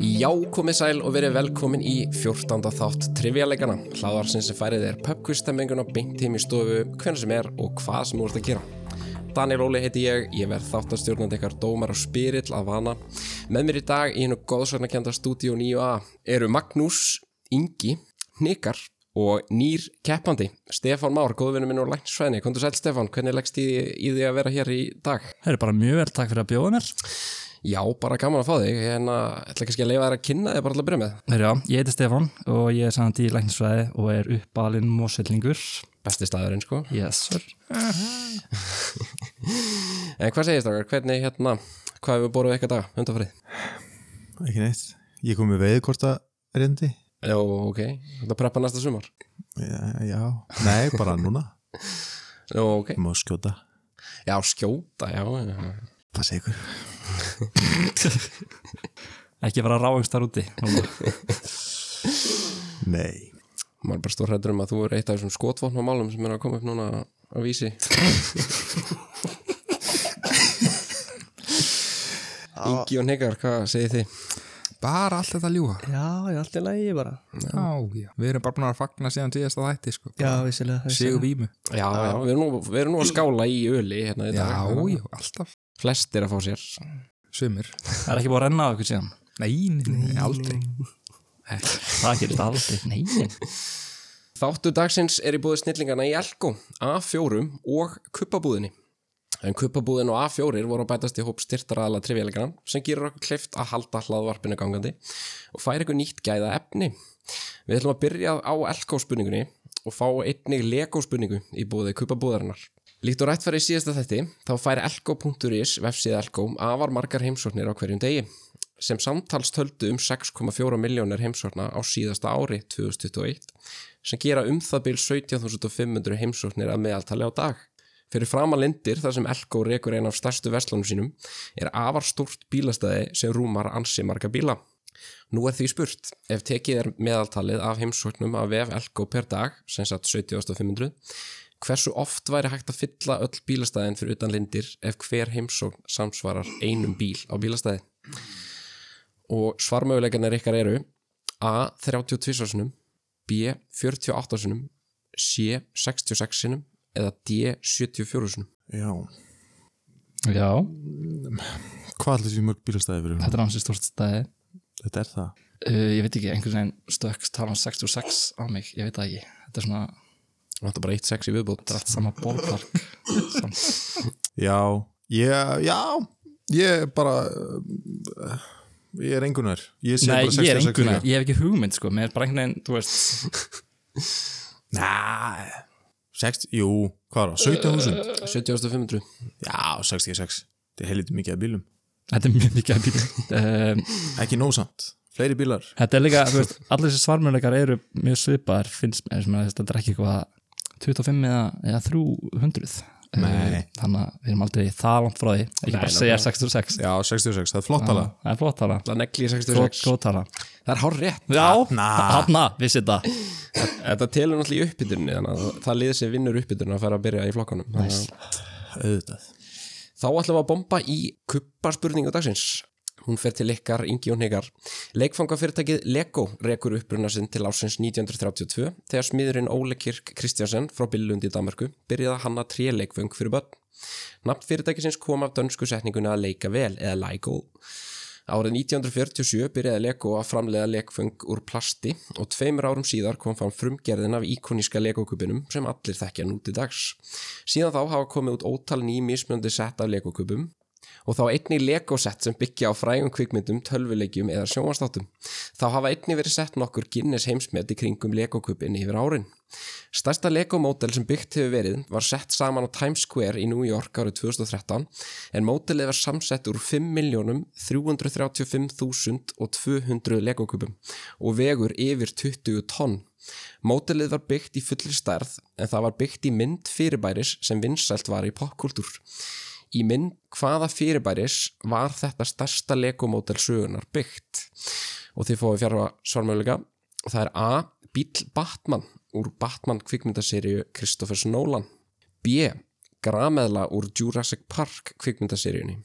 Já, komið sæl og verið velkomin í 14. þátt Trivialegana. Hlaðarsinn sem færið er pubquistemminguna beint heim í stofu, hvernig sem er og hvað sem þú ert að gera. Daniel Óli heiti ég, ég verð þáttarstjórnandi ykkar dómar og spyrill af vana. Með mér í dag í hennu góðsvarnakenda stúdíu 9a eru Magnús, Ingi, Hnikar og nýr keppandi, Stefán Már, góðvinni minn og lænsfæðinni. Komdu sæl Stefán, hvernig leggst í, í því að vera hér í dag? Það er bara mjög vel, takk fyrir að bjóða mér. Já, bara gaman að fá þig, en að ætla kannski að leifa þér að kynna þig bara alltaf að byrja með. Herjá, ég heiti Stefán og ég er samt í læknisfræði og er uppalinn mósellingur. Besti staðurinn, sko. Yes, sir. En hvað segist okkar, hvernig hérna, hvað hefur boruð eitthvað dag, undanfarið? ekki neitt ég kom með veiðkorta reyndi Jó, ok, þetta preppa næsta sumar. já, já, nei, bara núna Jó, ok. ég má skjóta, Já, skjóta, já. já, já. það sé ykkur Ekki fara að ráðast þar úti. núna. nei, Maður er bara stór hrættur um að þú er eitt af þessum skotvopnamálum sem er að koma upp núna á vísi. Ingi og Negar, hvað segir þið? Bara allt þetta ljúa Já, ég er alltaf lægi bara Já, já Við erum bara búin að fagna síðan síðasta þætti sko Já, vissilega Sigur vímu Já, já, við erum nú, við erum nú að skála í öli hérna í Já, dag. já, alltaf Flestir að fá sér. Sumir Það er ekki búin að renna á okkur síðan. Nei, nei, nei, aldrei Það gerir þetta aldrei. Nei. Þáttu dagsins er í búið snillingana í Elko, A4 og kuppabúðinni. En kuppabúðin og A4 voru að bætast í hóp styrtaraðala trivjæleikana sem gerur okkur kleift að halda hlaðvarpinu gangandi og færi ykkur nýtt gæða efni. Við ætlum að byrja á Elko spurningunni og fá einnig Lego spurningu í búið kuppabúðarinnar. Líkt og rætt farið í síðasta þætti, þá fær elko.is vefsíða elko um afar margar heimsóknir á hverjum degi sem samtals töldu um 6,4 miljónir heimsókna á síðasta ári 2021 sem gera um það byrj 17.500 heimsóknir að meðaltali á dag. Fyrir framalindir þar sem Elko rekur einn af stærstu verslunum sínum er afar stórt bílastæði sem rúmar ansi marga bíla. Nú er því spurt, ef tekið er meðaltalið af heimsóknum af vef Elko per dag, sem sagt 17.500, hversu oft væri hægt að fylla öll bílastæðin fyrir utan lindir ef hver heimsókn samsvarar einum bíl á bílastæði? og svarmöguleikarnir ykkar eru A. 32 sinum B. 48 sinum C. 66 sinum eða D. 74 sinum já Já, hvað allir því mörg bílastæði fyrir þetta er hans í stort stæði. þetta er það Uh, ég veit ekki, einhvern veginn stökks tala um 66 á mig, ég veit það ekki. Þetta er svona, Það er bara eitt sex í viðbót þetta er allt sama bólpark. já, ég, já ég er bara uh, ég er engunar ég sé Nei, bara ég er einhvern 66 líka. veginn, ég hef ekki hugmynd sko, mér er bara einhvern veginn, þú veist, Nei, 60, jú, hvað var það, 17.000 Eh. 70.500 já, 66, þetta er heilítið mikið af bílum þetta er mjög mikið að býta. Um, ekki nósamt, fleiri bílar Þetta er líka, þú veist, allir þessi svarmjöleikar eru mjög svipaðar, finnst mér, sem að þetta er ekki eitthvað 25 eða, eða 300. Nei. Eh, Þannig að við erum aldrei það langt frá því, ekki bara segja 66. já, 66, það er flott alveg Það er flott hana, Það negli í 66 góð hana. Það er hár rétt Já, Þarna. hana, vissi þetta. Þetta telur náttúrulega í uppbytunni þannig að það liðið sem vinnur uppbytunni að fara að byrja í flokkanum nice. auðvitað Þá ætlum við að bomba í kupparspurningu dagsins. Hún fer til ykkar, Ingi og Hnegar. Leikfangafyrirtækið Lego rekur uppruna sinn til ásins 1932 þegar smiðurinn Óle Kirk Kristjánsen frá Billund í Danmarku byrjaði að hanna tré leikfang fyrir börn. Nafn fyrirtækisins kom af dönsku setninguna að leika vel eða Lego. Árið 1947 byrjaði Lego að framleiða leikfang úr plasti og tveimur árum síðar kom fram frumgerðin af íkoníska Lego-kubinum sem allir þekkja nú til dags. Síðan þá hafa komið út ótal ný mismjöndi sett af Lego-kubum og þá einnig Lego-sett sem byggja á frægum kvikmyndum, tölvuleikjum eða sjónvastáttum. Þá hafa einnig verið sett nokkur Guinness heimsmet í kringum Lego-kubin yfir árin. Stærsta Lego-módel sem byggt hefur verið var sett saman á Times Square í New York árið 2013 en módelið var samsett úr 5.335.200 Lego-kubum og vegur yfir 20 tonn. Mótelið var byggt í fullri stærð en það var byggt í mynd fyrirbæris sem vinsælt var í popkultúr. Í mynd hvaða fyrirbæris var þetta stærsta legomótel sögunar byggt? Og þið fóðu fjárfa svarmöðulega. Það er A. Bíl Batman úr Batman kvikmyndaseríu Kristoffers Nolan. B. Grameðla úr Jurassic Park kvikmyndaseríunni.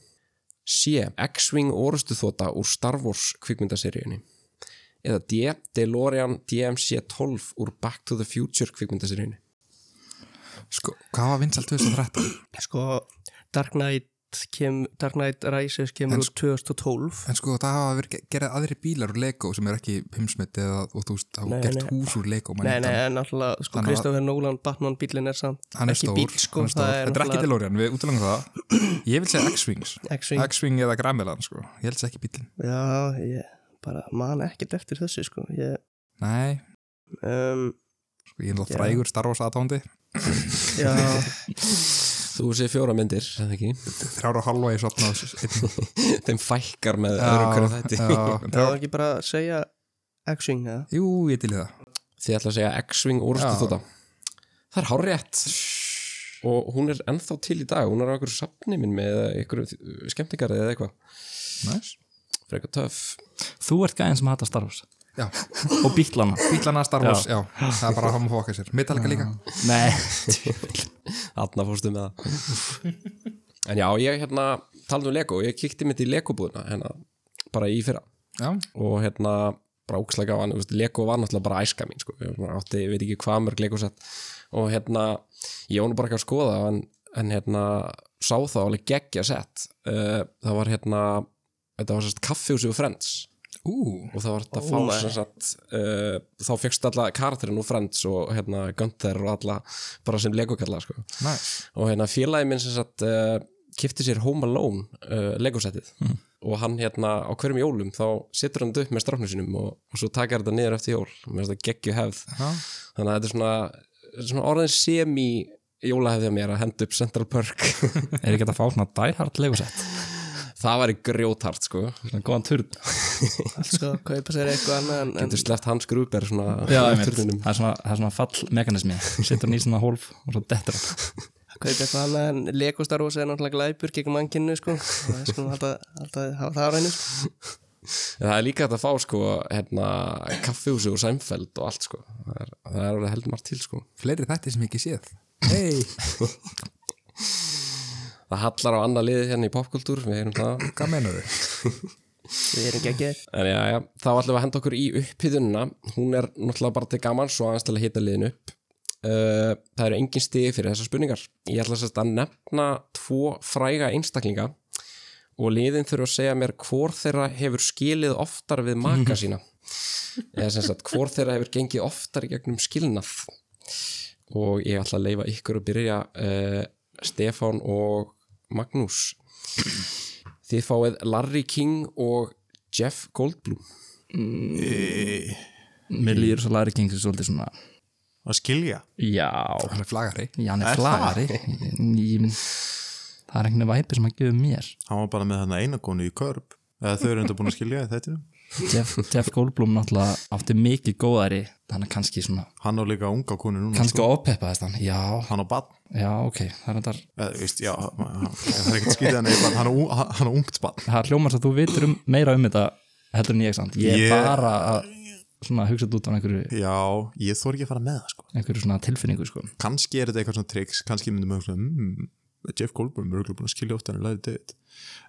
C. X-Wing orustuþóta úr Star Wars kvikmyndaseríunni eða D. DeLorean DMC-12 úr Back to the Future kvikmyndaseríunni Sko, hvað var vinsalt 2013? Sko, Dark Knight, kem, Dark Knight Rises kemur úr 2012 En sko, það hafa verið ge- gerað aðri bílar úr Lego sem er ekki heimsmynd eða, og þú veist, hafa Nei, gert nei. hús úr Lego Nei, maður nei, hitt hann. en náttúrulega, sko, Þannig að- Kristoffer Nolan Batman bílinn er samt Hann er ekki stór, bíll, sko, hann er stór. það Þetta er er ekki náttúrulega- DeLorean, við útlöngum það Ég vil segja X-Wings X-Wing. X-Wing eða Gramelan, sko Ég held ekki bílinn Já, ég bara man ekkert eftir þessu, sko ég, Nei, um, sko, ég er náttúrulega Já. frægur Star Wars aðtóndi Já, Þú sé fjóra myndir, eða ekki Þrjára og halva ég sopna á þessu Þeim fækkar með öðru hverju þætti það var ekki bara að segja X-Wing, eða? Jú, ég til í það Þið ætla að segja X-Wing orustuþóta Það er hárrétt og hún er ennþá til í dag hún er á einhverju safni minn með einhverju uh, skemmtikarið eða eitthvað Næs frekar töff Þú ert gæðin sem hata Star Wars Já, og bítlana bílana Star Wars, já, það er bara að hafa maður fokka sér Metallica líka Nei, Þarna fórstu með það En já, ég hérna talaði um Lego, ég kikti mitt í Lego-búðuna hérna, bara í fyrra Já, og hérna bara ókslega gaman, þú veist, Lego var náttúrulega bara æska mín sko, ég bara átti, ég veit ekki hvað mörg Lego-sett og hérna, ég var nú bara ekki að skoða en, en hérna sá það alveg geggja sett uh, það var hérna, þetta var sérst kaffihúsi og Friends ú, og það var þetta Ó, að fá nei. sem sagt uh, þá fegst alla karakterinn og Friends og hérna Gunther og alla bara sem Lego-kalla sko næs og hérna félagi minn sem sagt uh, kipti sér Home Alone uh, legosettið Hmm. og hann hérna á hverjum jólum þá setur hann þetta upp með strafnum sínum og, og svo takar þetta niður eftir jól með þetta geggju hefð Já. þannig að þetta er svona, svona orðin semi jólahefðið mér að henda upp Central Park er ekki hægt að fá svona dærhart legosett það væri grjóthart sko Svona góðan turn allt sko, kaupa sér eitthvað annað en, en getur sleppt hans grúper svona Já, í einmitt. turninum. það er svona, það er svona fallmekanismi Setur hann í svona hólf og svo dettur hann kaupa eitthvað annað en Lego Star Wars er náttúrulega glæpur gegn mannkinnu, sko það er sko alltaf, alltaf hafa það á reynu sko. En það er líka hægt að fá sko hérna, kaffihúsi og sæmfeld og allt sko það er, það er alveg heldur margt til sko Fleiri þætti sem ég ekki séð Hei, það hallar á annað liðið hérna í popkultúr við heyrum það hvað menur þau? Við erum geggir En já, já, þá ætlum við að henda okkur í upphýðununa. Hún er náttúrulega bara til gaman svo aðeins til að hita liðin upp. Uh, það eru engin stigi fyrir þessar spurningar. Ég ætla sérst að nefna tvo fræga einstaklinga og liðin þurfa að segja mér hvor þeirra hefur skilið oftar við maka sína. Eða sem sagt, hvor þeirra hefur gengið oftar í gegnum skilnað. Og ég ætla að leifa ykkur að byrja uh, Stefán og Magnús. Þið fáið Larry King og Jeff Goldblum Mér líður svo Larry King sem svolítið svona að skilja Já, Hann er flagari já hann Er er flagari Ég minn Það er einhvern væpi sem hann gefur mér hann var bara með hann eina konu í körp eða þau eru enda búin að skilja í þættinum Jeff, Jeff Goldblum náttúrulega átti mikið góðari Þannig kannski svona hann á líka unga konu núna Kannski ópeppaðist hann Já, hann á bann já, ok Það er þetta eða, veist, já, hann, það er ekkert skýtið hann eigi barn, hann á ung- hann hann á ungt bann það hljómar svo að þú vitur um, meira um þetta heldur en ég, sant? Ég er Ég- bara að svona, hugsa þetta út á einhverju, já, ég þor ekki að fara með það sko einhverju svona tilfinningu, sko. kannski er þetta eitthvað svona triks kannski myndum við hugsa, mm, Jeff Goldblum er örugglega búinn að skilja ótt hann er Larry David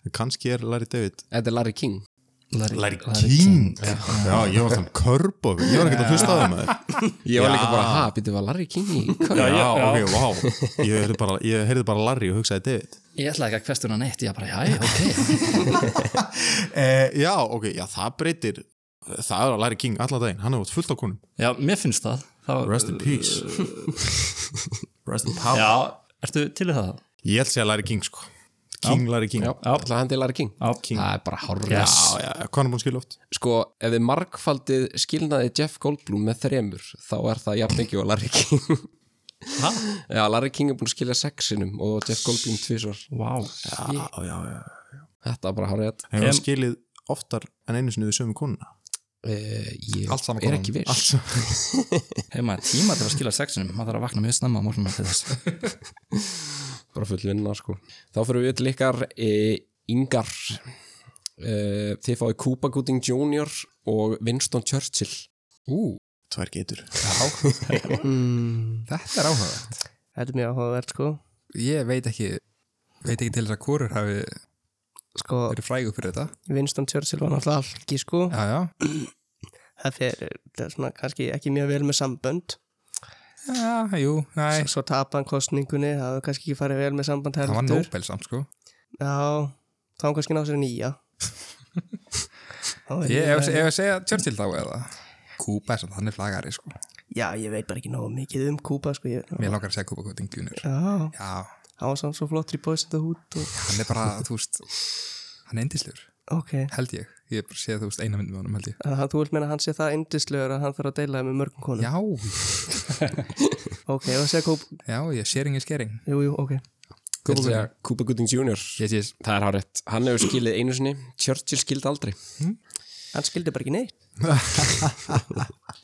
en kannski er Larry David Þetta er Larry King Larry, já, ég var svona körp og ég var ekkert að hlusta á það maður Ég var líka bara, ha, býttu var Larry King í já, ok, vá ég heyrði bara, ég heyrði bara Larry og hugsaði David Ég ætla ekki að kvestuna neitt, ég bara, já, ok. eh, já, ok, já, það breytir það er að Larry King allan daginn, hann hefur átt fullt á konum Já, mér finnst það. Þá, rest in peace eh, rest in power Já, ertu til í það? ég held að segja Larry King sko King, Larry King Já, ætla að hendi Larry King Já, King. Það er bara horrið Ah, Yes. já, já, hvað hann er búin að skilja ótt Sko, ef þið markfaldið skilnaði Jeff Goldblum með þremur þá er það jafn ekki og Larry King Ha? Já, Larry King er búin að skilja sexinum og Jeff Goldblum tvisvar Vá. já, já, já Þetta er bara horrið Hefur hann skilið oftar en einu sinni við sömu konuna? uh, Ég Allt saman er konan. ekki viss Hefur maður tíma til að skila sexinum, maður þarf að vakna mjög snemma á morgunum til þess. bara full vinna sko þá fyrir við til ykkar e, yngar e, þið fáið Cuba Gooding Jr. og Winston Churchill Ú, Tvær getur mm, þetta er áhugavert Þetta er mjög áhugavert, sko Ég veit ekki, veit ekki til þess að hvorur hafi sko, Þeir eru frægur fyrir þetta Winston Churchill var náttúrulega algi sko Já, já það fer það er svona, kannski ekki mjög vel með sambönd Já, jú, S- næ svo tapa hann kostningunni, það hafði kannski ekki farið vel með samband Það heldur var Nobel samt, sko Já, þá hann kannski ná sér nýja Þá er Ég ef- nýja- ef ég segja Churchill þá eða Kúpa er samt, hann er flagari, sko Já, ég veit bara ekki nógu mikið um Kúpa sko ég, Mér langar að segja Kúpa Kúting Junior Já, Já, hann var samt svo flott í bóðsenda hút og... hann er bara, þú veist Hann er indislegur, Ok, held ég Ég hef bara séð, þú veist, eina mynd með honum, held ég þannig að þú vilt meina að hann sé það indislegur að hann þarf að deila það með mörgum konum Já, Ok, og segja Kúpa, já, ég sharing is caring jú, jú, ok Ég ætla að segja Cuba Gooding Jr. Yes, yes Það er hárétt. Hann hefur skilið einu sinni, Churchill skildi aldrei. Hann skildi bara ekki neitt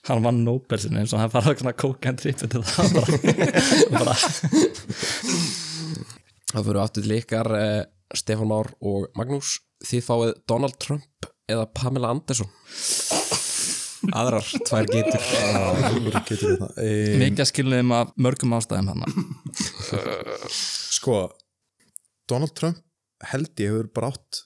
hann vann Nobel sinni eins og hann farað svona kókan trippið til það bara, bara þá fyrir aftur til ykkar eh, Stefán Már og Magnús þið fáið Donald Trump eða Pamela Anderson aðrar, tvær getur getur þetta e, mikið að skilum af mörgum ástæðum hann sko Donald Trump held ég hefur bara átt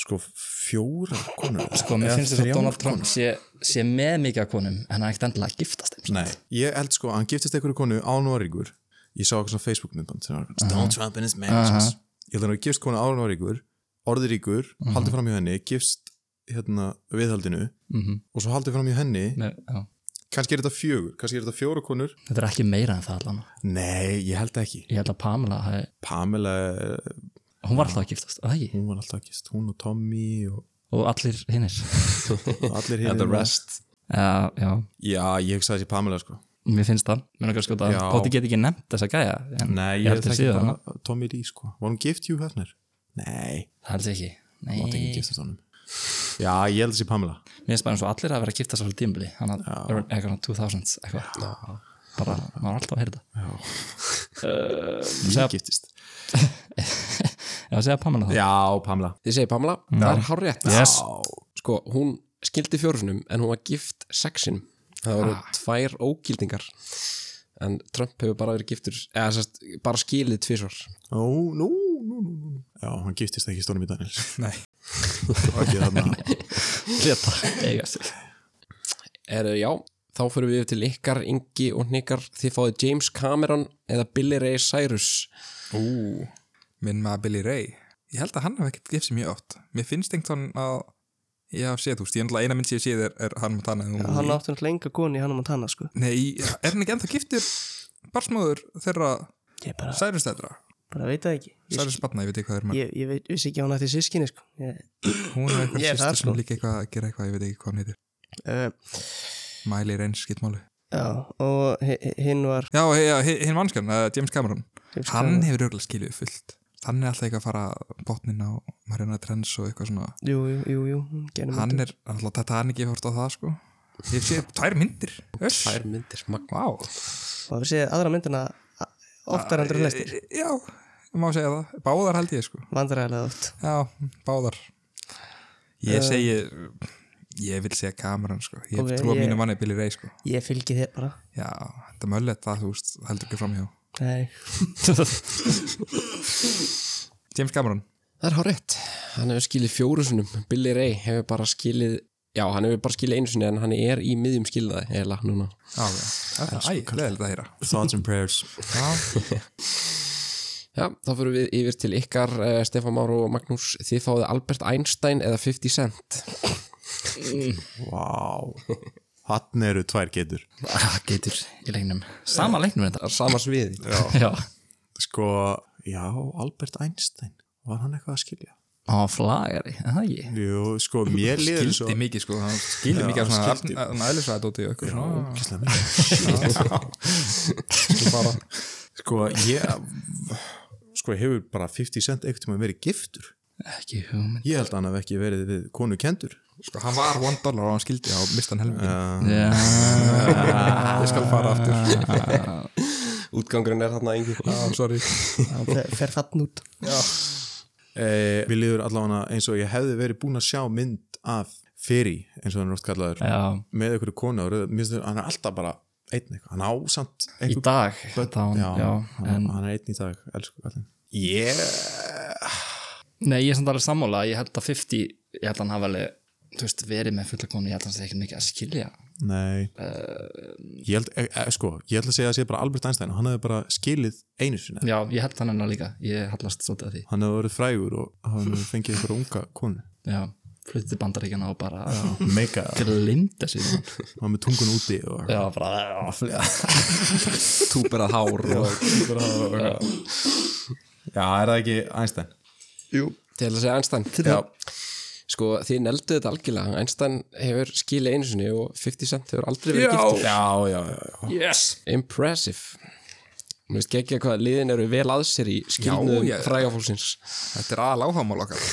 sko fjóra konur sko, mér Eða finnst þess þrjár að Donald Trump konur. sé, sé með mikið af konum en hann er ekkert endilega að giftast þeim Nei, ég held sko að hann giftist einhverju konu ánuvaríkur ég sá eitthvað svona Facebook myndband sem var Donald Trump and his mansions ég held að hann gifst konu ánuvaríkur orðiríkur, uh haldi fram hjá henni gifst hérna viðhaldinu Mhm. og svo haldi fram hjá henni Nei, já. kannski er þetta fjögur, kannski er þetta fjóra konur þetta er ekki meira en það allan nei, ég held ekki ég held að Pamela, hafi- Pamela, eh, hún var alltaf að giftast að það ekki, hún var alltaf gifst hún og Tommy og og allir hinnir allir and the hinir rest já, já, já, ég hugsaði þessi Pamela sko mér finnst það mér finnst sko að Já. Bóti get ekki nefnt þessa gæja en nei, ég ég held held að ekki síða hana bara Tommy Lee sko var hún gift Hugh Hefner? nei, það held ég ekki Nei, hún átti ekki að mér giftast honum já, ég held þessi Pamela finnst bara eins og allir að vera að giftast á tímbili, hann að eitthvað svona 2000 eitthvað, bara maður er alltaf að heyra þetta ég giftist já, segja Pamela það Já, Pamela þið segir Pamela, það er hárétt Yes. sko, hún skildi fjórusunum en hún var gift sexinum það voru tvær ógildingar en Trump hefur bara verið giftur eða sest, bara skilið tvísvar Ó, nú, nú, nú, nú Já, hann giftist ekki stónum í Daniels Nei. Og ekki þarna leta, eiga sig er, já, þá fyrir við yfir til ykkar Ingi og Nikar, þið fáið James Cameron eða Billy Ray Cyrus Ú, minn maður Billy Ray Ég held að hann hef ekkert gift sér mjög oft Mér finnst einhvern þann að Ég haf séð, þú veist, ég ennlega eina mynd sem ég séð er, er hann með þannig Já, Hann átti náttúrulega enga koni, hann um hann tanna sko Nei, er hann ekki ennþá giftur barsmóður þeirra Ég bara, særustæðra bara veit það ekki Ég- særustbarna, ég veit ekki hvað er maður Ég, ég veit, vissi ekki að hún ætti sískinni sko ég, hún er eitthvað Ég er sýstur þar, sko. sem líka eitthvað að gera eitthvað, ég veit ekki hvað hann heitir uh, Miley Reyns, skitmáli Já, og hi- hi- hinn var Já, hei, já, hi- hinn vanskan, uh, James Cameron James Hann Cameron. hefur örgulega skiljið fullt Hann er alltaf eitthvað að fara botnin á Mariana Trends og eitthvað svona Jú, jú, jú, jú, hún gerði Hann myndir. er, alltaf þetta hann ekki hort á það, sko Ég sé tvær myndir Öss. tvær myndir, magna Vá Og við séð aðra myndina a- oftar heldur en lestir Já, ég má segja það Báðar held ég, sko Vandræðilega oft Já, báðar Eh, Ég segi Ég vil segja Cameron, sko Ég Ok, okay, trúa ég- mínu manni Billy Ray, sko Ég fylgi þér bara Já, þetta möllet það, þú veist, það heldur ekki framhjá Nei, James Cameron Það er hárétt, hann hefur skilið fjóru sinum, Billy Ray hefur bara skilið, já hann hefur bara skilið einu sinni en hann er í miðjum skilnaði eða núna. Já, já, þetta er ægilega að heyra Thoughts and prayers Já, Já, þá fyrir við yfir til ykkar, uh, Stefán Már og Magnús, þið fáið Albert Einstein eða 50 Cent. Vá Hann eru tvær getur Ah, geitur í leiknum sama leiknum þetta Það er sama sviði. já, Sko, já, Albert Einstein Var hann eitthvað að skilja? hann var flagari er það ekki Jú, sko, mér liður svo skildi mikið sko hann skildi Já, mikið af svona skildi. Arn- Arn- eðlisfræðadóti og eitthvað svona Ógeðslega mikið. Sko, ég Sko, hefur bara 50 cent einhvern tímann verið giftur ekki hugmynd Ég held að hann hef ekki verið við konu kendur sko, hann var one dollar og hann skildi á mistan helmingin já, ég skal fara Ah. aftur Útgangurinn er þarna engi. ah, sorry það fer- fer þann út Eh, Mér líður allavega eins og ég hefði verið búin að sjá mynd af Ferry, eins og hann er oft kallaður já. með einhverju konu og rauð- mér finnst þetta- hann er alltaf bara einn eitthvað, hann á samt í einhver, dag þá, já, já, hann, en hann er einn í dag, elsku kallinn Ég Nei, ég er samt alveg sammála ég held að 50, ég held að hann hafa alveg þú veist, verið með fulla konu, ég held að hann sé ekkert mikið að skilja Nei Ehm. ég, held, e, e, sko, ég held að segja að sé bara Albert Einstein hann hefði bara skilið einu sinni Já, ég held hann hennar líka, ég hallast svolítið að því hann hefði verið frægur og hann hefði fengið einhverja unga konu Já, fluttið til bandaríkjana og bara mega, glimta sér í hann. hann með tungun úti og Já, bara túperað hár og... Já, er það ekki Einstein? til að segja Einstein Já, sko þið neldu þetta algjörlega Einstein hefur skilið einu sinni og 50 Cent hefur aldrei verið gift já, já, já. Yes! impressive Mér veist ekki hvað liðin eru vel að sér í skilnuðum Já, ég- frægafólksins Þetta er aðal áhagamál okkar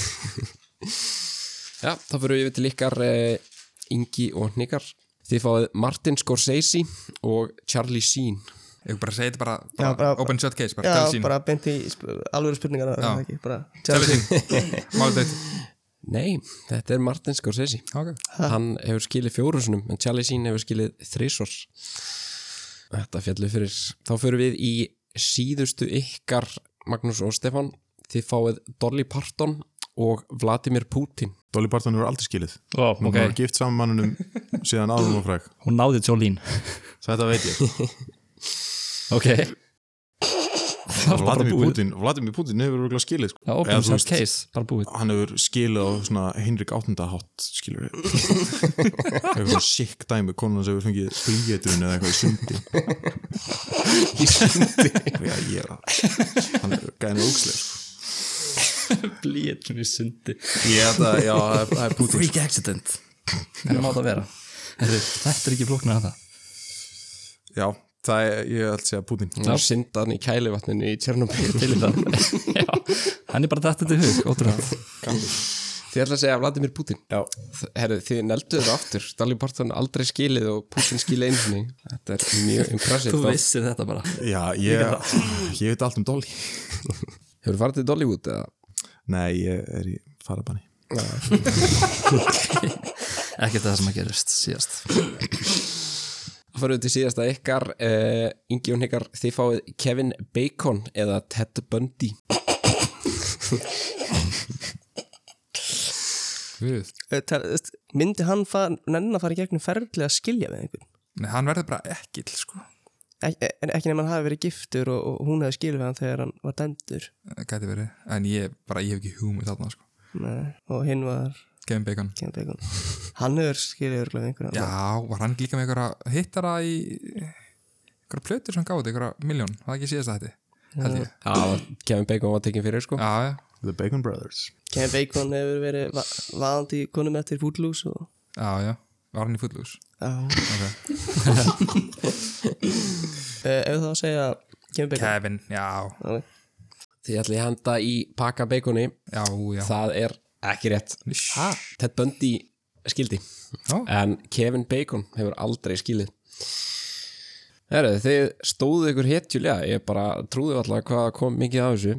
Já, þá fyrir við yfir til ykkar eh, Ingi og Hnikar Þið fáið Martin Scorsese og Charlie Sheen Ég bara segi þetta bara, bara, Já, bara- open shot case bara, Já, tell sín, bara beint í sp- alvöru spurningar Já. tell Tjálsín sín Málið þitt Nei, þetta er Martin Scorsese okay. Hann hefur skilið fjórusunum en Charlie Sheen hefur skilið þrísors Þetta fjallu fyrir Þá fyrir við í síðustu ykkar Magnús og Stefán Þið fáið Dolly Parton og Vladimir Putin Dolly Parton hefur aldrei skilið Ó, Hún ok, okay. var gift saman manninum síðan áður og fræg hún náði Jolín Þetta veit ég Ok Það var bara Vladimir búið Putin, Vladimir Putin hefur örugglega skilið sko. Já, Eða open þú shot veist, case, bara búið Hann hefur skilið á svona Henrik VIII hátt skilur við Eitthvað svona sikk dæmi konan sem hefur fengið flýgeturinn eða eitthvað í sundi Í sundi? Já, ég er að Hann er gæðin ógslega sko. Blíðin í sundi Ég held að, já, það er- það er Putin Freak accident Það má það vera Herri, Þetta er ekki flóknar að það Já, það er, ég held að segja Putin Hún syndaði hann í kælivatninu í Tjernobyl til það Já, hann er bara dætt þetta í hug, ótrúlega Þið ætla að segja Vladimir Putin Já, Herru, þið neldu þetta aftur Dolly Parton aldrei skilið og Putin skilið einu sinni Þetta er mjög impressið Þú vissir þetta bara já ég, ég veit allt um Dolly Hefur farið til Dollywood eða? Nei, ég er í farabanni Ekkert það sem að gerist síðast Þá fyrir við til síðasta ykkar uh, Ingi og Hnikar, þið fáið Kevin Bacon eða Ted Bundy Guð. Eh, Myndi hann fara- nennan að fara í gegnum ferðlega að skilja við einhvern Nei, hann verður bara ekkil sko Ek- e, en ekki nema hann hafi verið giftur og, og hún hefði skilið við hann þegar hann var dæmdur Eh, Gæti verið, en ég, bara, ég hef ekki hugmynd þarna sko Nei. og hinn var Kevin Bacon Kevin Bacon hann hefur skilið örglega einhverja Já, var hann líka með einhverja hittara í einhverja plötur sem gáði, einhverja miljón, það ekki síðast að þetta held ég. Já, Kevin Bacon var tekinn fyrir sko Já, já, The Bacon Brothers Kevin Bacon hefur verið va vaðandi í konum eftir Footloose og já, já, var hann í fullús Já. okay. Eh, ef þá að segja Kevin Bacon Kevin, já, okay. Þið ætla að henda í pakka Baconi já, já Það er ekki rétt Þa Ted Bundy skildi Ó. En Kevin Bacon hefur aldrei skilið Herru, þið stóðu ykkur hetjulega Ég bara trúði alltaf hvað kom mikið af þessu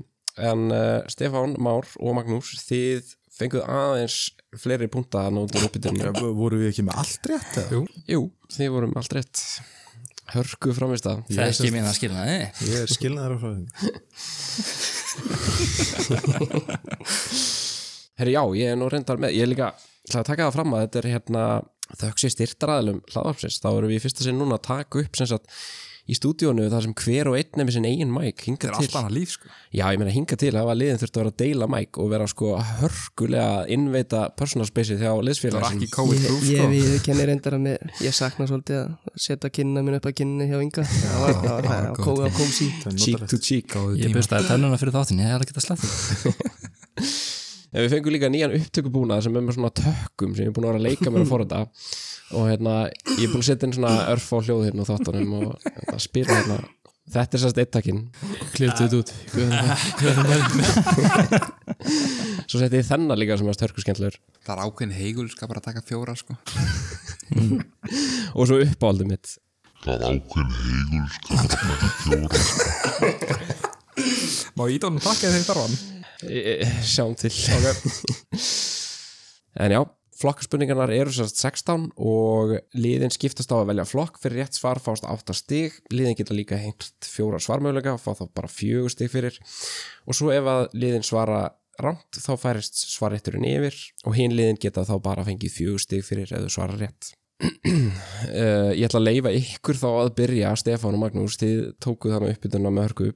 En uh, Stefán, Már og Magnús Þið fenguð aðeins fleiri punta að nótur uppbytunum Voru við ekki með allt rétt? eða? Jú. Jú, þið vorum allt rétt Hörku framist að Það er ekki mín að skilja það, nei Ég er skilnaðar á fræðing Herri já, ég er nú reyndar með Ég er líka, ætla að taka það fram að þetta er hérna Þökk sé styrtaraðilum hlaðvarpsins Þá erum við í fyrsta sinn núna að taka upp sem sagt í stúdíónu þar sem hver og einn nefnir sinn eigin mæk hinga Það er til alltaf annað líf, sko Já, ég meina hinga til, það var liðin þurfti að vera að deila mæk og vera sko að hörkulega að innveita personal space-ið þjá Það var liðsfélags ekki COVID proof, ég, sko ég kenni reyndar að mér, ég sakna svolítið að setja kynna mín upp að kynni hjá Inga það var, það var, það var, góð það var kom sín cheek to cheek Góðu Ég tíma byrstaði tennuna fyrir þáttin, ég hefði ekki að slæta En við fengum líka nýjan upptökubúnað sem er með svona tökkum sem ég er búin að vera að leika mér að forða og hérna, ég er búin að setja inn svona örf á hljóð hérna og þáttunum og hérna, spila hérna Þetta er sérst eittakinn Klirtu þetta út Svo setti ég þennan líka sem er störku skemmtilegur Það er ákveðin heigul, sko, bara að taka fjóra, sko og svo uppáaldið mitt Það ákveðin heigur skapar fjóra Má ég íta honum takk eða þeim þarfan? E- e- Sjáum til En já, flokkspurningarnar eru sérst 16 og liðin skiptast á að velja flokk fyrir rétt svar fást 8 stig, liðin geta líka heimt fjóra svarmögulega og fá þá bara fjögur stig fyrir og svo ef að liðin svara rámt þá færist svarrétturinn yfir og hinliðin geta þá bara fengið fjögustig fyrir ef þau svarar rétt uh, ég ætla að leifa ykkur þá að byrja Stefán og Magnús, þið tókuð þannig uppbytuna með hörku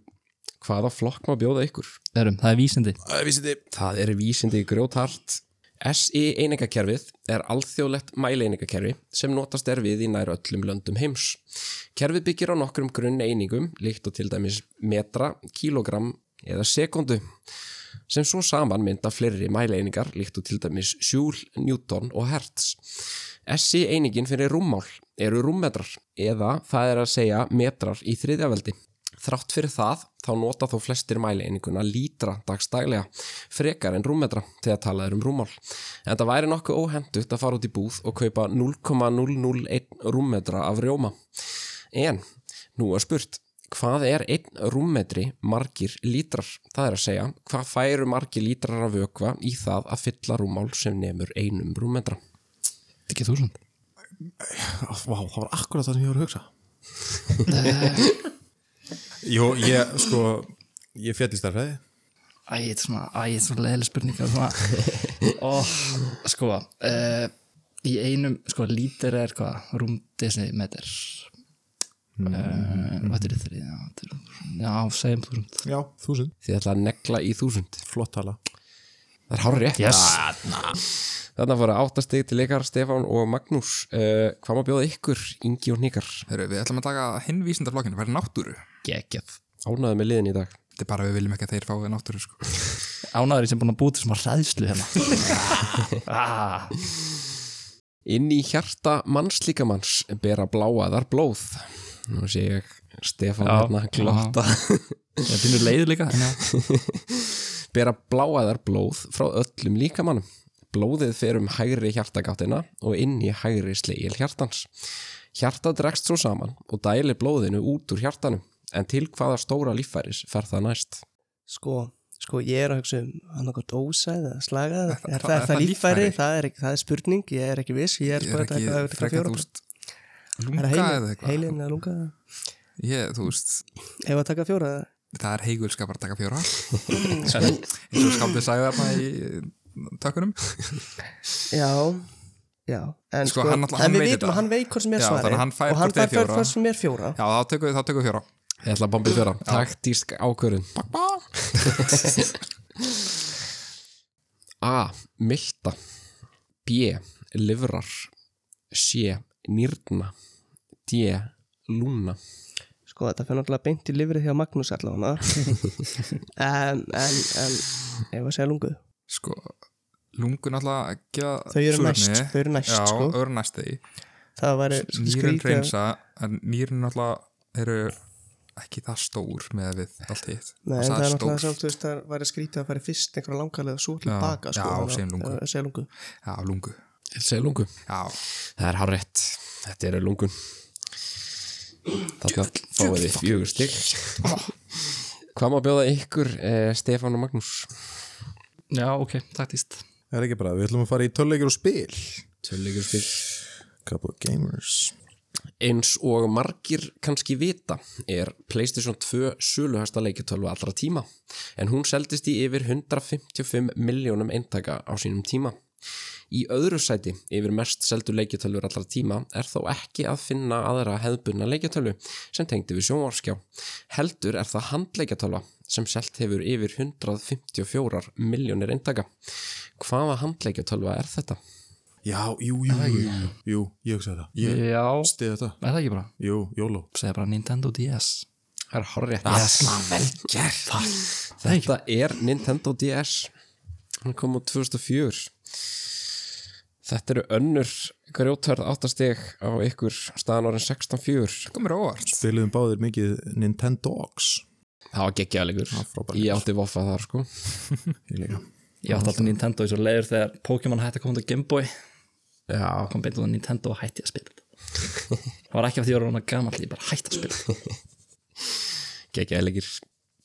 hvaða flokk má bjóða ykkur? Erum, það er vísindi Vísindi Það er vísindi grjóthart SI einingakerfið er alþjóðlegt mæleiningakerfi sem notast er við í nær öllum löndum heims. Kerfið byggir á nokkrum grunn einingum, líkt og til dæmis metra, kílogram eða sekundu, sem svo saman mynda fleiri mæleiningar, líkt og til dæmis sjúl, newton og hertz. SI einingin fyrir rúmmál eru rúmmetrar, eða það er að segja metrar í þriðjaveldi. Þrátt fyrir það, þá nota þó flestir mælieininguna lítra dagstaglega, frekar en rúmmetra þegar talað er um rúmmál. En það væri nokkuð óhendugt að fara út í búð og kaupa 0,001 rúmmetra af rjóma. En, nú er spurt, hvað er 1 rúmmetri margir lítrar? Það er að segja, hvað færu margir lítrar að vökva í það að fylla rúmmál sem nemur einum rúmmetra? Ekki þúsund Vá, það var akkurat það sem ég var að hugsa Jó, ég sko Ég fjall í starfræði Æ, þetta er svona, æ, þetta er svona leðileg spurningar svona. og sko uh, í einum, sko, lítir er hvað, rúm desimeter mm. uh, hvað er þetta já, þetta er- já, segjum þú rúmt Já, þúsund Þið ætla að negla í þúsund. Flott tala Það er hár rétt. yes. Þarna fóru áttastig til ykkar Stefán og Magnús uh, Hvað má bjóða ykkur, Ingi og Nikar? Heru, við ætlum að taka hinn vísindaflokkinu, það er náttúru. Gekkjað Ánæðu með liðin í dag Þetta er bara að við viljum ekki að þeir fái náttúru, sko. ánæður sem búin að búti sem að ræðslu hérna ah, Inn í hjarta mannslíkamanns bera bláaðar blóð Nú sé ég Stefán Já. hérna glotta ég finnur leiður líka en já, Bera bláaðar blóð frá öllum líkamannum Blóðið fer um hægri hjartagáttina og inn í hægri slegil hjartans Hjarta dregst svo saman og dæli blóðinu út úr hjartanum En til hvaða stóra líffæris fer það næst? Sko, sko ég er að hugsa um hann okkur dósa eða slaga er, það- það, er, það líffæri, líffæri? það er, ekki, það er spurning ég er ekki viss, ég er Ég sko er þetta ekki eitthvað- þetta eitthvað frekar, fjóra þú bara. veist, Er lunga það eða heilin- eitthvað. heilin eða lunga Ég, þú veist, ef að taka fjóra eða? það er heigulska bara að taka fjóra. Eins og skaldið sagði þarna í tökunum. já, já en, Sko, hann náttúrulega- hann en við veit vitum þetta. að hann veit hvort sem er Já, þannig svarið að hann fær og hann hvort eð fær fjóra. hvort sem er fjóra Já, þá tökum við, þá tökum við fjóra. Ég ætla að bombi fjöra Taktísk ákvörðun A. Milta B. Livrar C. Nýrna D. Lúna Sko þetta fyrir náttúrulega beint í lifrið hjá Magnús allavega en, en, en ef að segja lungu Sko, lungun alltaf að gefa Þau eru súrefni. næst, þau eru næst, Já, sko. þau eru næst þegi. það væri Nýrun skrítið að- reynsa, en nýrun alltaf eru ekki það stór með við allt hitt. Og Nei, en það er náttúrulega stór. samt, þú veist, það væri skrítið að fara fyrst einhverja langalega svo til Já, baka, sko. já, þannig að- segjum lungu. eh, Segjum lungu. Já, lungu. Segir lungu Já, Það er hárétt Þetta eru lungun Þarna fáið þið fjögur stygg Hvað má bjóða ykkur eh, Stefán og Magnús? já, ok, taktist Það er ekki bara, við ætlum að fara í töluleikir og spil Tölulegur fyrr Couple of gamers Eins og margir kannski vita er PlayStation 2 söluhæsta leikjartölvu allra tíma en hún seldist í yfir 155 miljónum eintaka á sínum tíma. Í öðru sæti yfir mest seldu leikjartölvur allra tíma er þó ekki að finna aðra hefðbunna leikjartölvu sem tengdi við sjónvarskjá. Heldur er það handleikjartölva sem selt hefur yfir 154 miljónir eintaka. Hvaða handleikjartölva er þetta? Já, jú, jú, jú, jú, jú ég hugsaði það Ég já, er stiði þetta það ekki bara Jú, jóló segja bara Nintendo DS Það er horrið. Yes. Mm. Þetta er Nintendo DS Hann kom á 2004 Þetta eru önnur grjótörð áttasteg á ykkur staðan orðin 16-4 komur óvart. Spiliðum báðir mikið Nintendo Ox Það var geggjaðleikur frábær Ég átti voffa þar sko Ég líka ég átti alltaf Nintendo í svo leiður þegar Pokémon hætti að koma til Gameboy Já, kom beint út á Nintendo og hætti að spila þetta það var ekki af því að ég var orðinn of gamall ég bara hætti að spila þetta geggjaðleikir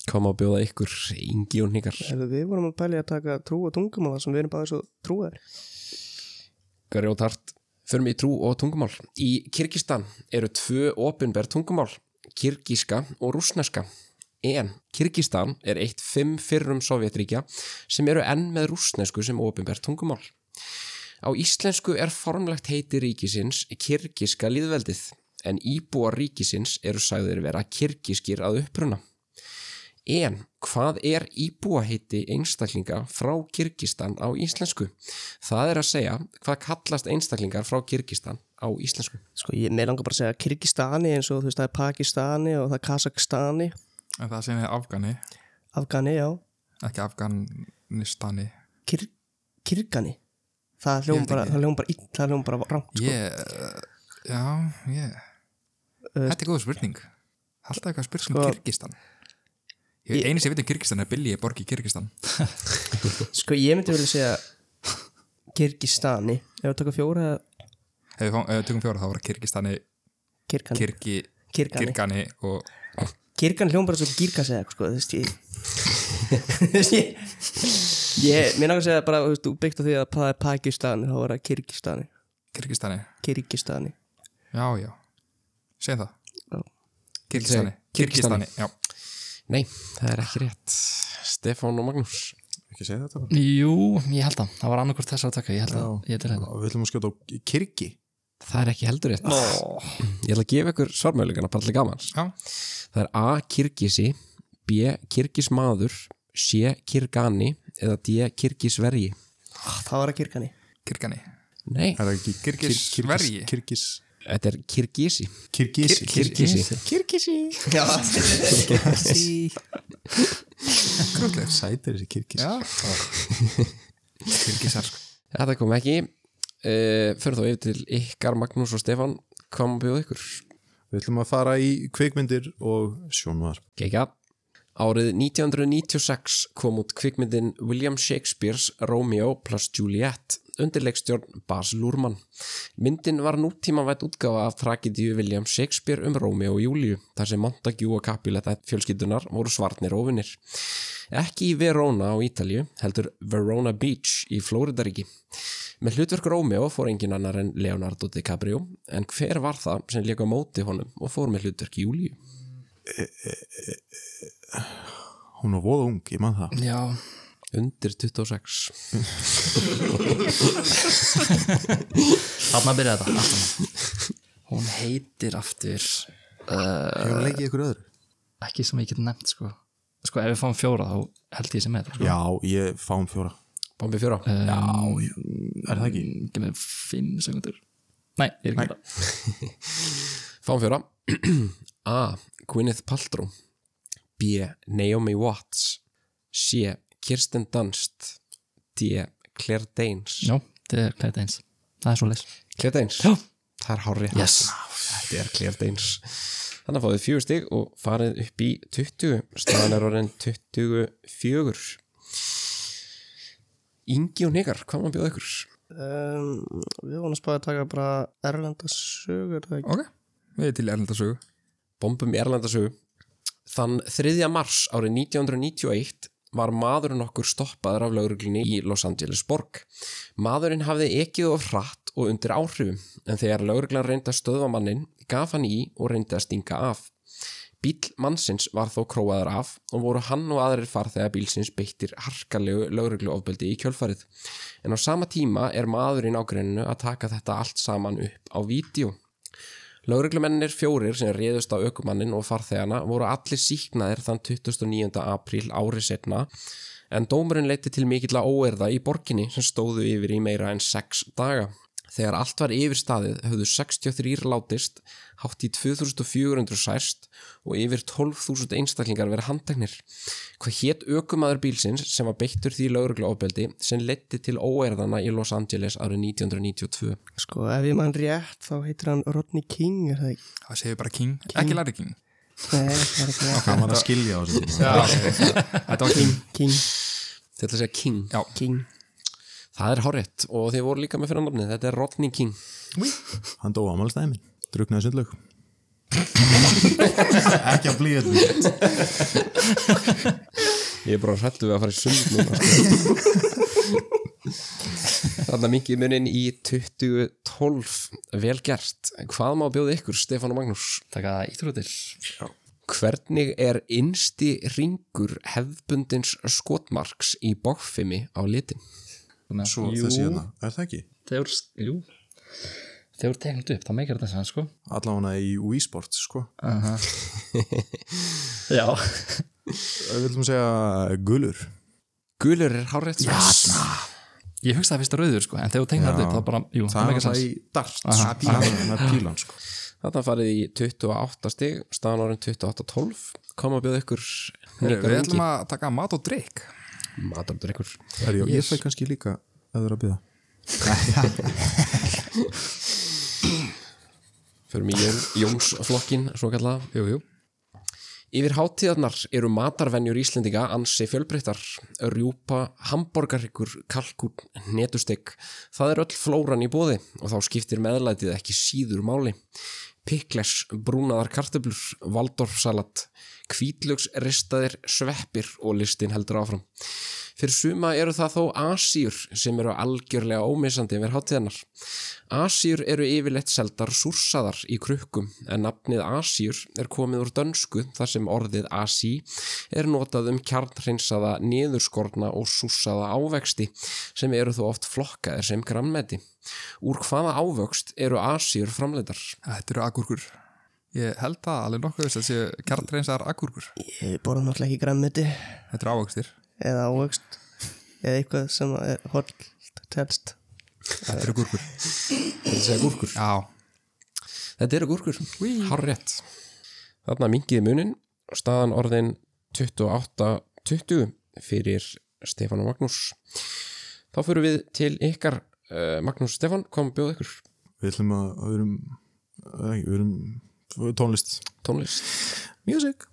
Kom að bjóða ykkur Ingi og Nikar Ef við vorum að pæli að taka trú og tungum sem við erum bara svo trúar. grjótart förum í trú og tungumál. Í Kyrkistan eru tvö opinber tungumál, kyrkiska og rúsneska. en Kyrkistan er eitt fimm fyrrum Sovjetríkja sem eru enn með rússnesku sem ofinbært tungumál. Á íslensku er formlegt heiti ríkisins Kyrkiska líðveldið en íbúar ríkisins eru sagðir vera kyrkiskir að uppruna. En hvað er íbúaheiti einstaklinga frá Kyrkistan á íslensku? Það er að segja hvað kallast einstaklingar frá Kyrkistan á íslensku. Sko, ég með langar bara að segja Kyrkistani eins og þú veist það er Pakistani og það er Kazakstani En það sem er Afgani, Afgani, já ekki Afganistani Kyr, Kyrkani Það Ég hljóðum veit bara, ekki. það hljóðum bara ill, það hljóðum bara rangt sko. Ég, eh, já, ég Þetta er góð spurning Halltaf eitthvað spurning um Sko- Kyrkistan ég, Einu sem ég veit um Kyrkistan er Billy borg í Kyrkistan Sko, ég myndi vilja segja Kyrkistani Ef við taka fjóra eða Ef við fáum- ef við tökum fjóra þá var Kyrkistani, Kyrkani Kyrki, Kyrkani. Kyrkani og Kirkan hljóm bara svo gírkas eða eitthvað, sko, þú veist ég Þú veist ég ég, mér náttúrulega segja bara, þú veist, þú byggt á því að það er Pakistani, þá var það Kirkistani Kyrkistani Kirkistani, Já, já, segjum Já. það Kyrkistani, Kyrkistani. Kyrkistani, já Nei, það er ekki rétt. Stefán og Magnús. ekki segja þetta bara Jú, ég held það, það var annarkvort þess að taka Ég held að, ég til þetta og við ætlum að skjóta á kirki Það er ekki heldur rétt. Ég ætla að gefa ykkur svarmöðlugana, bara allir gamans. Já, Það er A. Kirgisi, B. Kirgismadur, C. Kirgani eða D. Kirgisvergi. Ah, þá var það Kirkani Kyrkani Nei, er það ekki Kyrkisvergi. kirkis þetta er Kirgisi. kirkisi Kirgisi. Kirkisi Já, Sí Krútlegs sætir þessi kirkis Já Kyrkisar sko. Þetta kom ekki. Uh, Fyrir þá yfir til ykkar Magnús og Stefán, hvað má bjóða ykkur? við ætlum að fara í kveikmyndir og sjónvar Gekja. Árið 1996 kom út kvikmyndin William Shakespeare's Romeo plus Juliet undir leikstjórn Bas Lurman. Myndin var nútímavætt útgáfa af tragedíu William Shakespeare um Romeo og Júliu, þar sem Montague og Capulet fjölskyldunar voru svarnir óvinnir. Ekki í Verona á Ítalju, heldur Verona Beach í Flóridaríki. Með hlutverk Romeo fór engin annar en Leonardo DiCaprio, en hver var það sem leika móti honum og fór með hlutverk Júliu? hún var voða ung, ég man það Já, Undir 26. þarna byrjaði þetta aftan. Hún heitir aftur uh, hefur hún leikið ykkur öðru Ekki sem ég get nefnt sko Sko ef við fáum fjóra þá held ég sem með þetta sko. já, ég fáum fjóra Bombi fjóra er það ekki? Gef mér fimm sekundur Nei, ég er ekki með það Fáum fjóra A. Gwyneth Paltrow B. Naomi Watts C. Kirsten Dunst D. Claire Danes Já, þetta er klæðið eins Það er svo leys Claire Danes Já. Það er hárið Yes. Þetta er Claire Danes Þannig að fáið fjögur stig og farið upp í 20 staðan er orðin 24 Ingi og Nigar, hvað má bjóða ykkur? um, Við vonum að spáði að taka bara Erlenda sögur eða ekki? Ok, við erum til erlendasögu bombum Erlandasögu. Þann 3. mars árið 1991 var maðurinn okkur stoppaður af lauruglunni í Los Angeles borg. Maðurinn hafði ekið of hratt og undir áhrifum, en þegar lauruglan reyndi að stöðva mannin, gaf hann í og reyndi að stinga af. Bíl mannsins var þó króaður af og voru hann og aðrir farþegar bílsins beittir harkalegu laurugluofbeldi í kjölfarið. En á sama tíma er maðurinn á grenninu að taka þetta allt saman upp á vídeo. Lauruglumennir fjórir sem réðust á ökumannin og farþegana voru allir síknaðir þann 29. apríl ári setna en dómurinn leiti til mikill að óerða í borginni sem stóðu yfir í meira en 6 daga. Þegar allt var yfirstaðið höfðu 63 látist, hátt í 2400 sæst og yfir 12.000 einstaklingar verið handteknir. Hvað hétt ökumaður bílsins sem var beittur því lauruglaofbeldi sem leiti til óerðana í Los Angeles árið 1992? Sko, ef ég mann rétt, þá heitir hann Rodney King, er það ekki? Það segir bara King, ekki Larry King Nei, það er ekki rétt hann var að skilja á þessu tíma Já, þetta var King King, Þetta er að segja King. Já, King Það er horrið og þið voru líka með fyrir nafnið, þetta er Rodney King. hann dói á málstæmi, druknaði sundlög ekki að blíða þetta Ég er bara hrættu við að fara í sund núna. Sko. Þarna mikið munin í 2012, vel gert. Hvað má bjóða ykkur, Stefán og Magnús? Taka það íttur út til Hvernig er innsti ringur hefbundins skotmarks í bókfimi á litin? Svo þessi hérna, er það ekki? þegar jú þegar teknut upp, þá meikir þetta sann sko Allána í Wii Sports, sko já, Við viljum segja gulur Gulur er hárétt yes. ég hugsaði fyrst að rauður sko en þegar teknut upp, þá bara, jú, það Það er meikir það sann í dart, sko. pílan Það er pílan, sko Þetta farið í 28 stig, staðan orðin 28-12 Kom að bjóða ykkur Við ætlum að taka mat og drikk Matamdur ykkur Herri, já, Ég fæ kannski líka að það er að byrja Förum í Jón, Jónsflokkin, svo kallaða Jú, jú Yfir hátíðarnar eru matarvenjur Íslendinga ansi fjölbreyttar, rjúpa, hambúrgarryggur, kalkún, netusteg. Það er öll flóran í bóði og þá skiptir meðlætið ekki síður máli. Pikles, brúnaðar kartöblur, valdorfsalat, kvítlöksristaðir, sveppir og listin heldur áfram. Fyrir suma eru það þó asýr sem eru algjörlega ómissandi yfir hátíðarnar. Asýr eru yfirleitt seldar súrsaðar í krukkum en nafnið asýr er komið úr dönsku þar sem orðið así er notað um kjarnhreinsaða niðurskorna og súrsaða ávexti sem eru þó oft flokkaðir sem grammeti. Úr hvaða ávöxt eru asýr framleitar? Þetta eru agurkur Ég held það alveg nokkuð þess að séu kjartreinsar agurkur Ég borða náttúrulega ekki grammiti Þetta eru ávakstir eða ávöxt eða eitthvað sem er holt telst Þetta eru gúrkur Þetta segja gúrkur. Já, Þetta eru gúrkur. Hár rétt. Þarna mingiði munin og staðan orðin 28-20 fyrir Stefán og Magnús. Þá fyrir við til ykkar eh, Magnús og Stefán, kom að bjóða ykkur Við ætlum að, að við erum, að ekki, við erum tónlist tónlist. Music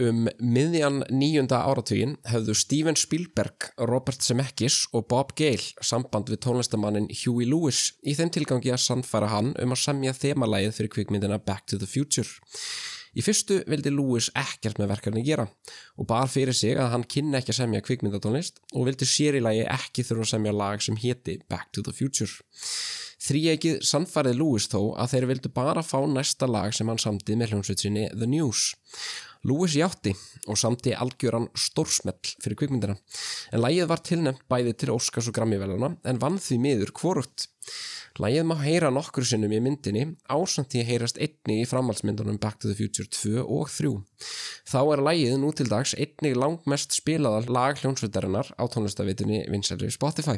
Um miðjan níunda áratugin höfðu Steven Spielberg, Robert Zemeckis og Bob Gale samband við tónlistamannin Huey Lewis í þeim tilgangi að sannfæra hann um að semja þemalægið fyrir kvikmyndina Back to the Future. Í fyrstu vildi Lewis ekkert með verkefni gera og bar fyrir sig að hann kynna ekki að semja kvikmyndatónlist og vildi sér í lagi ekki þurfa að semja lag sem héti Back to the Future. Þríegið sannfærið Lewis þó að þeir vildu bara fá næsta lag sem hann samtið með hljómsveitsinni The News. Lewis játti og samti algjöran stórsmell fyrir kvikmyndina en lægið var tilnefnt bæði til Óskars og Grammyvelana en vann því miður kvorutt. Lægið má heyra nokkur sinnum í myndinni ásamt því að heyrast einni í framhaldsmyndunum Back to the Future 2 og 3. Þá er lægið nú til dags einnig langmest spilaða lag hljónsveitarinnar á tónlistavitunni Vinsælri Spotify.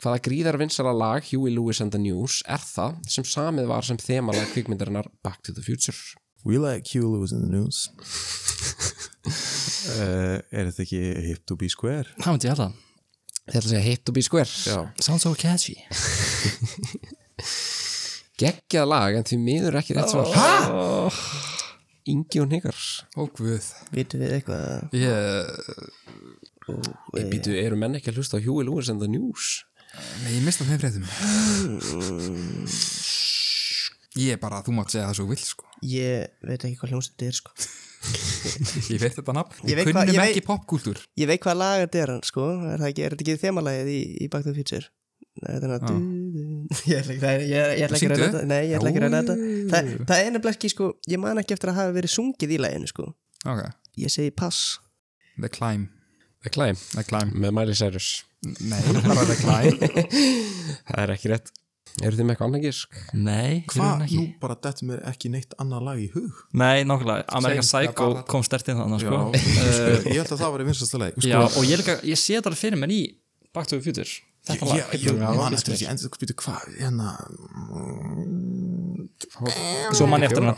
Hvaða gríðar vinsala lag Huey Lewis and the News er það sem samið var sem þemalag kvikmyndarinnar Back to the Future? We like Hugh Lewis in the news uh, Er þetta ekki hip to be square? það myndi ég held að, Þetta er að segja Hip to be Square. Já. sounds so catchy geggjað lag en því miður ekki rétt svar Hæ? Oh. Ingi og Nigar og guð vitum við eitthvað Eh, Ég, Ég býtu, eru menn ekki að hlusta á Huey Lewis and the News? nei, ég mista þeim fréttum Ég er bara, þú mátt segja það svo vill sko ég veit ekki hvað hljómsið þetta er sko Ég veit þetta nafn, Ég veit hvað- kunnum ég veit- ekki popkúltúr ég veit hvað laga þetta er hann sko er það ekki, er þetta ekki þemalægið í, í Back to the Future Nei, þetta er Ah. hann að ég ætla ekki- það er- ég- ég ætla ekki að ræða Syngdu. þetta nei, ég ætla ekki að ræða þetta það, það er nefnilega ekki sko, ég man ekki eftir að hafa verið sungið í læginu sko Ok, ég segi pass The Climb The Climb The Climb með Miley Cyrus Nei, bara The Climb Það er ekki rétt Eru þið með eitthvað annað gísk? nei, Hvað? ekki Nú bara dett mér ekki neitt annað lag í hug nei, nokkulega, American Same, það Psycho var þetta. kom stert inn þannig sko Sko, Ég held að það var í vinstasta lag já, og ég, líka, ég sé þetta alveg fyrir mér í Back to the Future þetta lag Ég, ég man eftir þessi endur, býtu hvað, hérna svo mann ég eftir hana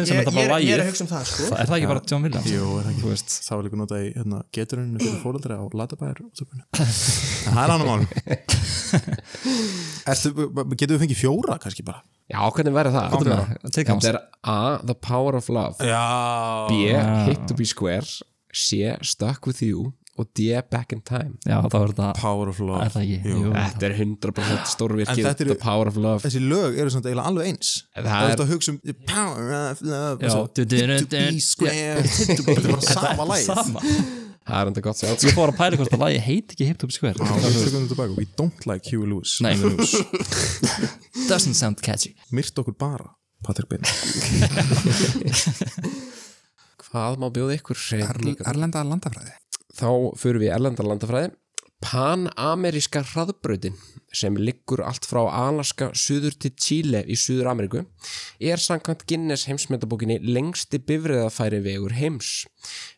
sem þetta bara ég lagið er að hugsa um það sko Það er það ekki bara John Williams? Jú, er Þú það ekki veist. Það var líka notað í hérna, geturuninu fyrir fóröldra á Latabæjar útöpunni En það er annar mál Ertu, getur við fengið fjóra kannski bara? Já, hvernig verður það? Komdu með það. Take Þetta er A, The Power of Love Já B, Hip to be Square C, Stuck with You og D, Back in Time Já, það var þetta Power of Love Er það ekki? Jú. Þetta er 100% En stórvirkið þetta eru- The Power of Love Þessi lög eru samt eiginlega alveg eins En það Það er er- þetta að hugsa um the Power of Love Já. og svo, Du- du- du- Hit to be du- square hit to be-" Þetta er bara sama lagið Sama Það er enda gott sér Ég fór að pæla hvort að lagi heit ekki Hip Hop Square Já, Við tökum þetta tilbaka We don't like Huey Lewis Nei. in the news. Doesn't sound catchy Myrt okkur bara Patrik Bein Hvað má bjóða ykkur? Erl- Erlenda landafræði Þá förum við í erlendar landafræði Panameríska hraðbrautin sem liggur allt frá Alaska suður til Chile í Suður Ameríku er samkvæmt Guinness heimsmetabókinni lengsti bifriðafæri vegur heims.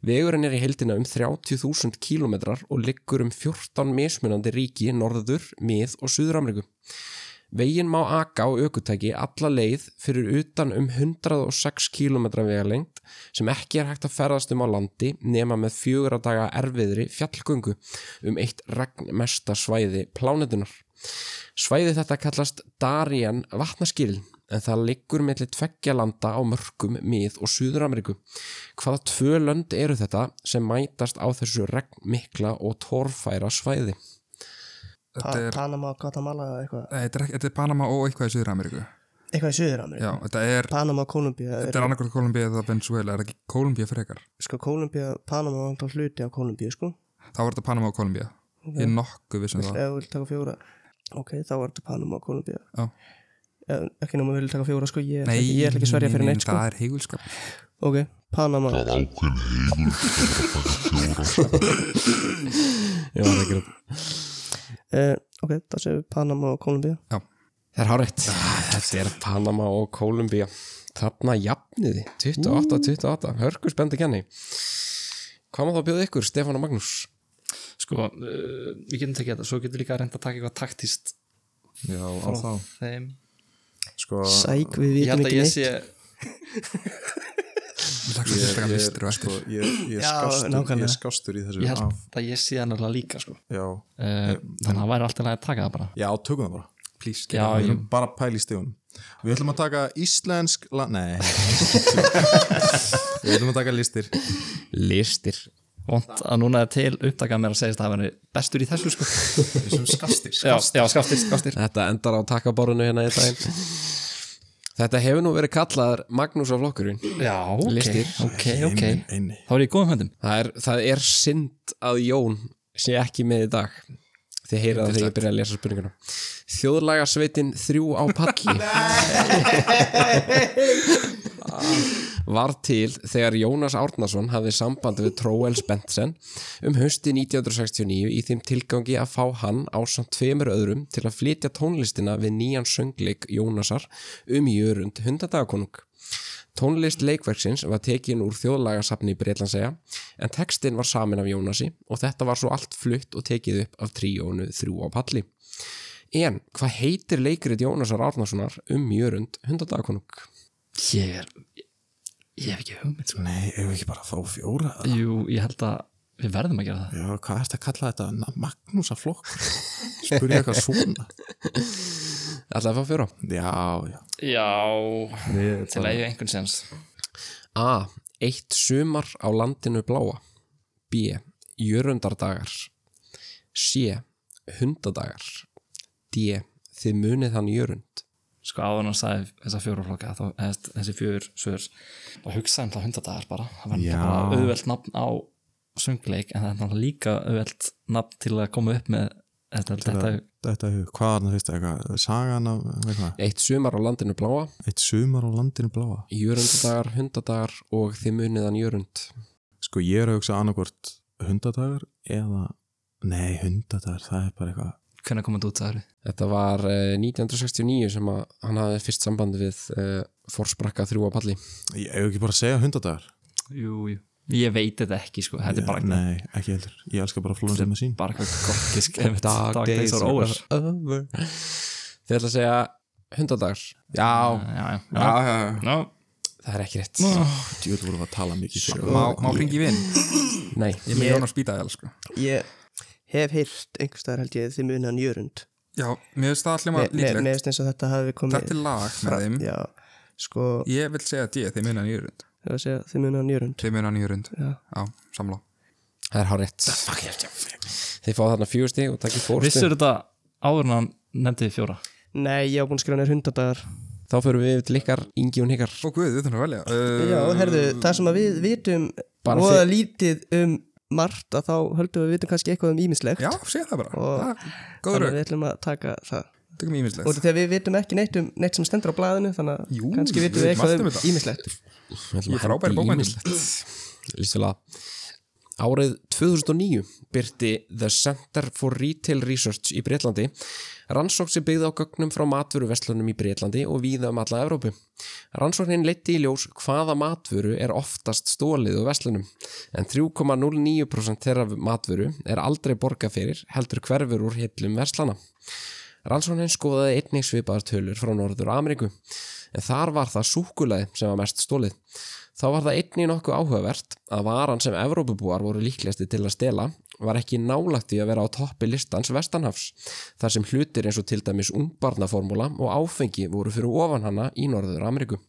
Vegurinn er í heldina um 30.000 kílómetrar og liggur um 14 mismunandi ríki norður, mið og Suður Ameríku. Veginn má aka á aukutæki alla leið fyrir utan um 106 km vegalengt sem ekki er hægt að ferðast um á landi nema með fjögur að daga erfiðri fjallgöngu um eitt regnmesta svæði plánetunar. Svæði þetta kallast Darien vatnaskýrl en það liggur melli tveggja landa á mörgum mið og Suður-Ameríku. Hvaða tvö lönd eru þetta sem mætast á þessu regnmikla og torfæra svæði? Þetta er, Panama, Guatemala eða eitthvað Nei, þetta er, ekki- þetta er Panama og eitthvað í Suður-Ameríku Eitthvað í Suður-Ameríku Já, þetta er, Panama, Kolumbía þetta er annarkvöld Kolumbíu eða Venezuela, er ekki Kolumbíu frekar Sko Kolumbía, Panama var alltaf hluti á Kolumbíu sko Þá var þetta Panama og Kolumbíu Ég er nokkuð vissum það Ef þú vil taka fjóra Ok, þá var þetta Panama og Kolumbía Já. Ef- Ekki nema við vil taka fjóra sko Ég, Nei, ég ætla ekki að sverja fyrir nei, neitt sko Það er heigulskap Ok, Panama Það er ákveðin heigur Já, það er ekki uh, Ok, það séu Panama og Kolumbía Það er hárætt. Ah, Þetta er Panama og Kolumbía. Þarna jafniði, Mm. 28-28, hörku spenndi kenni. Hvað má þá bjóða ykkur, Stefán og Magnús? sko, uh, við getum tekið þetta svo getum við líka reynd að taka eitthvað taktist Já, á þá þeim Sko, Sæk, við ég vitum held að ekki ég neitt sé ég, ég, sko, Þetta ég, ég, Já, skástur, nákvæmlega. ég skástur í þessu ég held af, að ég sé hann alveg líka sko. uh, Já, Eh, þannig að það væri alltaf að taka það bara já, tökum það bara já, ég, Við erum bara að pæla í stegunum Við ætlum að taka íslensk la... Nei Við ætlum að taka listir Listir. vont að núna er til upptakað mér að segja að það væri bestur í þessu sko. Þessum skastir já, já, skaftir, skaftir Þetta endar á takkaborðinu hérna í daginn. Þetta hefur nú verið kallaðar Magnús á flokkurinn. já, ok, Listir. ok, ok Einni þá er ég í góðum höndum Það er, það er synd að Jón sé ekki með í dag. Þið heyra það þegar ég byrja að lesa spurninguna. Þjóðlagasveitin þrjú á palli. var til þegar Jónas Árnason hafði samband við Tróels Bentsen um hausti 1969 í þeim tilgangi að fá hann á samt tveimur öðrum til að flytja tónlistina við nýjan söngleik Jónasar um jörund hundadagakonung. Tónlist leikverksins var tekin úr þjóðlagasafni í Breitlandsega en textin var samin af Jónasi og þetta var svo allt flutt og tekið upp af tríónu þrjú á palli. En hvað heitir leikrit Jónasar Árnasonar um jörund hundadagakonung? ég er, ég hef ekki hugmynd sko. Nei, ef við ekki bara þá fjóra jú, ég held að við verðum að gera það Já, hvað ertu að kalla þetta? Na, Magnúsa flokk Spurði ég eitthvað svona Ætlaði að fá fjóra? Já, já já, til að ég einhvern sens A. Eitt sumar á landinu bláa B. Jörundardagar C. Hundadagar D. Þið munið hann jörund sko áður hann sagði þessa fjóru flokka þá, eðst, þessi fjör svör og hugsaði um það hundadagar bara það var Já. þetta bara auðvelt nafn á söngleik en það er náttúrulega líka auðvelt nafn til að koma upp með þetta, þetta Þetta er, hvað er það fyrst eitthvað? Sagan af, eitthvað Eitt sumar á landinu bláa Eitt sumar á landinu bláa Jörundadagar, hundadagar og þið munið hann jörund Sko, ég er að hugsa annarkvort hundadagar eða Nei, hundadagar, það er bara eitthvað hvernig komum þetta út það eru Þetta var eh, 1969 sem að hann hafði fyrst samband við uh, Forsprakka þrjú á palli Ég hef ekki bara að segja hundadagar jú, jú. ég veit þetta ekki sko þetta er bara, Nei, ekki heldur, ég elska bara flóðum sem að sín bara eitthvað gott gisk einmitt. Dag, days are over já, over Þið ætla að segja hundadagar Já, já, já. já, já, já. No. Það er ekki rétt Djúvel vorum við að tala mikið Má, má hringi vinn Nei Ég er með Jónas Bídæl sko. Ég hef heyrt einhverstaðar held ég þið munið hann jörund Já, mér finnst það hljóma Me- me- Mér líklegt finnst eins og þetta hafi komið Þetta er lag með þeim Já, sko, Ég vil segja að ég, þeir muna nýjurund ég var að segja þið munið hann jörund Þeir muna nýjurund Já. Já, samlá Það er hárétt Ah, Þið fá þarna fjögusti og takkir fórstu vissur þetta áður en hann nefndi þið fjóra Nei, ég á búin að skrifa nefnir hundadagar Þá förum við til ykkar, Ingi og Nikar Ó guð, við þurfum að velja uh, Já, herðu, það sem að við vitum Bara og þið- lítið um margt að þá höldum við að við vitum kannski eitthvað um ímislegt Já, Eh, segja það bara Og- Það- Góð Þannig að rauk við ætlum að taka það tökum Og ímislegt þetta þegar við vitum ekki neitt um neitt sem stendur á blaðinu Þannig að Jú, kannski vitum við við vitum allt eitthvað um um þetta. ímislegt Ég er frábæri bókmenntum Lístilega Árið 2009 byrti The Center for Retail Research í Breitlandi rannsókn sem byggði á gögnum frá matvöruverslunum í Breitlandi og víða um alla Evrópu. Rannsóknin leitti í ljós hvaða matvöru er oftast stólið úr verslunum en 3,09% þeirra matvöru er aldrei borgað fyrir heldur hverfur úr hillum verslana. Rannsóknin skoðaði einnig svipaðar tölur frá Norður Ameríku en þar var það súkulaði sem var mest stólið. Þá var það einnig nokkuð áhugavert að varan sem Evrópubúar voru líklegasti til að stela var ekki nálægt í að vera á toppi listans vestanhafs þar sem hlutir eins og til dæmis ungbarnaformúla og áfengi voru fyrir ofan hana í Norður Ameríku.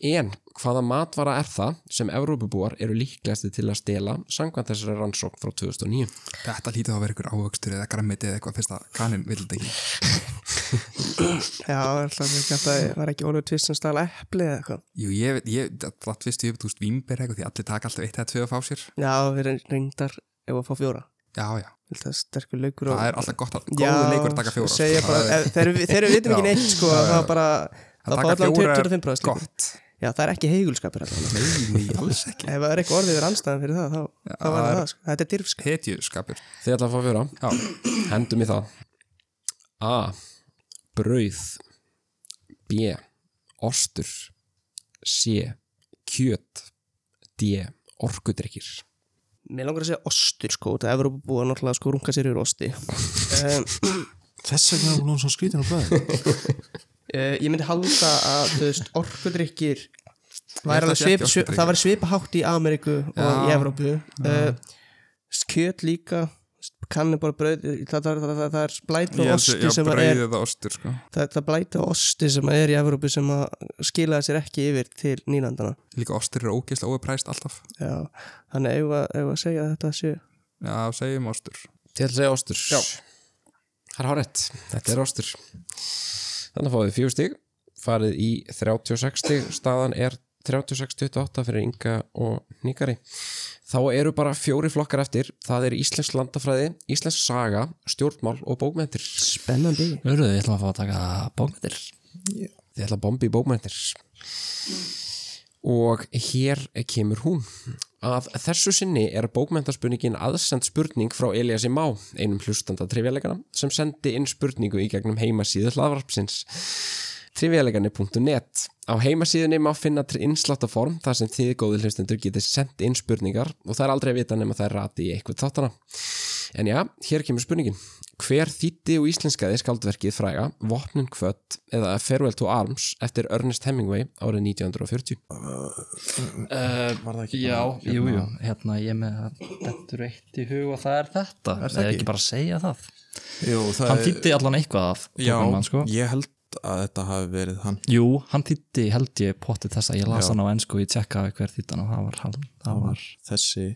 En hvaða matvara er það sem Evrópubúar eru líklegasti til að stela samkvæmt þessari rannsókn frá 2009? Þetta hlýta þá að vera ykkur ávöxtur eða grammiti eða eitthvað fyrst að kanin vill þetta ekki Já, alltaf ekki að það var ekki Ólfur Tvist sem stala epli eða eitthvað Jú, ég veit, ég, það fyrst ég veit, þú veist, vínber eitthvað því allir taka alltaf eitt eða tvö að fá sér Já, við erum reyndar ef að fá fjóra Já, já, Þetta er sterkur laukur og- það er alltaf gott að góðu leikur að taka fjóra sko. segja bara, Það er- ef, þegar, við, þegar við vitum ekki Já. neitt sko, Já, já. það er bara Að það fá taka allan fjóra er 25 bróðast Gott, já, það er ekki heigulskapur allavega. nei, nei, alls ekki ef það er eitthvað orðið við anstæðan fyrir það þá, þá var það það, sko. þetta er dyrfsk Hetjuskapur Þið ætla að fá fjóra Já, Hendum í það A. Brauð B. Ostur C. Kjöt D. Orkudrykkir mér langar að segja ostur sko, þetta er Evrópa búið að náttúrulega sko runga sér yfir osti um, Þess vegna er hún orðin svona skrítin á bræði uh, ég myndi halda að þú veist, orkudrykkir væri held að alveg sé svip, ekki svip, orkudrykkir. það var svipahátt í Ameríku og í Evrópu uh, skjöt líka kannu bara brauð það, það, það, það, það er blæta ég held að, osti já, sem að er brauðið og ostur, sko það, það blæta osti sem er í Evrópu sem að skilaði sér ekki yfir til nýlandana Líka ostur eru ógeðslega óupræst alltaf Já, þannig eigum við að, eigum við að segja að þetta sé Já, segjum ostur Þið ætla að segja ostur Já Það er hárætt, þetta er ostur Þannig að fáið fjögur stig farið í 36 stig staðan er 36-28 fyrir Inga og Nikari þá eru bara fjóri flokkar eftir það er Íslensk landafræði, Íslensk saga stjórnmál og bókmentir spennandi Hörruðu, ég ætlum að fá að taka bókmyndir þið ætla að bomba í bókmæntir og hér kemur hún að þessu sinni er bókmæntarspurningin aðsend spurning frá Eliassi Má einum hlustanda trivjaleikana sem sendi inn spurningu í gegnum heimasíðu hlaðvarpsins trivjaleikani.net á heimasíðunni má finna innsláttaform þar sem þið góði hlustendur getið sendt inn spurningar og það er aldrei að vita nema það er rati í eitthvað þáttana En já, hér kemur spurningin. Hver þýtti og íslenskaði skaldverkið fræga Vopnin kvött eða A Farewell to Arms eftir Ernest Hemingway árið 1940? Var það ekki Eh, Já, bara, jú, jú, hérna ég er með að þetta eru eitt í hug og það er þetta Er það eða ekki? ekki bara að segja það Jú, það Hann er- þýtti allan eitthvað af Já, bókunum hans, sko. ég held að þetta hafi verið hann Jú, hann þýtti held ég pottið þessa, ég las Já. hann á ennsku, ég tjekkaði hver þýttan og það var hann, það var Þessi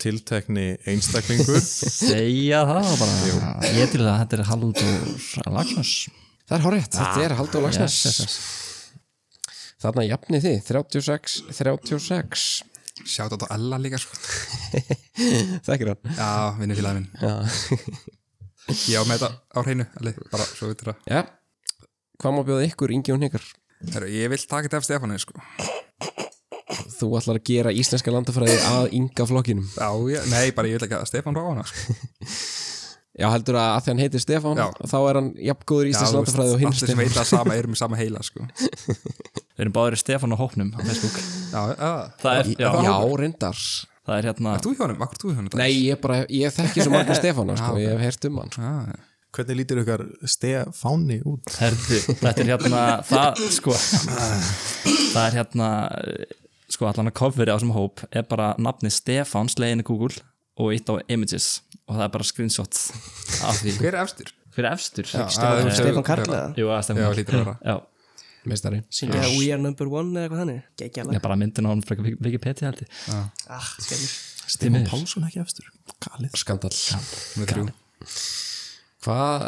tiltekni einstaklingur segja það og bara ég til það að þetta er Haldur Lagnus Það er horrið, þetta er Haldur Lagsnes. yes, yes, Þarna jafnið þið, 36, 36. Sjátt á Ella líka, sko Þekkir hann? Já, vinni félagi minn Já. Já, með þetta á hreinu, Elli, bara svo við þetta Já, hvað má bjóða ykkur, Ingi og Nikar? Herru, ég vil taka þetta af Stefánu, sko Þú ætlar að gera íslenska landafræði að Inga flokkinum. Já, já, nei, bara ég vil ekki að Stefán ráða hana, sko Já, heldur að að því hann heitir Stefán, Já. þá er hann jafn góður í Já, íslenska þú veist, landafræði og hinn Allir sem Stefán. veit að sama eru með sama heila, sko við erum báðir í Stefán og Hópnum á Facebook Já, já, það er, já, Já, reyndar. það er hérna er þú hjá honum? Akkur þú hjá honum? Nei, ég bara, ég þekki svo margum Stefána, sko, Já, ok. ég hef heyrt um hann. ah, já. Hvernig lítir ykkar stefáni út? herðu, þetta er hérna það, sko það er hérna sko allan að kofveri á þessum hóp er bara nafni Stefán slegin í Google og eitt á images og það er bara screenshot af því Hver er efstir? hver er efstur Stefán Stefán Karl eða? jú, að Stefán Já, Karl. hlýtur að vera. já Meistari. syngja það We are number one eða eitthvað þannig Ég geggjala bara myndin á hann frekar Wikipedia held ég ah, skemmur. Stefán Pálsson ekki efstur Kalið skandal Með þrjú Hvað,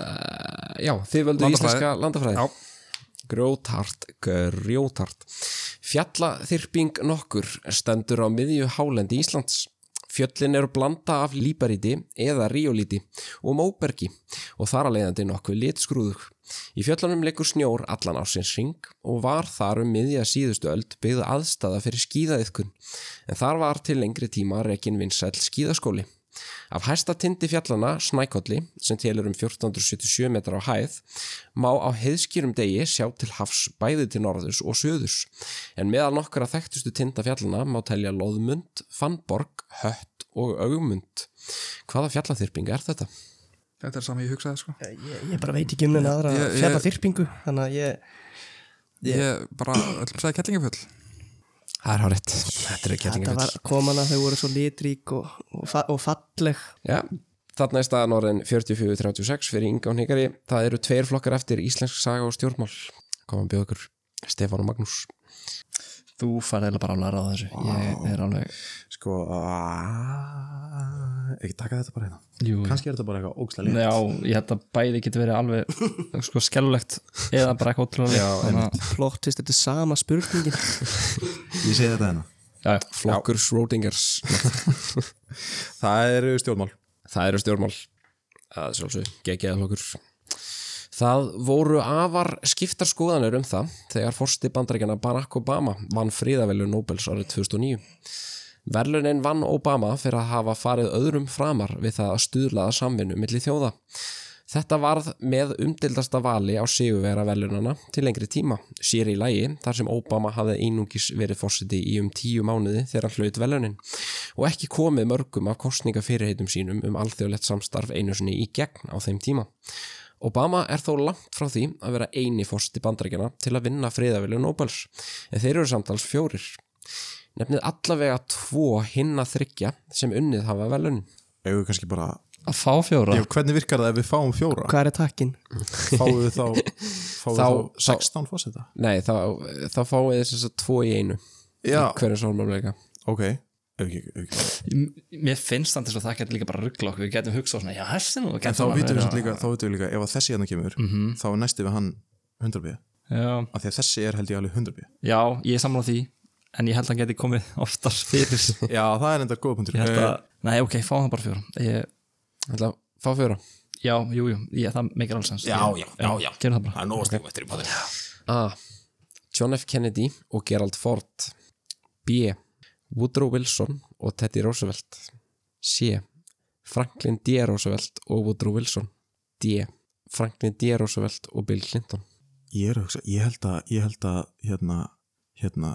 já, þið völdu Landafræði. íslenska landafræði Já, Grjótart, grjótart Fjalla nokkur stendur á miðju hálendi Íslands Fjöllin eru blanda af líparíti eða ríolíti og móbergi og þar að leiðandi nokkuð litskrúðug. Í fjöllunum leikur snjór allan ársins ring og var þar um miðja síðustu öld byggð aðstaða fyrir skíðaiðkun en þar var til lengri tíma rekin vinsæll skíðaskóli. Af hæsta tindi fjallana, Snækolli, sem telur um 1477 metrar á hæð, má á heiðskýrum degi sjá til hafs bæði til norðurs og söðurs. En meðal nokkra þekktustu tinda fjallana má telja Lóðmund, Fannborg, Hött og Augmund. Hvaða fjallathyrpinga er þetta? Þetta er saman ég hugsaði sko ég, ég bara veit ekki um neina aðra Ég- ég- fjalla þyrpingu þannig að ég, Ég bara, öllum sagði kellingafjöll Það er hárétt. Þetta er þetta var kjallingafell. komana þau voru svo litrík og, og, fa og falleg Já, þarna er staðan orðin 44-36 fyrir Inga og Hnikari. Það eru tveir flokkar eftir Íslensk saga og stjórnmál. Komum bjóð ykkur. Stefán og Magnús. Þú farið eiginlega bara að læra á þessu Ég er alveg Sko aaaah, Ekki taka þetta bara hérna Jú, Kanski er þetta bara eitthvað ógstæli já, ég held að bæði getur verið alveg sko skellulegt eða bara eitthvað ótrúlega þannig flottist, þetta er sama spurningin Ég segi þetta hérna að já, Flokkur Schrodingers. Það eru stjórnmál Það eru stjórnmál að sjálfsög, geggjað hlokur Það voru afar skiptar skoðanir um það þegar forsti bandaríkjana Barack Obama vann fríðavelu Nobels árið 2009 Verlunin vann Obama fyrir að hafa farið öðrum framar við það að stuðlaða samvinnu milli þjóða Þetta varð með umdildasta vali á sigurvera velunana til lengri tíma, sér í lægi þar sem Obama hafði einungis verið fórseti í um tíu mánuði þegar hann hlaut velunin og ekki komið mörgum af kostningafyrirheitum sínum um alþjóðlegt samstarf einu sinni í gegn á þeim tíma. Obama er þó langt frá því að vera eini fórseti bandarækjana til að vinna friðavilju Nobels, en þeir eru samtals fjórir. Nefnið allavega tvo hinna þryggja sem unnið hafa velunin. Egu kannski bara að fá fjóra Já, hvernig virkar það ef við fáum fjóra? hvað er takkin? Fáum við þá Fáum Þá- við þá 16 fósita? Nei, þá, þá fáið þess að tvo í einu. Já, Hverju sólmálmleika? ok Ef ekki, ef ekki M- Mér finnst þannig að það getur líka bara að ruggla okkur Við getum hugsað svona, já, þessi nú En þá vitum við samt líka, þá vitum við líka ef að þessi hérna kemur, þá er næsti við hann 100 bíð, já, af því að þessi er held ég alveg 100 bíð já, ég er sammála því En ég held að hann geti komið oftar fyrir Ég Já, það er enda góða punktur held Eh, að, nei, ok, fá hann bara fjóra ég, Ætla að fá fjóra. Já, jú, jú, ég, það meikir alls sens Já, Ég- já, já, já. Gerum það bara Það er nógast ykkur eftir í báðir A. John F. Kennedy og Gerald Ford B. Woodrow Wilson og Teddy Roosevelt C. Franklin D. Roosevelt og Woodrow Wilson D. Franklin D. Roosevelt og Bill Clinton Ég er að hugsa, ég held að, ég held að hérna, hérna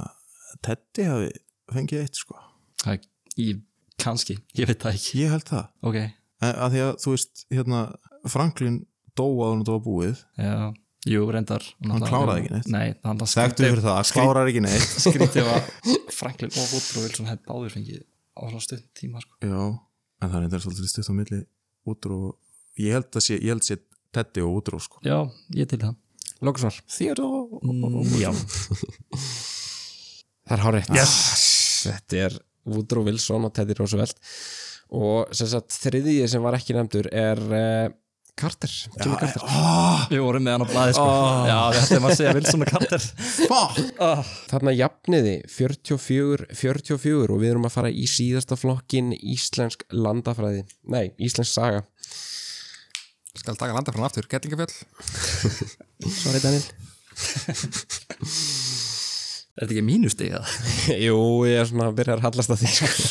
Teddy hafi fengið eitt sko Það, ég, kannski, ég veit það ekki Ég held það, Ok, en, að Eh, því að þú veist hérna, Franklin dóað hann þetta var búið já, jú, reyndar náttúrulega- kláraði ekki neitt. Nei, hann bara Þekktu fyrir það, klárar ekki neitt skrítið var Franklin og Woodrow Wilson hefði báður fengið á svona stund tíma sko. Já, en það er enda svolítið stutt á milli útrú, ég held að sé, ég held að sé Teddy og útrú sko já, ég til það Mm, Lókusvar Theodore já, Það er hárétt yes. Þetta er Woodrow Wilson og Teddy Roosevelt og sem sagt þriðið sem var ekki nefndur er uh, Carter, Jimmy Carter við vorum með hann á blæði sko. já, þetta er maður að segja Wilson og Carter Þarna jafniði 44, 44 og við erum að fara í síðasta flokkin Íslensk landafræði Nei, Íslensk saga Skal taka landa frá hann aftur, kellingafjöll sorry Daniel er þetta ekki mínustig eða? Jú, ég er svona að byrja að hallast að því sko.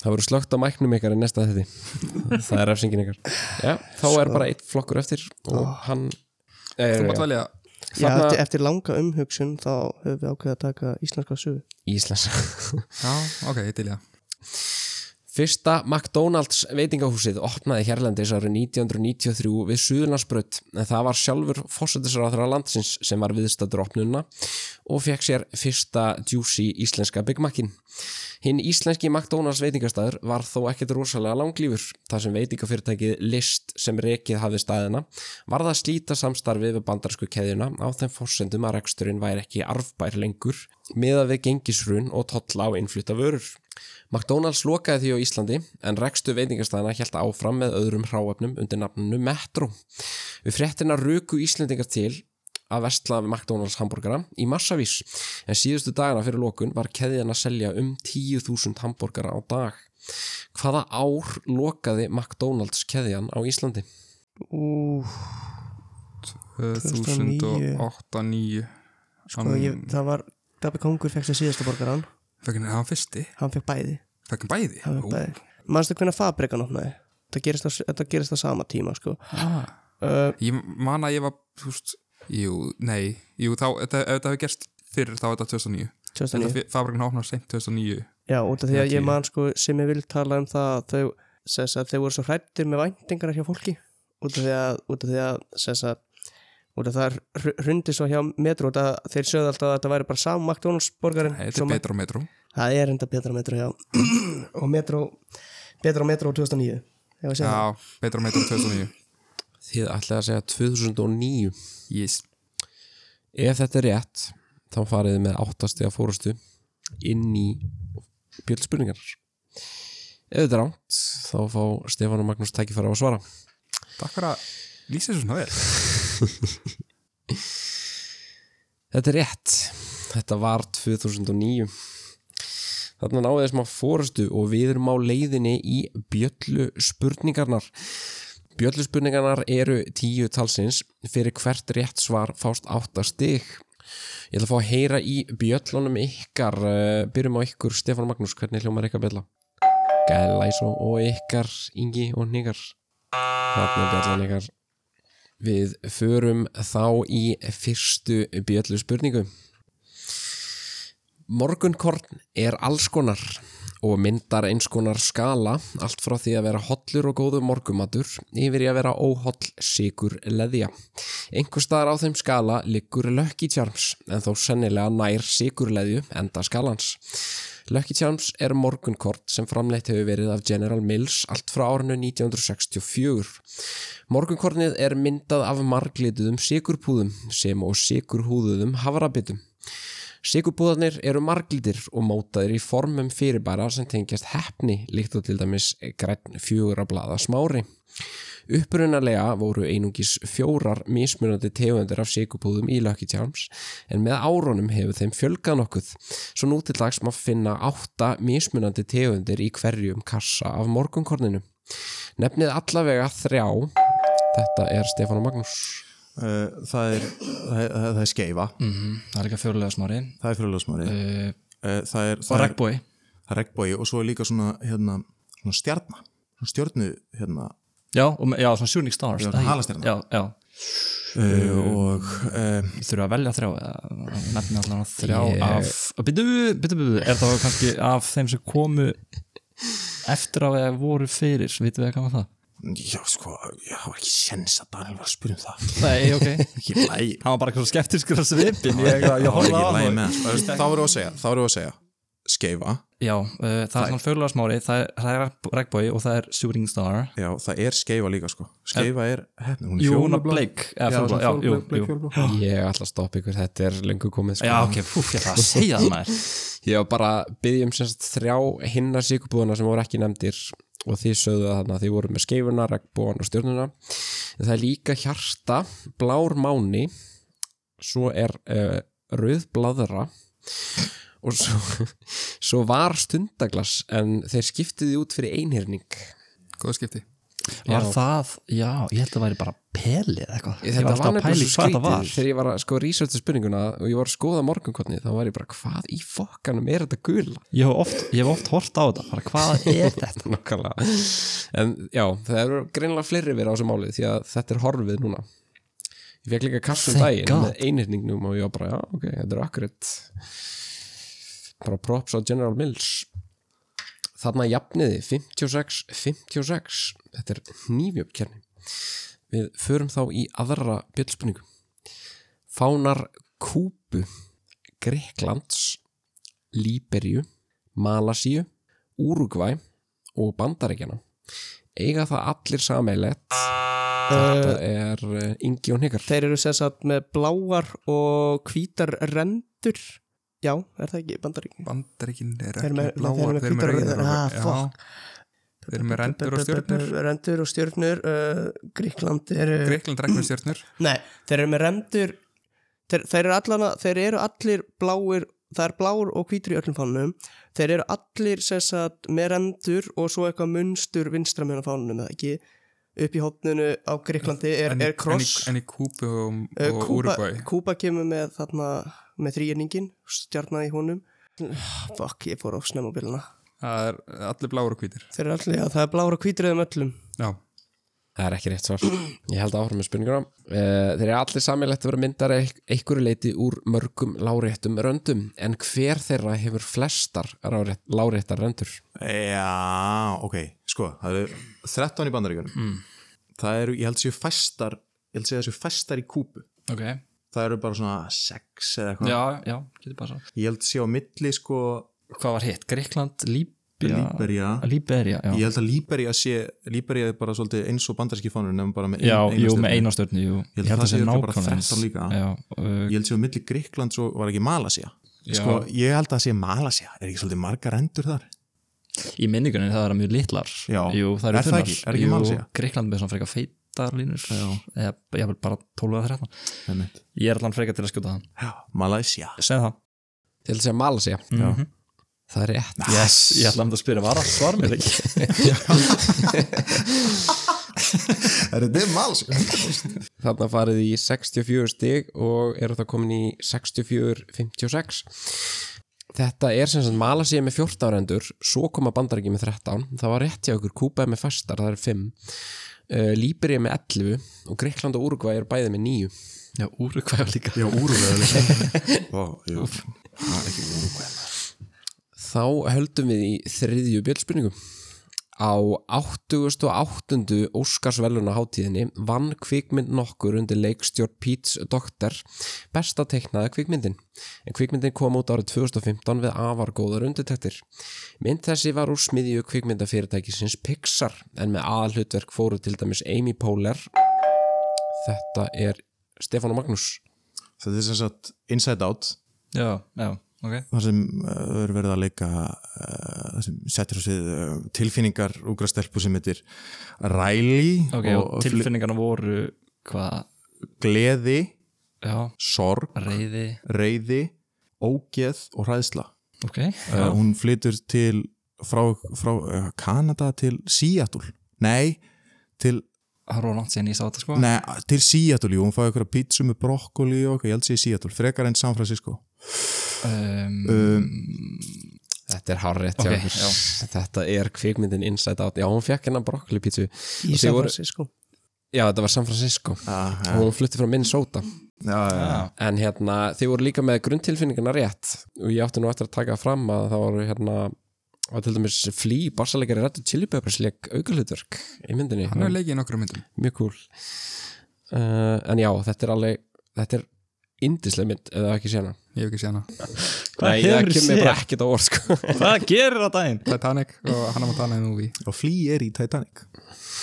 Það voru slögt á mæknum ykkar en næsta þetta Það er refsingin ykkar Já, þá er bara eitt flokkur eftir og hann Þú er, mátt velja Já, Þarna- eftir, eftir langa umhugsun þá höfum við ákveðið að taka íslenska sögu Íslensk Já, ok, ég til ég Fyrsta McDonalds veitingahúsið opnaði hérlendis árið 1993 við Suðurlandsbrödd en það var sjálfur fósættisráðra landsins sem var viðstættur opnunna og fekk sér fyrsta juicy íslenska Big Macin. Hinn íslenski McDonalds veitingastæður var þó ekkert rosalega langlífur þar sem veitingafyrirtækið List sem rekið hafði staðina var það að slíta samstarfið við bandarsku keðjuna á þeim fórsendum að reksturinn væri ekki arfbær lengur meða við gengisrun og tolla á innflutta vörur. McDonalds lokaði því á Íslandi en rekstu veitingastæðina hjælt áfram með öðrum hráefnum undir nafninu Metro. Við fréttina ruku Íslendingar til að vestla við McDonalds hambúrgara í massavís en síðustu dagana fyrir lokun var keðjan að selja um 10.000 hambúrgara á dag Hvaða ár lokaði McDonalds keðjan á Íslandi? Ú, 2008 9 sko, ég, það var Gabi Kongur fekk sem síðasta borgaran Fekkin er hann fyrsti? Hann fekk bæði, Fekkin bæði? hann fekk bæði Manstu hvernig fabrikan opnaði? Það gerist, á, það gerist á sama tíma sko. Ah. uh, Ég man að ég var þú veist, Jú, nei Jú, þá, þetta, ef þetta hefur gerst fyrr þá er þetta 2009 Þetta 2009 fi- fabrikin opnar seint 2009 Já, út af því að Eða ég tíu. man sko sem ég vil tala um það að þau, sess að þau voru svo hrættir með væntingar hjá fólki út af því að, út af því að, sess að út af það hr- hrundi svo hjá metro út af að þeir sögðu alltaf að þetta væri bara saman McDonalds borgarinn Nei, þetta Svo er ma- betra og metro það er enda betra metro já og metro betra metro 2009 ef ég segi það. Já, betra og metro 2009 Þið ætlaði að segja 2009 Yes Ef þetta er rétt þá farið þið með áttastega fórustu inn í bjöldspurningar Ef þetta er átt þá fá Stefán og Magnús tækifæra á að svara Takk fyrir að lýsa þessu svona vel Þetta er rétt. Þetta var 2009. Þarna náði þessum að fórustu og við erum á leiðinni í bjöllu spurningarnar. Bjöllu spurningarnar eru tíu talsins. Fyrir hvert rétt svar fást átta stig. Ég ætla að fá að heyra í bjöllunum ykkar. Eh, Byrjum á ykkur, Stefán og Magnús, hvernig hljómar ykkar bjölla? Gæla ís og og ykkar, Ingi og Nigar. Þarna er bjallan ykkar. Við förum þá í fyrstu bjöllu spurningu. Morgunkorn er allskonar og myndar einskonar skala allt frá því að vera hollur og góður morgumatur yfir í að vera óholl sigur leðja. Einhver staðar á þeim skala liggur Lucky Charms en þó sennilega nær sigur leðju enda skalans. Lucky Charms er morgunkort sem framleitt hefur verið af General Mills allt frá árinu 1964. Morgunkornið er myndað af marglituðum sigurpúðum sem og sigurhúðuðum hafrabitum. Sigurpúðarnir eru marglitir og mótaðir í formum fyrirbæra sem tengjast hefni líkt og til dæmis græn fjögur að blaða smári. Upprunalega voru einungis fjórar mismunandi tegundir af sigurpúðum í Lucky Charms en með árunum hefur þeim fjölgað nokkuð svo nú til dags má finna átta mismunandi tegundir í hverjum kassa af morgunkorninu. Nefnið allavega þrjá Þetta er Stefán og Magnús Uh, það, er, það, er, það er skeifa það er líka fjórulega smári það er fyrirlöfsmári uh, uh, það er, og það er, regnbói það er regnbói og svo er líka svona, hérna, svona stjarna svona stjörnu hérna, já, og, með- já, svona shooting stars Já, Æ, halastjarna. já, já, Eh, uh, og mm. uh, þurfa að velja þrjá eða nefna allan að þrjá af byrju, byrju, byrju, er það kannski af þeim sem komu eftir að eða voru fyrir, vitum við að kama það já sko, ég hafa ekki séns að Daniel var að spyrja um það nei, ok, ekki lægi hann var bara eitthvað skeptiskur að svipin, ég, ég, ég horfði á hann og- sko. þá erum við að segja þá erum við að segja skeifa, já, uh, það er svona fjólulega smári það er, það er regnbói og það er shooting star já það er skeifa líka sko skeifa er, hérna, hún er Jóna fjólublá. Blake eða Já, fjólblá, svona já, jú, fjólublá, bleik, jú fjólublá. Ég ætla að stoppa ykkur, þetta er lengur komið sko. já, ok, fúf, ég ætla að segja það maður Ég var bara að byggja um semst þrjá hinna síkubúðuna sem voru ekki nefndir og þið sögðu það þannig að þið voru með skeifuna, regnbúan og stjörnuna en það er líka hjarta, blár máni svo er uh, rauð bladra og svo, svo var stundaglas en þeir skiptiði út fyrir einhyrning Góða skipti Var Já. það, já, ég held að það væri bara pelið eða eitthvað Ég Þetta alltaf var að pæla nefnilega svo í hvað skrítið það var. þegar ég var að sko researcha spurninguna og ég var að skoða morgunkotni þá var ég bara hvað í fokkanum er þetta gula? Ég hef oft, ég hef oft hort á þetta, bara hvað er þetta? Nákvæmlega En já, það eru greinilega fleiri verið á þessu máli því að þetta er horfið núna Ég fekk líka kassum Thank daginn God. með einhyrningnum og ég var bara já, ok, þetta er akkurat bara props á General Mills Þarna jafniði 56-56 Þetta er nýfjöpkerni Við förum þá í aðra bjöldspunningu Fánar Kúbu Greklands Líberju Malasíu Úrugvæ og Bandaríkjana eiga það allir sameilett Eh. þetta er eh, Ingi og Nikar Þeir eru sess að með bláar og hvítar rendur Já, er það ekki bandaríkin? Bandaríkin er ekki Þeir eru með- þeir bláar eru með hvítar og- rauðar Ah, og- já. fuck. Þeir eru með rendur og stjörnur Rendur og stjörnur uh, Gríkland eru Greikland regnum stjörnur Nei, þeir eru með rendur þeir, þeir, eru allan, að- þeir eru allir bláir það er blár og hvítur í öllum fánunum þeir eru allir sem sagt, með rendur og svo eitthvað munstur vinstra meðan á fánunum eða ekki upp í hópninu á Gríklandi er, en, í- er kross en, í- en í Kúbu og, Eh, og Kúba, Úrubæ Kúba kemur með þarna með þrýjerningin, stjarnar í honum fuck, ég fór á snemma bíluna það er allir bláur og hvítir þeir eru allir, já, það er blára kvítriðum öllum já, Það er ekki rétt svar. Ég held áfram með spurninguna. Eh, Þeir eru allir samilegt að vera myndar einhverju leiti úr mörgum láréttum röndum, en hver þeirra hefur flestar rárétt- láréttar röndur? Já, ok, sko, það eru 13 í bandaríkjunum Mm. Það eru, ég held séu fæstar ég held séu þessu fæstar í kúpu ok, Það eru bara svona 6 eða eitthvað já, já, getur bara svo Ég held séu á milli sko hvað var hitt, Greikland, Líbja Líberia Líberia, já Ég held að Líberia sé Líberia er bara svolítið eins og bandaríski fánur nefnum bara með ein- já, jú, stjörnu. með eina stjörnu, jú Ég held að það sé örugglega bara 13 líka. já, uh, Ég held séu á milli Gríklands og var ekki Malasia Já. Sko, ég held að það sé Malasia Er ekki svolítið margar endur þar? í minningunni það er mjög litlar Já. jú, það eru Er það þunnar. ekki? Er ekki Jú, Malasía? Grikkland með svona frekar feitar línur eða jafnvel bara 12 að 13 Einmitt. ég er allan frekar til að skjóta það Já, Malasia segð það Til þess að mala sig. Mhm. Það er rétt. yes. ég ætla að spyrja, var allt svar mér ekki Er þetta Malasia? Þarna farið í 64 stig og eru það komin í 64-56. Þetta er sem sagt Malasíu með 14 rendur, svo koma Bandaríki með 13, það var rétt hjá ykkur, Kúpa er með fastar, það er 5, uh, Líberi er með 11 og Greikland og Úrugvæ eru bæði með 9. já, úru hvað líka Já, Úrugvæðuleik Vá, jú Það er ekki Úrugvæð Þá höldum við í þriðju bjöldspurningu. Á 88. Óskarsveluna hátíðinni vann kvikmynd nokkur undir leikstjórn Pete's Doctor besta teiknaða kvikmyndin. En kvikmyndin kom út árið 2015 við afar góðar undirtektir. Mynd þessi var úr smiðju kvikmyndafyrirtækisins Pixar en með aðalhutverk fóru til dæmis Amy Poehler. Þetta er Stefán og Magnús. Þetta er sem sagt Inside Out já, já, ok þar sem uh, er verið að leika uh, þar sem settir á svið uh, tilfinningar úgra stelpu sem heitir Riley Ok, og, og, og tilfinningarna voru hvað, gleði, já, sorg, reyði reyði, ógeð og hræðsla. ok, Uh, hún flytur til frá, frá uh, Kanada til Seattle. Nei, til, það var langt síðan ég sá þetta sko nei, til Seattle, jú, hún fáið ykkur pítsu með brokkoli og eitthvað, ég held sér Seattle, frekar enn San Francisco. um, Þetta er hárrétt Ok, hjá ykkur. Þetta er kvikmyndin Inside Out. Já, hún fekk hennar brokkoli pítsu. Og í þið San voru- Francisco Já, þetta var San Francisco Ah, og hún flutti frá Minnesota já, já, já. en hérna, þið voru líka með grunntilfinninguna rétt og ég átti nú eftir að taka fram að það voru hérna og til dæmis flý, barsalegari rættu chilipepersleik aukalutverk í myndinni hann hefur leikið í nokkru myndum mjög cool uh, en já, þetta er alveg þetta er indislega mynd eða ekki séna ég hef ekki séð hana Hvað Nei, það kemur hefurðu mér séð? bara ekkert á orð sko. hvað gerir á daginn? Titanic og Hannah Montana í movie Og Flea er í Titanic.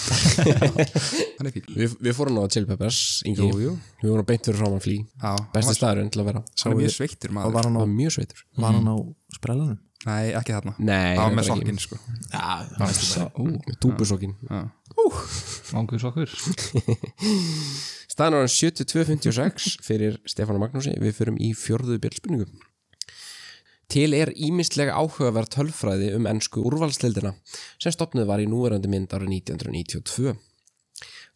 hann er fín við, við fórum á chilipepers jú, Ingi. jú við vorum beint fyrir framan flý Já, hann besti var- staðurinn til að vera hann er mjög sveittur Og maður var hann það á, var mjög sveitur var hann á sprellanum? nei, ekki þarna Nei, hann var með reyndar ekki. sokkinn sko dúbusokkin Mangus okkur Staðan ára 72.56 fyrir Stefán og Magnúsi, við fyrum í fjörðu bjöldspunningu. Til er ímistlega áhugaverð tölfræði um ennsku úrvalsleildina sem stopnuð var í núverandi mynd árið 1992.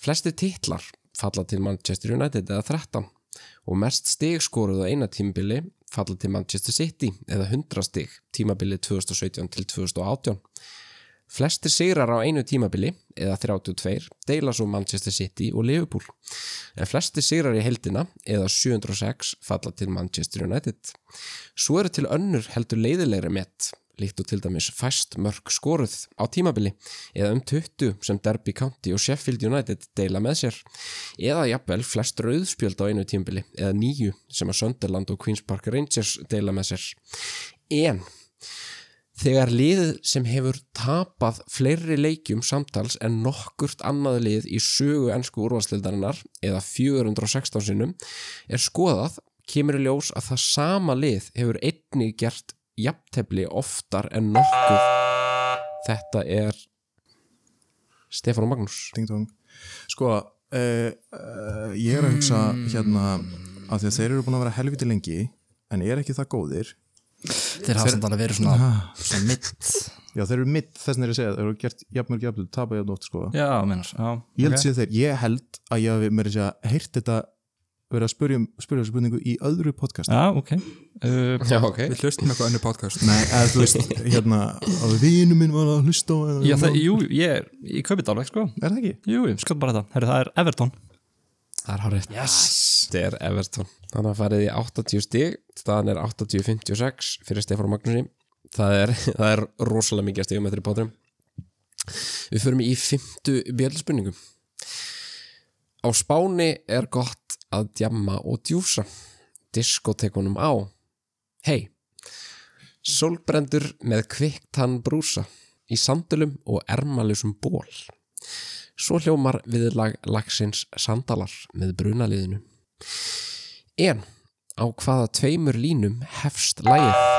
Flestir titlar falla til Manchester United eða 13 og mest stig skoruð á eina tímabili falla til Manchester City eða 100 stig tímabili 2017 til 2018. Flestir sigrar á einu tímabili, eða 32, deila svo Manchester City og Liverpool. En flestir sigrar í heldina, eða 706, falla til Manchester United. Svo eru til önnur heldur leiðilegri met, líkt og til dæmis fæst mörg skoruð á tímabili, eða um 20 sem Derby County og Sheffield United deila með sér. Eða jafnvel flest rauðspjöld á einu tímabili, eða 9 sem að Sunderland og Queen's Park Rangers deila með sér. En Þegar liðið sem hefur tapað fleiri leikjum samtals en nokkurt annað lið í sögu ennsku úrvalstildarinnar eða 416 sinnum er skoðað kemur í ljós að það sama lið hefur einnig gert jafntefli oftar en nokkuð. Þetta er Stefán og Magnús. eh, Hmm. Ding dong. Sko, uh, uh, ég er að hugsa hérna af því að þeir eru búin að vera helviti lengi en er ekki það góðir Þeir hafa samt alveg verið svona, svona mitt já þeir eru mitt þess vegna er ég að segja þeir eru gert jafnmörg jafnmörg tapa jafn oft sko Já, minnars, já ég held sér þeir, ég held að ég hafi mér að segja heyrt þetta verið að spurja, um, spurja þessu spurningu í öðru podcast Já, ok uh, Já, ok Við hlustum eitthvað önnu podcast nei, Eh, eða þú veist, hérna að vinu minn var að hlusta á Já, það, jú, ég, ég kaupi þetta alveg, sko er það ekki? Jú, ég skoð bara þetta, Heru, það er Everton Það er hárið Yes Þetta er Everton Þannig að farið í 80 stig Staðan er 80-56 fyrir Stefán Magnúsi það er, það er rosalega mikið stigum eftir í báturum Við förum í fymtu bjöldspurningum Á Spáni er gott að djamma og djúsa diskotekunum á Hei Sólbrendur með kviktan brúsa í sandulum og ermalusum ból Svo hljómar viðlag lagsins sandalar með brunaliðinu En á hvaða tveimur línum hefst lægið?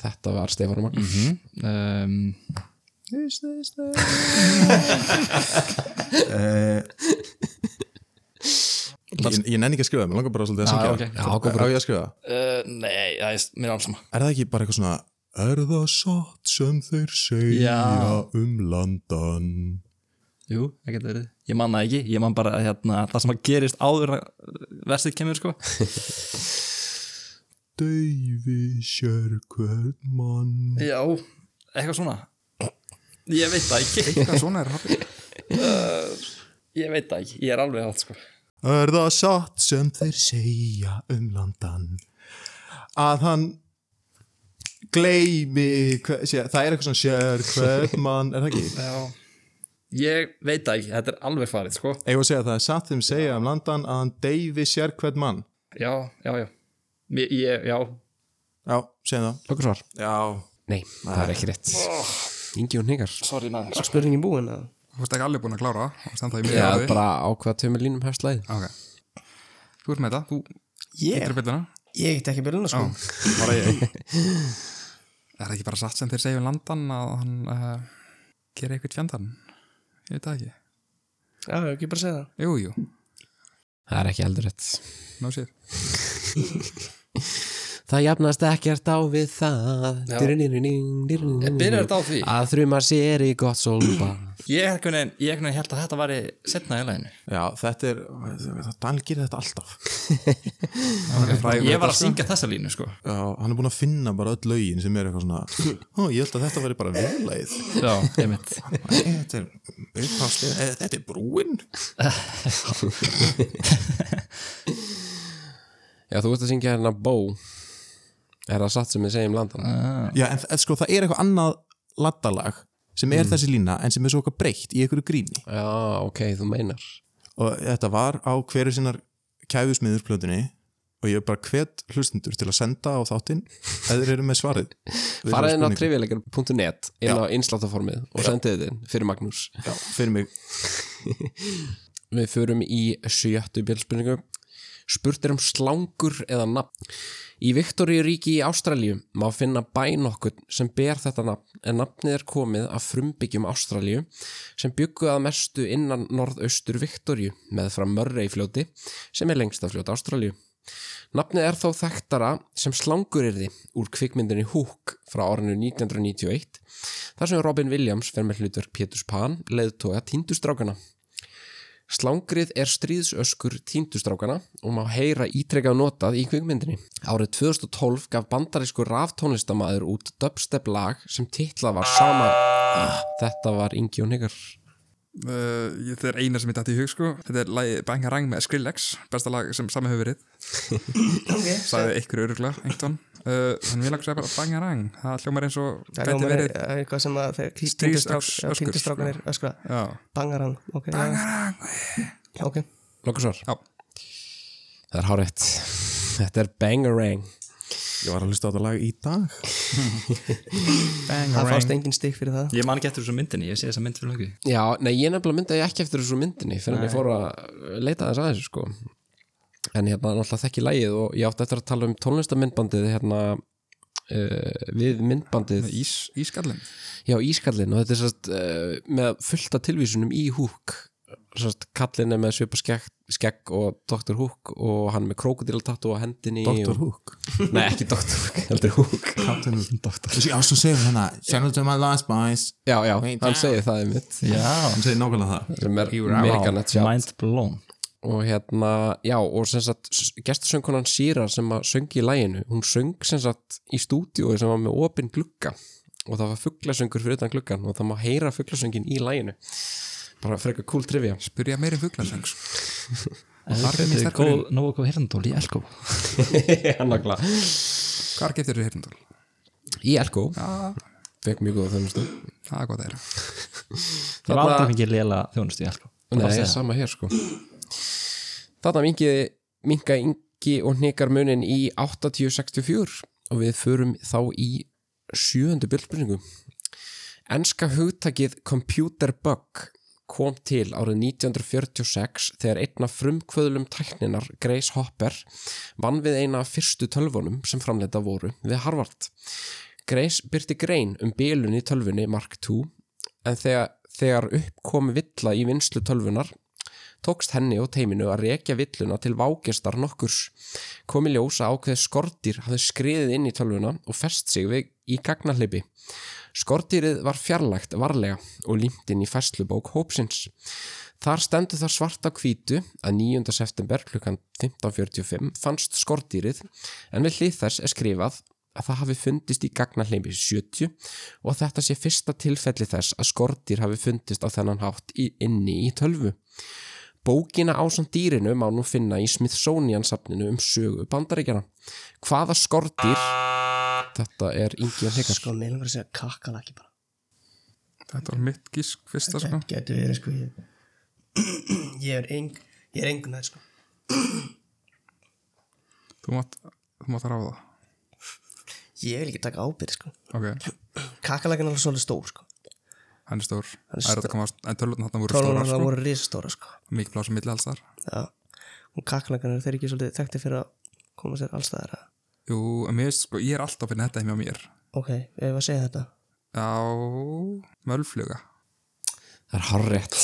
Þetta var Stefán Magnús um, ég, Eh, ég nenni ekki að skrifa það, mér langar bara svolítið að Já, syngja Ah, ok. Já, ok, á ég að skrifa það? uh, Nei, já, ég, mér er alls sama er það ekki bara eitthvað svona er það satt sem þeir segja Já. um landan Jú, það getur verið Ég man það ekki, ég man bara að, hérna, það sem að gerist áður að versið kemur, sko Dauði sér hvern mann Já, eitthvað svona Ég veit það ekki Hvað svona er hafið? Ég veit það ekki, ég er alveg átt, sko Er það satt sem þeir segja um landan að hann gleymi hver, sé, það er eitthvað svona sér hvern mann er það ekki? Já Ég veit það ekki, þetta er alveg farið, sko Eða að segja það er satt þeim segja um landan að hann deyfi sér hvern mann Já, já, já Mér, ég, já, Já, segjum það Okkur svar? Já, Nei, það er ekki rétt Ingi og Hningar sorry maður Spurningin búin að Þú veist ekki alveg búin að klára og standa í mig Já, bara á hvaða tveimur línum hefst lægið Ok Þú ert með þetta, þú Ég, getur byrðina ég get ekki byrjun að sko Bara ég Er það ekki bara satt sem þeir segja um landan að hann uh, gera eitthvað tjandan? Ég veit það ekki Já, ég ekki bara að segja það Jú, jú, Það er ekki heldur rétt ná sér Það jafnast ekkert á við það Dyrinirinning, dyrinirinning. Byrjar þetta á því? Að þrjuma sér í gott sólba Ég er einhvern veginn held að þetta væri setna í læginu Já þetta er Daniel gerir þetta alltaf Ég var að syngja þessa línu sko Já, hann er búin að finna bara öll lögin sem er eitthvað svona Ó, ég held að þetta veri bara viðlæð Já, einmitt Þetta er uppháslega, þetta er brúin Já, þú ert að syngja hérna bó Er það satt sem við segjum landan? Já, en þ- sko, það er eitthvað annað laddalag sem er þessi lína en sem er svo eitthvað breytt í einhverju gríni Já, ok, þú meinar og þetta var á hverju sinnar kæfusmiðursplötunni og ég er bara hvet hlustendur til að senda á þáttinn eða þeir eru með svarið Farað inn Við á þessari spurningu. trivialegar.net inn á insláttaformið og sendið þetta inn fyrir Magnús Já, fyrir mig Við förum í sjöttu bjöldspurningu Spurt er um slangur eða nafn Í Viktoríu ríki í Ástralíu má finna bæ nokkur sem ber þetta nafn en nafnið er komið af frumbyggjum Ástralíu sem byggu að mestu innan norðaustur Viktoríu með frá Mörrei fljóti sem er lengst af fljóta Ástralíu Nafnið er þó þekktara sem slangurirði úr kvikmyndinni Hook frá árinu 1991 þar sem Robin Williams fer með hlutverk Péturs Pan leiðtóga tíndustrákana. Slangrið er stríðsöskur tíndustrákana og má heyra ítrekkað notað í kvikmyndinni. Árið 2012 gaf bandarísku raftónlistamæður út dubstep lag sem titlað var sama... Ah, Þetta var Ingi og Niggar. Uh, ég- þetta er eina sem ég dætti í hug sko Þetta er lagið Bangarang með Skrillex Besta lag sem sami hefur verið okay, Sæði ykkur örugla, einhvern uh, Þannig við langar að segja bara Bangarang Það hljómar eins og Það gæti er verið eitthvað sem að þeir öskur, sko. týndistrákanir öskra e- Já, Bangar hann okay, Bangar hann Ok, Lókusvar. já, Það er hárétt. Þetta er Bangarang. Ég var að hlusta á þetta lag í dag það fannst engin stík fyrir það Ég man ekki eftir þessu myndinni, ég sé þessa mynd fyrir löngu Já, nei, ég nefnilega myndaði ekki eftir þessu myndinni fyrir en ég fór að leita þess aðeins sko. en hérna náttúrulega þekki lægið og ég átti eftir að tala um tónlistamindbandið hérna uh, við myndbandið með ís, ískallin Já, Ískallin og þetta eh, er sérst uh, með fullta tilvísunum í húk sérst kallin er með svipa skekt skegg og Dr. Hook og hann með krokodiltattu á hendinni Dr. og... Hook Hook? Nei, ekki Dr. Hook, heldur Hook Captain Hook Ég ástu að segja hann að hérna, Send it to my last boys Já, já, Wait, hann yeah. segir það einmitt Já, Hann segir nákvæmlega það sem er Wow, Amerikan að sjá Mind blown og hérna, já, og sem sagt gestasöngunan Sýra sem að söngi í læginu hún söng sem sagt í stúdíu sem var með opinn glugga og það var fugglasöngur fyrir utan gluggan og það má heyra fugglasöngin í læginu bara frekar cool trivia Spurja meir um fuglasöng sko. Þar er er mér mér sterkur góð Nóa góð herndól í Elko Nagla. Hvar getur þér hérndól? í Elko, Já, fekk mjög góða þjónustu það er gott að þeirra Það var aldrei fengið léla þjónustu í Elko Nei, sama hér sko Þarna mingiði minga yngi og hnikar munin í 8064 og við förum þá í sjöundu bjöldspurningu Enska hugtakið computer bug kom til árið 1946 þegar einna frumkvöðlum tækninar Grace Hopper vann við eina af fyrstu tölvunum sem framleita voru við Harvard. Grace byrti grein um bylun í tölvunni Mark II en þegar, þegar uppkom villa í vinslu tölvunar tókst henni og teiminu að rekja villuna til vágestar nokkurs. Komi ljósa ákveð skortir hafði skriðið inn í tölvuna og fest sig við í gagnahleipi. Skortýrið var fjarlægt varlega og límt inn í festlubók hópsins. Þar stendur það svarta hvítu að 9. september klukkan 15.45 fannst skortýrið en við hlið þess er skrifað að það hafi fundist í gagnahleipi 70 og að þetta sé fyrsta tilfelli þess að skortýr hafi fundist á þennan hátt í, inni í tölvu. Bókina ásamt dýrinu má nú finna í Smithsonian safninu um sögu bandaríkjana. Hvaða skortýr Þetta er Ingi og Hikar Sko, mér langar að segja kakalaki bara Þetta var mitt gísk fyrsta sko. Getur verið, sko Ég, ég er eng Ég er engum með, sko Þú mátt, þú mátt ráða Ég vil ekki taka ábyrð, sko Ok, Kakalakin er alveg svolítið stór, sko hann er stór er Það er að komast- En tölvöldin þarna voru Trólunar stórar það sko. voru risastóra, sko Mikið plása milli alls þar Já Og kakalakan er þeir ekki svolítið þekkti fyrir að koma sér allstaðar að Jú, en mér, finnst, sko, ég er alltaf að finna þetta hjá mér Ok, ef ég var að segja þetta Já, mölfluga Það er harrétt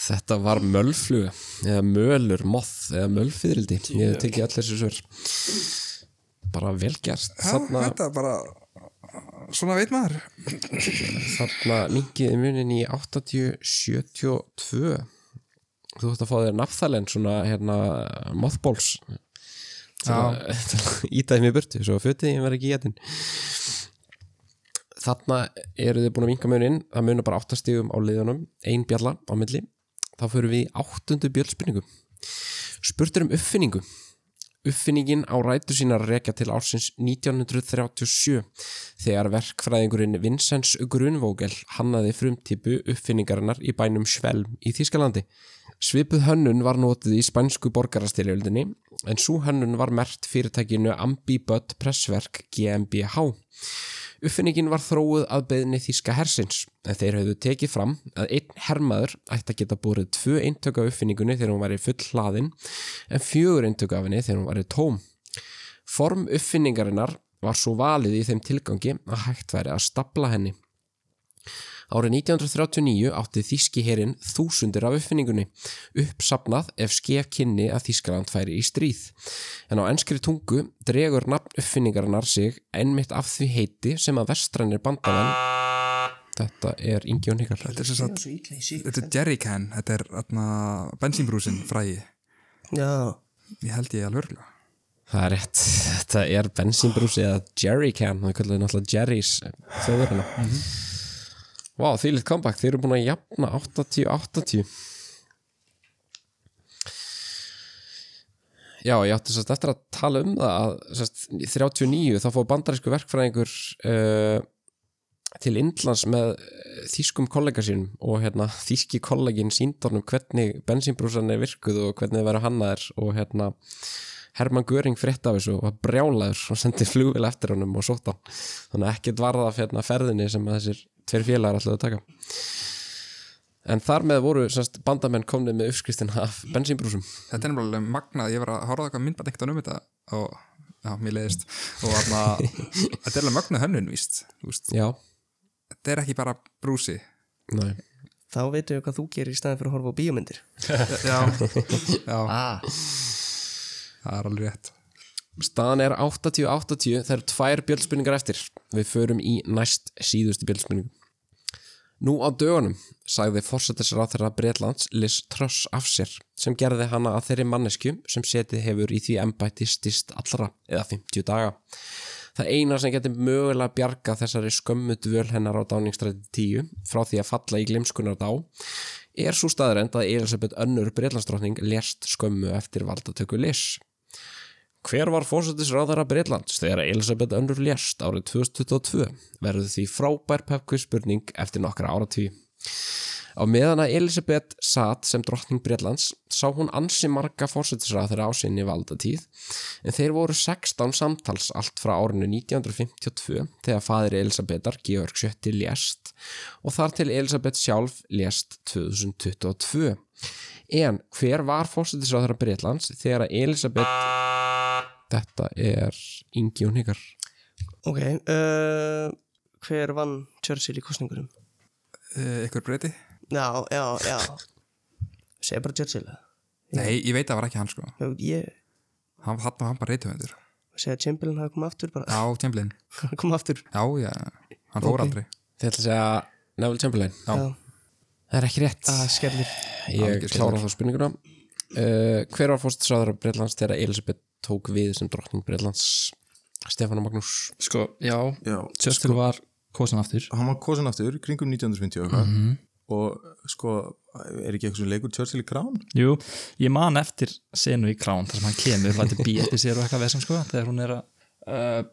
Þetta var mölfluga eða mölur, moth eða mölfiðrildi Ég hef tekið allir þessu svör bara velgjast þarna, Þetta er bara Svona veit maður þarna mingiði munin í 8072 Þú ætti að fá þér nafþalen svona hérna mothballs til að til að ýta þeim í burtu svo fötið ég verð ekki í getin þarna eru þau búin að vinka munin það munar bara áttastígum á liðunum ein bjalla á milli þá förum við í áttundu bjöllspinningu spurtur um uppfinningu uppfinningin á rætu sína að rekja til ársins 1937 þegar verkfræðingurinn Vincents Grunvogel hannaði frumtipu uppfinningarinnar í bænum Svelm í Þískalandi Svipuð hönnun var notið í spænsku borgarastyrjöldinni en svo hönnun var mert fyrirtækinu Ambibud Pressverk GmbH. Uppfinningin var þróuð að beðni þýska hersins en þeir höfðu tekið fram að einn hermaður ætti að geta borið tvö eintöku af uppfinningunni þegar hún var í full hlaðin en fjögur eintöku af henni þegar hún var í tóm. Form uppfinningarinnar var svo valið í þeim tilgangi að hægt væri að stapla henni. Árið 1939 átti þýski herin þúsundir af uppfinningunni, uppsapnað ef skef kynni að Þýskaland færi í stríð. En á enskri tungu dregur nafn uppfinningarinnar sig einmitt af því heiti sem að vestrænir bandamenn Þetta er Ingi og Nikar. Þetta er sem sagt Svo ítla í sík Þetta er Jerrycan, þetta er atna, bensínbrúsin fræði Já, Ég held ég alveg örgulega Það er rétt. Þetta er bensínbrúsi eða Jerry Can. Það kallar náttúrulega Jerry's þjóðurina. Vá, mm wow, því litt comeback. Þeir eru búin að jafna 80-80. Já, ég átti sérst eftir að tala um það að sérst, 39 þá fóð bandarísku verkfræðingur uh, til Indlands með eh, þýskum kollega sínum og hérna, þýski kollegin síndornum hvernig bensínbrúsan er virkuð og hvernig það verður hannaðir og hérna Hermann Göring frétt af þessu og var brjálaður og sendi flugvél eftir honum og sótt hann þannig að ekkert varða af hérna ferðinni sem að þessir tveir félagar ætlaðu að taka en þar með voru semst, bandamenn komnið með uppskristin af bensínbrúsum Þetta er nefnilega alveg magnað, ég var að horfa á eitthvað myndbætt ekkert um þetta og já, mér leiðist og atna, þetta er alveg magnað hönnun víst, þú veist. já, Þetta er ekki bara brúsi nei þá veitum við hvað þú gerir í staðin fyrir að horfa á bíómyndir Já, já Ah, það er alveg rétt Staðan er 80-80, það eru tvær bjöldspurningar eftir. Við förum í næst síðustu bjöldspurningu. Nú á dögunum sagði fórsetisráþara Breitlands Liz Truss af sér sem gerði hana að þeirri mannesku sem setið hefur í því embætti stist allra eða 50 daga. Það eina sem getur mögulega bjarga þessari skömmu dvöl hennar á dáningstræti 10 frá því að falla í glimskunar dá er svo staðrend að Elisabeth önnur Breitlandsdrottning lest skömmu eftir valdatöku Liz. Hver var fórsættisráðara Breitlands þegar Elisabeth Önnur lést árið 2022? Verður því frábær pepkvist spurning eftir nokkra áratví. Á meðan að Elisabeth satt sem drottning Breitlands sá hún ansi marga fórsættisráðara á sinni valdatíð en þeir voru 16 samtals allt frá árinu 1952 þegar faðir Elisabethar Georg VII lést og þar til Elisabeth sjálf lést 2022. En hver var fórsættisráðara Breitlands þegar að Elisabeth Þetta er Ingi og Nikar ok, uh, hver vann Churchill í kostningurum? Eh, Ykkur breyti? Já, já, já segir bara Churchill eða? Nei, ég veit að það var ekki hann sko Já, ég Hann hann var bara reytuvendur segja að Chamberlain hafa komið aftur bara, Já, Tjemblin hann kom aftur Já, já, hann fór Ok. aldrei Þið ætla að segja Neville Chamberlain Já. Það er ekki rétt að skerðir Ég algjör klára þá spurninguna uh, Hver var fórstæðsraður Breitlands þegar Elisabeth tók við sem drottning Breitlands Stefán og Magnús sko, já, Já, Churchill var kosin aftur hann var kosin aftur kringum 1950 og eitthvað og sko, er ekki eitthvað sem leikur Churchill í krán? Jú, ég man eftir senu í krán þar sem hann kemur, lætur bí eftir sér og eitthvað vesum sko, þegar hún er að uh,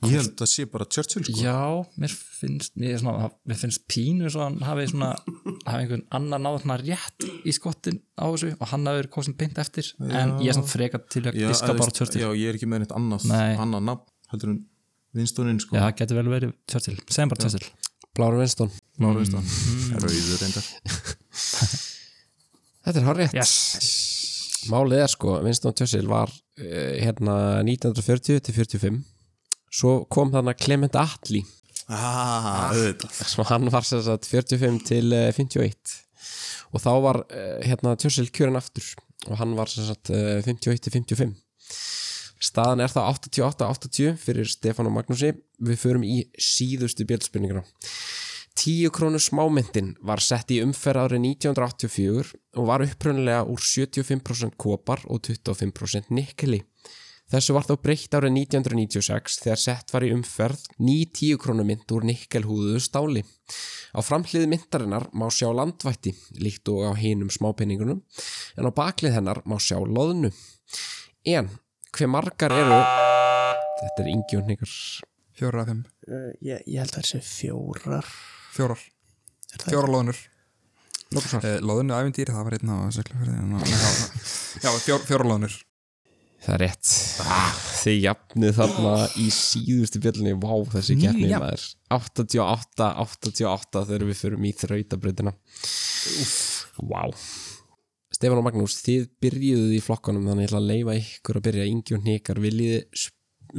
Ég held að sé bara Churchill sko. já, mér finnst mér, er svona, mér finnst pínu svo að hann hafi svona, hafi einhvern annar náður svona rétt í skottin á þessu og hann hafi verið kosin beint eftir, en ég er svona frekar til að diska að bara veist- Churchill já, Já, ég er ekki með neitt annað, Nei. annað nafn heldur en vinstónin sko það getur vel verið Churchill, segjum bara Churchill Blára Vinstón Lára vinstón, rauður reyndar Þetta er hár rétt yes, Málið er sko, Vinstón Tjössil var uh, hérna 1940 til 45 Svo kom þarna Clement Attlee Ah, auðvitað sem hann var sem sagt 45 til eh, 51 og þá var eh, hérna Tjössil kjörin aftur og hann var sem sagt eh, 51 til 55 staðan er þá 88-80 fyrir Stefán og Magnúsi við förum í síðustu bjöldspurninguna 10 krónu smámyndin var sett í umferð árið 1984 og var upprunnilega úr 75% kopar og 25% nikli Þessu var þá breytt árið 1996 þegar sett var í umferð ný 10 krónu mynd úr nikkelhúðuðu stáli. Á framhliði myndarinnar má sjá landvætti, líkt og á hinum smápenningunum, en á baklið hennar má sjá loðnu. En, hve margar eru... Þetta er yngi og hnikar. Fjórar af fimm uh, ég, ég held að það sé fjórar Fjórar Er það- Fjórar loðunur eh, Loðunu æfintýri, það var einn á Siglufirði, en á- Já, já fjór, fjórar loðunur Það er rétt. Ah, þið jafnið þarna í síðustu bjöllunni. Vá, þessi Ný gerðni jafn. maður. 88, 88 þegar við förum í þrautabrautina. Vá. Stefán og Magnús, þið byrjuðuð í flokkanum þannig ég ætla að leifa ykkur að byrja yngi og hnikar. Viljiði,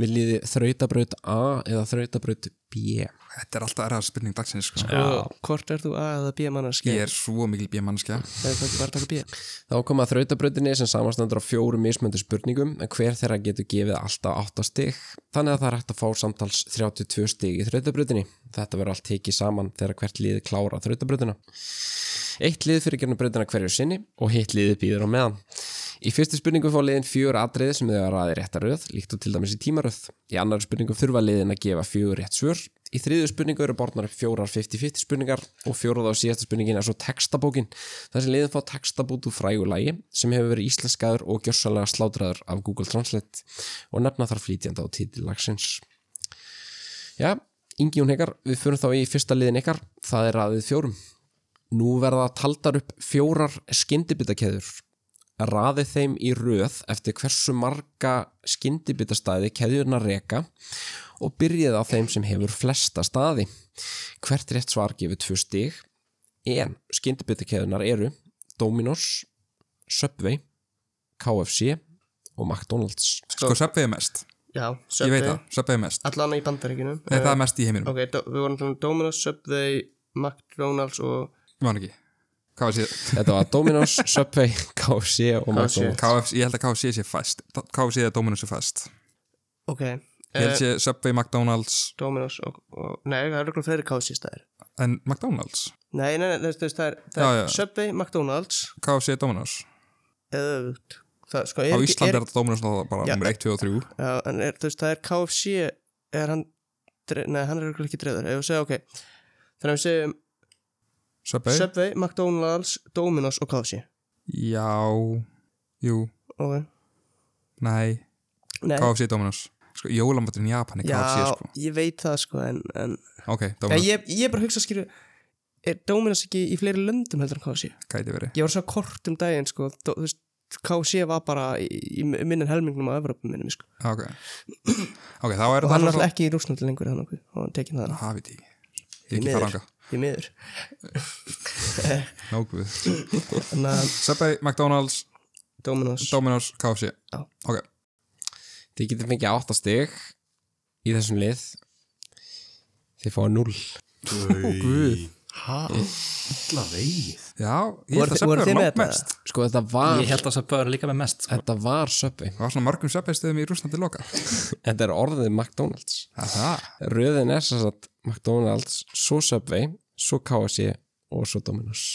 viljiði þrautabraut A eða þrautabraut B? Þetta er alltaf erðar spurning dagsins sko. og hvort er þú A eða B mannarski Ég er svo mikil bímannskja eða það var að taka B Þá kom að þrautabrautinni sem samanstendur á fjórum mismöndu spurningum en hver þeirra getur gefið alltaf 8 stig þannig að það er hægt að fá samtals 32 stig í þrautabrautinni. Þetta verður allt tekið saman þegar hvert lið klára þrautabrautina. Eitt lið fyrir gerna brautina hverju sinni og hitt liðið býður á meðan. Í fyrstu spurningu fá liðin fjör atriði sem þau að ræði réttaröð, líkt og til dæmis í tímaröð. Í annar spurningu þurfa liðin að gefa fjör rétt svör. Í þriðju spurningu eru borðnar upp fjórar 50-50 spurningar og fjórað á síðasta spurningin er svo textabókin. Þar sem liðin fá textabót úr frægu lagi sem hefur verið íslenskaður og gjörsalega slátraður af Google Translate og nefna þar flýtjanda á titilagsins. Já, Ingi Jón Hekar, við fyrir þá í fyrsta liðin ykkar, það er aðið fjórum. Nú verða taldar upp fjórar skyndibitakeður. Raði þeim í röð eftir hversu marga skyndibitastæði keðjurna reka og byrjið á þeim sem hefur flesta staði. Hvert rétt svar gefur tvö stig, en skyndibitakeðunar eru Dominos, Subway, KFC og McDonalds. Sko, söpvið er mest já, Ég veit það, söpvið er mest allan í Eh, bandaríkinu Nei, það er mest í heiminum, ok, do, við vorum talað um Dominos, Subway, McDonalds og ég man ekki Hvað var síðan? Þetta var Dominos, Subway, KFC og McDonald's KFC, ég held að KFC sé fast KFC eða Dominus er fast ok Ég held eh, sé Subway, McDonald's Dominos og, og nei, það eru eitthvað fleiri kási stæðir En McDonald's? nei, nei, nei, þú veist, það er, það Já, er já. Subway, McDonalds KFC er Dominus eða öfugt það, Á sko, er, ekki- Íslandi er, er þetta Dominus náttúrulega bara Já. nummer 1, 2 og 3 já, en er, þú veist, það er KFC er hann, dre, nei, hann er örugglega ekki dreður ef við segja, ok þannig að við segjum Subway? Subway, McDonalds, Dominos og KFC Já, jú, ok, nei nei KFC er Dominus Sko, jólamátturinn í Japan er KFC Eh? Já, sko ég veit það sko en, en Ok, Nei, Dominus ég, ég er bara að hugsa skilju er Dominos ekki í fleiri löndum heldur en KFC gæti verið ég var svo kort um daginn sko dó, þú veist, KFC var bara í, í minnin helmingnum á Evropa minnum sko. Ok, ok, þá er og hann það er alltaf ekki í Rúsnandi lengur hann okkur og hann tekin það Það veit ég ekki. Ég Því er ekki miður. fara anga í miður Nóguð þannig að Subway, McDonald's, Dominos Dominos, KFC Já. Ok, Þið getur fengið 8 stig í þessum lið Þið fáið 0 Guð. Hæ? Alla veið já, ég Voru held að þi- voru Subway þið er með langt þetta? mest Sko þetta var, Ég held að Subway var líka með mest sko. þetta var Subway Það var svona mörgum Subway stöðum í Rúslandi loka Þetta er orðið McDonald's Það, Röðin er sem sagt McDonald's, svo Subway, svo KFC og svo Dominos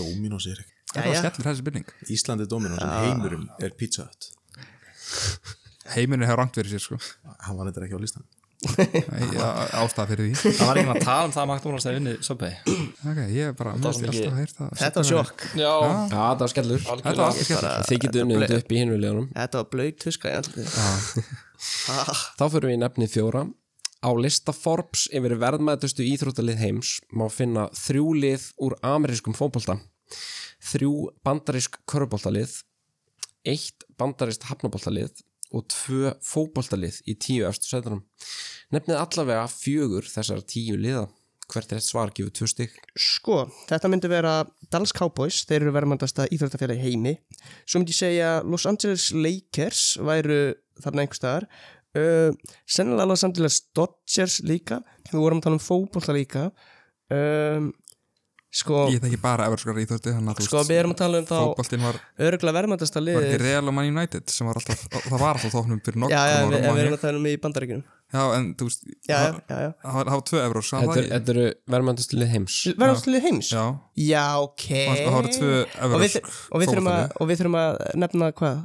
Dominos er ekki það var skellur þessi byrning Íslandi Dominos en heimurum er Pizza Hut Heiminu hefur rangt verið sér sko Hann var þetta ekki á listan Nei, á- Ástæða fyrir því Það var ekki að tala um það að McDonald's hefði unnið Subway Ok, ég er bara Þetta var svo mikið. alltaf heyrt að þetta var sjokk Já Já, þetta var skellur Þetta var alltaf skellur Þið getur unnið þetta upp í hinu liðanum þetta var blöyt tuska í andlið Þá fyrir við í nefnið fjóra. Á lista Forbes yfir verðmætustu íþróttalið heims má finna þrjú lið úr amerískum fótbolta, þrjú bandarísk körubóltalið, eitt bandarískt hafnaboltalið og tvö fótboltalið í tíu eftir sætunum. Nefnið allavega fjögur þessar tíu liða. Hvert er eitt svar gefur tvö stygg? sko, þetta myndi vera Dallas Cowboys, þeir eru verðmandasta íþróttafélagi í heimi svo myndi ég segja Los Angeles Lakers væru þarna einhver staðar uh, sennilega Los Angeles Dodgers líka við vorum að tala um fótbolta líka um, sko, Ég þekki bara Everskar íþórti sko við erum að tala um þá Fótboltinn var, öruglega verðmandasta var ekki liðið Real og Man United sem var alltaf, það var alltaf tóknum fyrir nokkur Já, já, en við, en við já, erum að tala um í bandaríkjunum já, en þú veist Já, já, það- já, já. Það var- það var tvö Evros það Þetta var er- í- þetta eru verðmætustu lið heims. Verðmandastalið heims? Já, Já, ok og það voru tvö Og við, Evros og, við þurfum að, og við þurfum að nefna hvað?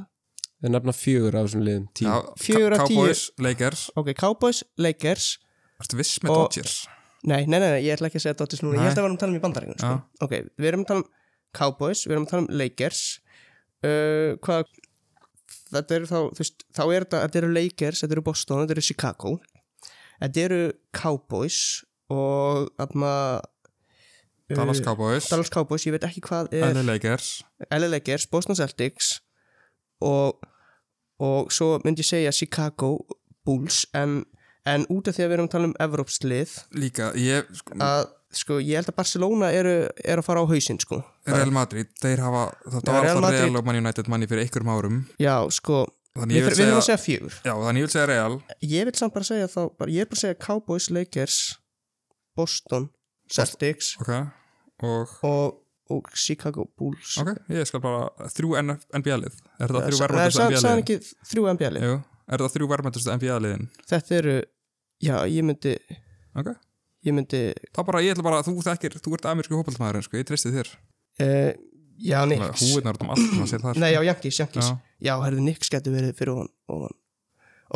Þeir nefna fjögur af þessum liðum tíu. Já, Fjögur af tíu. Cowboys, Lakers Ok, Cowboys, Lakers Ertu viss með Og- Dodgers? Nei, nei, nei, nei, ég ætla ekki að segja Dodgers núna, Nei. ég held að við erum að tala um í bandaríkun sko. Ok, við erum að tala um Cowboys, við erum að tala um Lakers uh, Hvað Þetta eru þá, þú veist, þá er þetta Þetta eru Lakers, þetta eru Boston, þetta eru Chicago Þetta eru Cowboys og atma, uh, Dallas Cowboys, Dallas Cowboys, ég veit ekki hvað er LA Lakers LA Lakers, Boston Celtics og, og svo myndi ég segja Chicago Bulls en, en út af því að við erum að tala um Evrópslið Líka, ég, sko, að sko, ég held að Barcelona eru, eru að fara á hausinn sko. Real Madrid Þeir hafa, þetta Já, var Real alltaf Madrid. Real og Man United manni fyrir einhverjum árum já, sko Þannig við ég vil þurfum segja... segja að segja fjögur Já, þannig ég vil segja Real ég vil samt bara segja þá, bara, ég er bara að segja Cowboys, Lakers Boston, Celtics Ok, og og, og Chicago Bulls Ok, ég skal bara þrjú NF NBA-lið Er þetta þrjú það er verðmættustu NBA-liðin? sann ekki þrjú NBA-lið Jú, er þetta þrjú verðmættustu NBA-liðin? þetta eru, já, ég myndi Ok, ég myndi, þá bara, ég ætla bara, þú þekkir, þú ert amerísku hópaldmaðurinn, sko, ég treysti þér uh, já, Nix Húinar út um allt, maður sér þar nei, já, Jankis, Jankis já, Já. já herðu, Nix getur verið fyrir ofan, ofan.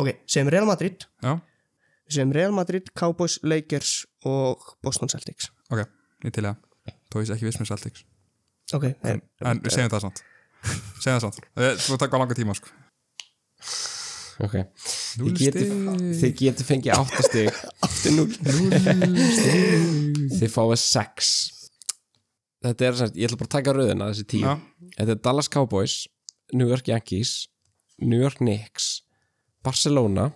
ok, segjum Real Madrid Já, segjum Real Madrid, Cowboys, Lakers og Boston Celtics ok, ég til að Þó ég sé ekki viss með Celtics ok, En, en við segjum það samt Segjum það samt, Eh, þú takk á langa tíma, sko Ok. Núll Þið getur, stig. þið getur fengið 8 stig. Aftur 0. Þið fáið 6. Þetta er sem sagt, ég ætla bara að taka rauðina þessi tíu. Já, Þetta er Dallas Cowboys, New York Yankees, New York Knicks, Barcelona,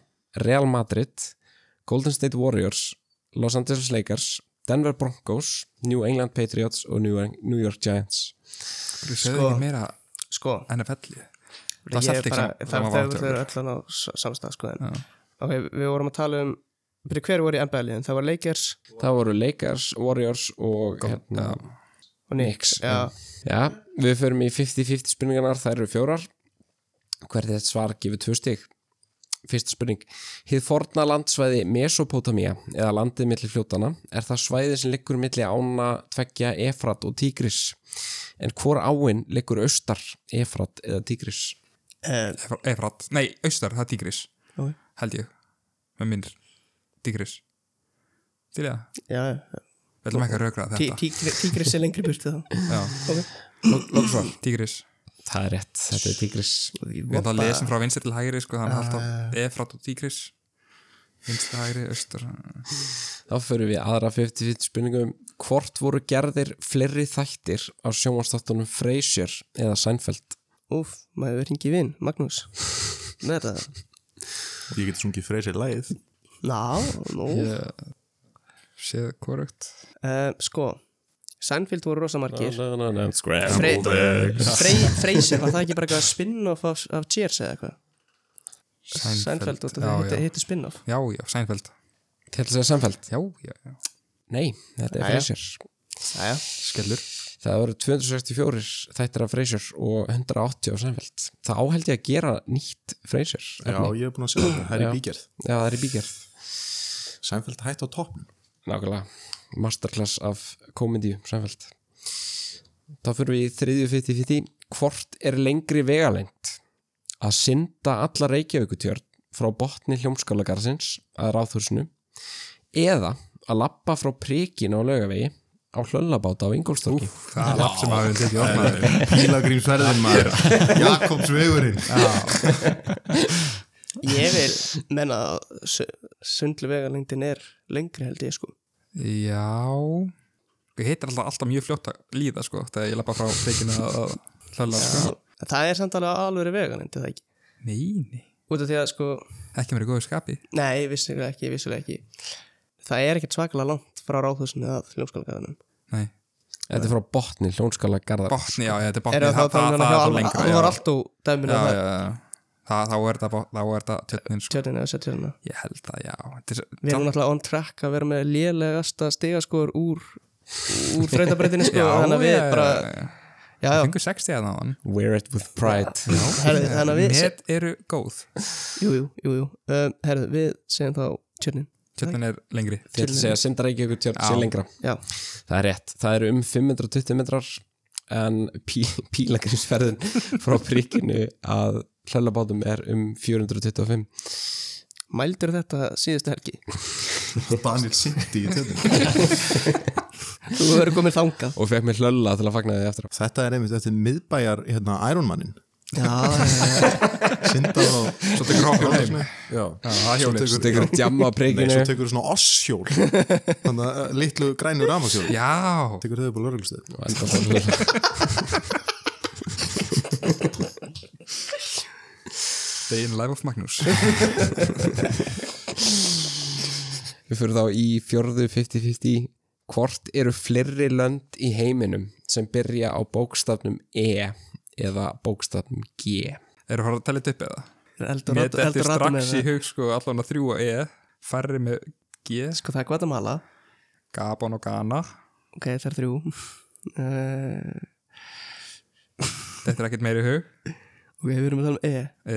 Real Madrid, Golden State Warriors, Los Angeles Lakers, Denver Broncos, New England Patriots og New New York Giants. þú segðu ekki meira sko NFL-lið ég Það er er Celtics bara, sem- sem það að það- vara þau eru áttræður. allan á sa- samstað sko en. Já. ok, við vorum að tala um byrju, hver voru í NBA-liðin, það var Lakers Það voru Lakers, Warriors og hérna, og Nix Nix, já, Já, við förum í 50-50 spurningarnar, þær eru fjórar. Hvert þetta svar gefur tvö stig? Fyrsta spurning. Hið forna landsvæði Mesopotamía, eða landið milli fljótana, er það svæði sem liggur milli ána tveggja Efrat og Tigris. En hvor áin liggur austar, Efrat eða Tigris? eh, Efra- Efrat, nei, austar, það er Tigris Ok. held ég, með minnir Tigris til ég að, já, já. við ætlum ekki að rökra Tí- þetta tígri- Tígris er lengri burti þá Já. Ok. Lóksvar, Tigris Það er rétt, þetta er Tigris. við ætlum að lesa um frá vinstir til hægri sko, þannig alltaf Efrat og Tigris vinstir hægri, austar Þá förum við í aðra 50-50 spurningum. Hvort voru gerðir fleiri þættir á sjónvastáttunum Frasier eða Seinfeld? úf, maður hefur hringið í vin, Magnús með þetta Ég geti sungið freysið lægið ná, nú ég séð korrekt Eh, sko, Seinfeld voru rosamarkir Na, na, na, na. Frey, Frey, Freyser, var það ekki bara eitthvað spin-off af, af Cheers eða eitthvað? Seinfeld, og það já, heitir já. heiti spin-off já, já, Seinfeld Til þess að Seinfeld? já, já, já, Nei, þetta er Jæja. Frasier Jæja, skellur Það voru 264 þættir af Frasier og 180 á Seinfeld Það áhældi að gera nýtt Frasier Já, efni. ég hef búin að segja þetta, það er Já. í bígerð Já, það er í bígerð Sænfælt hætt á toppn Nákvæmlega Masterclass af komedi Seinfeld Þá fyrir við í þriðju 50-50 Hvort er lengri vegalengd? Að synda alla reykjaukutjörn frá botni hljómskálagarðsins að ráþursinu eða að lappa frá prikinu á laugavegi á hlöllabáta á Ingolstorki það er lapp sem að við tekið opnaður Pílagrímsverðin maður Jakobsvegurinn ég vil menna að sundluvegalengdin er lengri held ég sko Já Ég heitir alltaf, alltaf mjög fljótt að líða sko þegar ég lappa frá feikinu að hlölla sko. Það er samt alveg alveg vegalengd, er það ekki? Nei, nei, Út af því að sko, ekki mér í góðu skapi nei, vissulega ekki, vissulega ekki Það er ekkert svakalega langt frá ráðhúsinu að hljómskálgarðanum Nei, Þetta er frá botni hljómskálagarðar botni, já, já, þetta er botni Er það þá þannig að það hjá lengra, já. alvar allt úr dæminu Já, að já, já, það, þá er það botn- þá er það tjötnin sko, tjörnina þess að tjörnina ég held að já þetta er, Við erum samt- náttúrulega on track að vera með lélegasta stigaskor úr, úr þrautabreitinni sko, þannig að við já, bara, já, já. já, já, Ég fengur 60 að náðan Wear it with pride herðu, þannig að við, se, hérna Met eru góð, jú, jú, jú, jú, um, herðu, við segjum þá tjörnin, tjötnin er lengri Þið ætlum að segja Sindar Reykjavík tjörn sé Já. lengra já, Það er rétt, það eru um 520 metrar en pí, pílagrimsferðin frá prikinu að hlöllabátum er um 425 mældur þetta síðustu helgi, Daniel Sinti í tjöndin þú verður komin þangað, og fekk mér hlölla til að fagna því eftir á. Þetta er einmitt eftir miðbæjar hérna, Ironmanin já, já, Sindar og Svo tekur hoppjól heim Já, það er hjólið. Svo Svo tekur- tekur að djamma á Nei, svo prikinu tekur þú svona osshjól Þannig að uh, litlu grænu rafmagshjól Já, Tekur þau upp á lörglustöð og enda svo hlölla. Dayin Life of Magnús Við fyrir þá í fjörðu 50-50 Hvort eru fleiri lönd í heiminum sem byrja á bókstafnum E eða bókstafnum G? Eru horfð að tala þetta upp eða? heldur Mér rátt, dætti heldur rátt strax með í það, hug sko allan að þrjú að E færri með G, sko það er Guatemala, Gabon og Ghana ok, það er þrjú, uh, þetta er ekkert meiri hug ok, við erum að tala um E, E,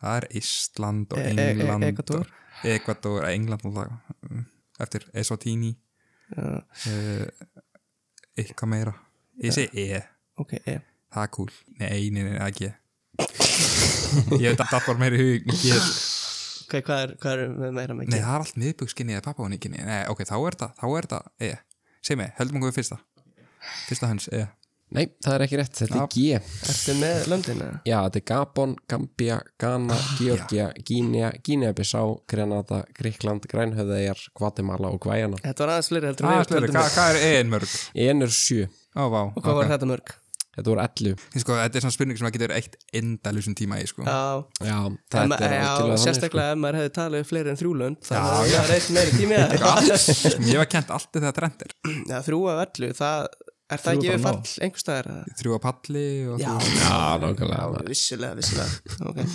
það er Ísland og E- E- E- England Ekvador. og Ekvador, eh, England og það mm, eftir Esotini Já. Eh, eitthvað meira ég segi E, ok, E, það er cool nei, nei, nei, það er G ég veit að það var meiri hug G, sko. ok, hvað er, hvað er með meira með nei, G? það er allt miðbugskinni eða papáuníkinni, nei, ok, þá er það þá er það E, segi mig, höldum okkur við fyrsta fyrsta hans, E Nei, það er ekki rétt, þetta Já. er G Ertu með löndina? Já, þetta er Gabon, Gambia, Ah, Ghana, Georgia, Gínea, Gínea-Bissá, Grenada, Gríkland, Grænhöfðeigjar, Guatemala og Gvæjana. Þetta var aðeins fleiri heldur en Ah, við slurri, töldum hvað, hvað er EN mörg? Enur sjö, Ó, vá, Og hvað var þetta mörg? þetta voru 11. Sko, þetta er svona spurning sem að getur eitt endalusum tíma í, sko. Já, Já, Em- þetta er já, algjörlega sko. sérstaklega ef maður hefði talið við fleiri en þrjúlönd þannig að það er eitt meiri tími að Sko, ég var kent allt þegar trend er. Já, þrjú af öllu, það er Þrjú það ekki bara við nóg. fall einhver staðar eða? Þrjú á palli og Já, Já, nákvæmlega. vissulega, vissulega okay.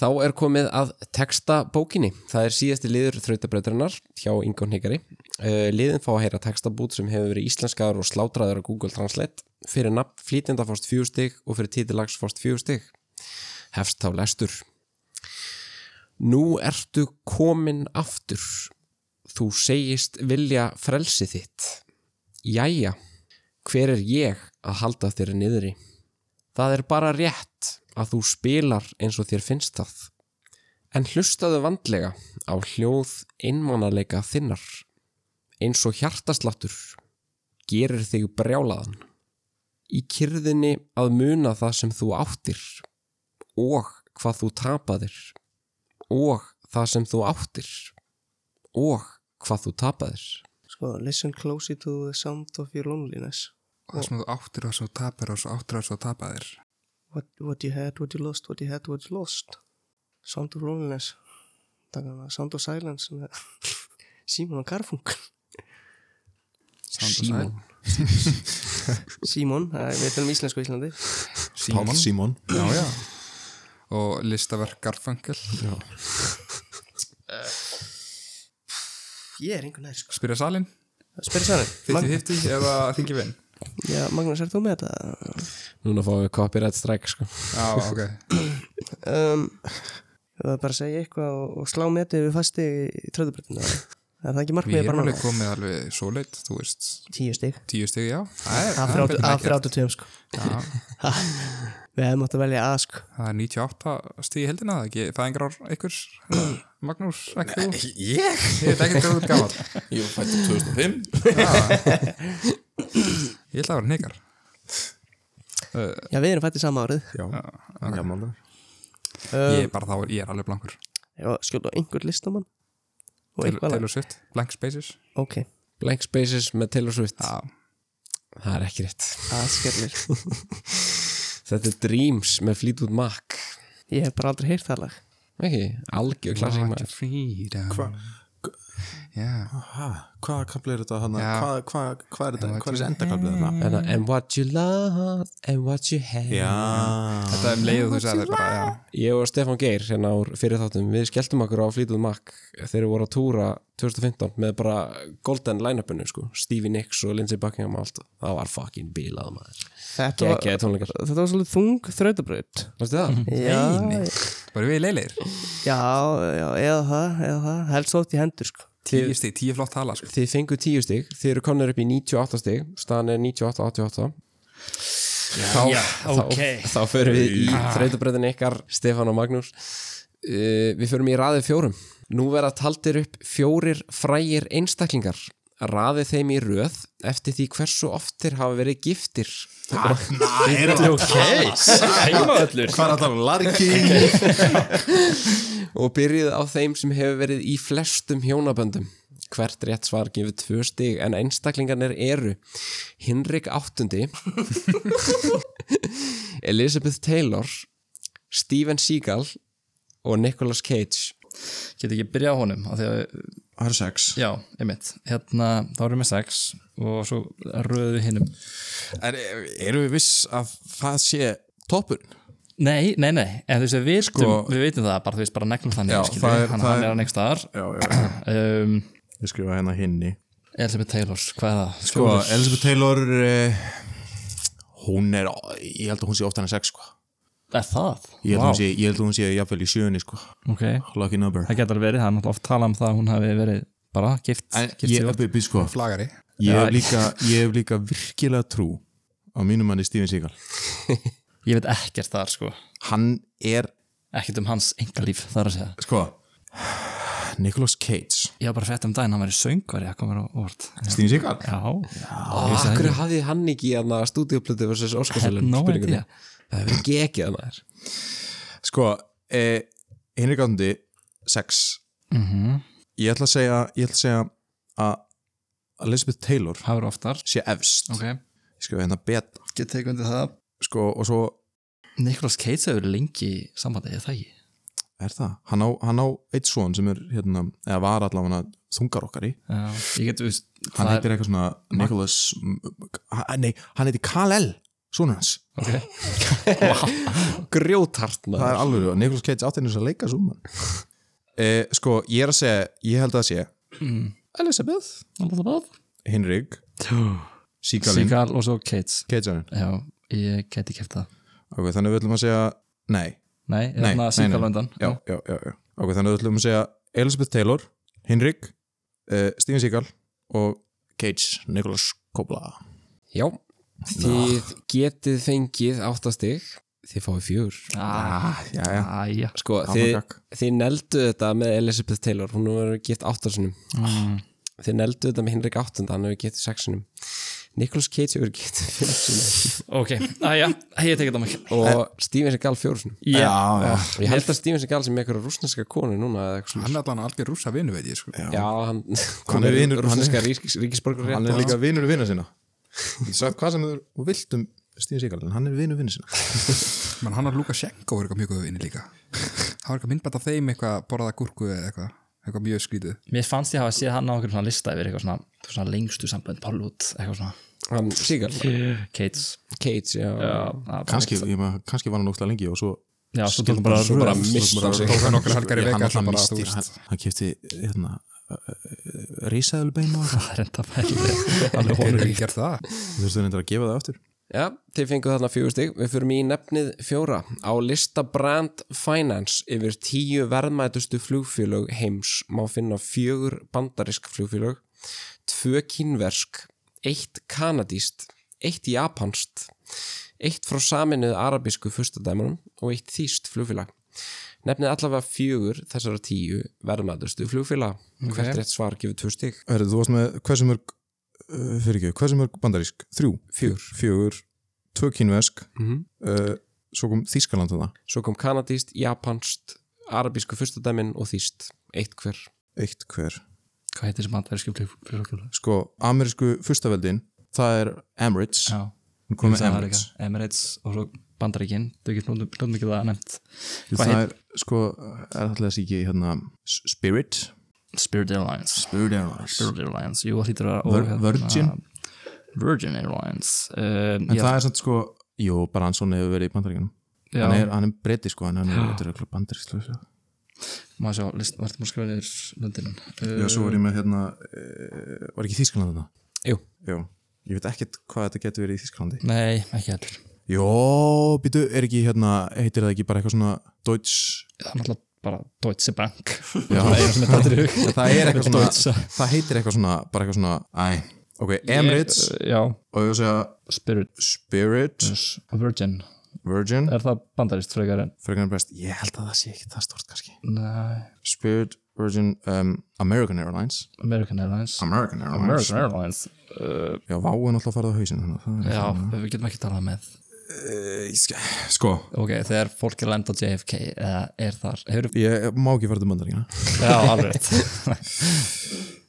Þá er komið að texta bókinni. Það er síðasti liður þrautabreytarinnar hjá Ingo Hnikari Uh, liðin fá að heyra textabút sem hefur verið íslenskaður og slátraður á Google Translate fyrir nafn flýtenda fórst fjögur stig og fyrir titilags fórst fjögur stig hefst þá lestur Nú ertu komin aftur þú segist vilja frelsi þitt Jæja, hver er ég að halda þér niðri? Það er bara rétt að þú spilar eins og þér finnst það en hlustaðu vandlega á hljóð einmanalega þinnar eins og hjartasláttur gerir þig brjálaðan í kyrðinni að muna það sem þú áttir og hvað þú tapaðir og það sem þú áttir og hvað þú tapaðir Sko, listen closely to the sound of your loneliness það sem þú áttir og það sem þú tapir og það sem þú áttir og það sem þú tapaðir what, what you had, what you lost, what you had, what you lost Sound of loneliness Takk, Sound of silence með Simon og Garfung Sound og sæl. Simon, það er- við tölum íslensku í Íslandi Pál Simon já, já. og listaverk Garfangel Ég er einhvern veginn, sko spyrja salin, Spyrir sannir 50-50 eða þingi vinn Já, Magnús, er þú með þetta? núna fáum við copyright strike sko. já, ok, Um, ég var bara að segja eitthvað og, og slá metið við fasti í tröðubröndinu Það er það ekki við markmið erum bara alveg núna komið alveg svo leitt, þú veist Tíu stig tíu stig, já, það er, Af það er betur en fyrir ekkert. 82 sko Já, Við hefum átt að velja að sko það er 98 stig í heldina, það er ekki fæðingar ár einhvers, Magnús, ekki þú Ég? ég veit ekki hvað þú ert gamall Ég var fættur 2005 ég ætla að vera hnikar Já, við erum fættið sama árið Já, já, málur ég er bara þá, ég er alveg blankur Já, skjóta á einhvern listamann Og Taylor einhvað Taylor Swift, Blank Spaces Ok, blank spaces með Taylor Swift já, það er ekki rétt það skerlir þetta er Dreams með Fleetwood Mac Ég hef bara aldrei heyrt það lag ekki, algjör klassík What a maður Freedom Hva- já, Hvað kapli er þetta hann? Já. Hvað hva, hva er þetta? Já, Hvað er þessi endakaplið þarna? and, Hérna, and what you lost and what you had Já þetta er um leiðu þú sagði bara, já Ég og Stefán Geir hérna úr fyrir þáttum við skelltum okkur á Fleetwood Mac þegar við vorum að túra 2015 með bara golden line-upinu sko Stevie Nicks og Lindsey Buckingham og allt það var fucking bílað maður Þetta var, Mhm. Gekkjaði tónleikar þetta var svolítið þung þrautabröð Varstu það? Já, Bara við leilir, já, já, eða það, eða það Helst þótt í hendur sko tíu stík, tíu flott tala sko. Þið fengu 10 stig, þið eru konur upp í 98 stig staðan er 98-88 þá, já, þá, ok. þá förum við í þrautabröðin ykkar Stefán og Magnús uh, Við förum í raðið fjórum Nú verða taldir upp fjórir frægir einstaklingar Raðið þeim í röð eftir því hversu oftir hafa verið giftir Það er þetta ok, sæma öllur Hvað er þetta? um? Larki og byrjið á þeim sem hefur verið í flestum hjónaböndum. Hvert rétt svar gefur tvö stig en einstaklingarnir eru Hinrik VIII Elizabeth Taylor Steven Seagal og Nicolas Cage Get ekki byrjað á honum af því að, Það er sex Já, einmitt Hérna, þá erum við sex og svo röðum við hinnum er, Erum við viss að það sé toppurinn? Nei, nei, nei, en þú veist að við vitum, Sko- við vitum það bara, þú veist bara neglum þannig Já, skilur, það er- hann, það hann er- er hann ekki staðar Já, já um, Ég skrifa hérna hinni Elizabeth Taylor, hvað er það? Sko, Elizabeth Taylor eh, Hún er, ég held að hún sé oftar en sex sko Er það? Ég held að Vá. hún sé, ég held að hún sé jafnvel í sjöunni sko Ok, Lucky number það getur verið, hann átt oft talað um það að hún hafi verið bara gift, En gift ég, sig oft. ég, ég, sko, Flagari ég, hef líka, ég hef líka virkilega trú á mínum manni Steven Seagal Ég veit ekkert þar sko, Hann er, ekkert um hans engalíf þar að segja sko Nicolas Cage Ég var bara frétt um daginn, hann væri söngvari að koma á orð Steven Seagal? Já, Akkur hafði hann ekki hann að stúdíoplötu versus Óskarsölun no idea. Það hefur ekki ekki hann að Sko, eh, Henrik Ándi 6 Mhm. Ég ætla að segja, ég ætla að segja að Elizabeth Taylor hafa verið oftar sé efst Ok, Ég skrifa hérna beta get tekið undir það Sko, og svo Nicholas Cage hefur verið lengi í sambandi, eða það ekki? er það Hann á, hann á eitt svoan sem er hérna, eða var allavega þungar okkar í Já, ég get, þú veist Hann það heitir eitthvað svona Nicholas ha- Nei, hann heitir Kal-El Svona hans er, Grjóthart Það maður er alveg, og Nicolas Cage átti henni að leika svo mann eh, Sko, ég er að segja, ég held að segja Elizabeth Elizabeth Hinrik, Síkalinn, Sigal og svo Kates Keitsanin Já, ég geti kæft það ok, þannig við ætlum að segja nei, Nei, nei, þannig að Sigal undan já, já, já, já. ok, þannig við ætlum að segja Elizabeth Taylor, Hinrik uh, Steven Síkal og Cage, Nicholas Coppola Já, þið getið fengið áttastig, þið fáið fjör Ah, já, já, Æja Sko, Áfram þið, gakk. þið neldu þetta með Elizabeth Taylor, hún hefur verið gift áttarsunum mm. Þið neldu þetta með Henrik áttunda, hann hefur gift sexunum Nicholas Cage hefur gift fimmsunum Ok, æja, ég tekið það mig og Steven Seagal fjórsunum Já, já og ég held að Steven Seagal sem einhverja rúsneska konu núna eða eitthvað svona Hann er allan algjör rúsa vinu, veit ég sko. Já, hann Hann er vinur- rúsneska ríkis, ríkisborgur hann er líka vinur vina sinna ég sagði hvað sem þú vilt um Steven Seagal, en hann er vinur vina sinna Man, hann og Luka Schenko er eitthvað mjög góð vini líka Það var eitthvað myndbætt af þeim eitthvað að borða gúrku eða eitthvað, eitthvað mjög skrítið Mér fannst ég hafa séð hann á okkur svona lista yfir eitthvað svona, svona lengstu sambönd Pálút, eitthvað svona Hann Seagal, Kates Cage, já, Já, kannski, ég maður, kannski var hann óslega lengi og svo Já, svo tók hann bara Svo bara röð. mista sig Tók hann okkur helgar í hann veka alltaf alltaf bara, þú mistir veist. hann, hann kefti hérna risaðulbein og Það eitthvað. er enda fæli Alveg Hefur honum ekki gert það? þú þurftu reyndar að gefa það aftur Já, þið fenguð þarna fjögur stig. Við förum í nefnið fjóra á lista Brand Finance yfir tíu verðmætustu flugfélög heims má finna fjögur bandarisk flugfélög, tvö kínversk, eitt kanadíst, eitt japanst, eitt frá saminuð arabísku fyrstadæmunum og eitt þýst flugfélag. Nefnið allavega fjögur þessara tíu verðmætustu flugfélag. Hvert rétt svar gefur tvö stig? Herru, þú varst með hversu mörg uh, fyrir ekki, hversu mörg bandarísk? Þrjú? Fjögur. Fjögur, tvö kínvesk Mm -hmm. uh, svo kom Þískaland þarna Svo kom kanadíst, japanst, arabísku fyrstadæmin og þýst, eitt hver. eitt hver, Hvað heitir þessi bandarísku flugfélag? sko, amerísku fyrstaveldin, það er Emirates Já, hún kom með það er Emirates eitthvað Emirates og svo bandaríkin Þau getur náttúrulega mikið það nefnt það er, sko, er alltaf þessi ekki hérna, S- Spirit Spirit Airlines Spirit Airlines Spirit Airlines, jú, það hlýtur að Vir- og hérna- Virgin? Virgin Airlines um, en það er samt sko, jú, Bransson hefur verið í bandaríkinum Já. hann er, hann er breyti sko, en hann er, þetta er eitthvað bandarísk sko. Má sjá, list, var þetta maður skrifa niður Eh, löndin já, svo var ég með hérna uh, var ekki Þískaland þarna? Jú. Jú. ég veit ekkert hvað þetta getur verið í Þískalandi Nei, ekki heldur Jó, býtu, er ekki hérna, heitir það ekki bara eitthvað svona Deutsch Það er náttúrulega bara Deutsche Bank Já, Það það er eitthvað svona Deutsche. Það heitir eitthvað svona, bara eitthvað svona Æ, ok, Emirates Eh, Já, og ég vil segja Spirit Spirit, Virgin, Virgin er það bandarist frekar en Frekar en best, ég held að það sé ekki það stort kannski Nei, Spirit, Virgin, um, American Airlines American Airlines American Airlines American Airlines uh, Já, Vá er náttúrulega farið á hausinn þannig, að það er- Já, við getum ekki talað með Ég sk- Sko, Ok, þegar fólk er lenda á JFK eða er þar hefur, ég má ekki fara til bandaríkina Já, alveg rétt.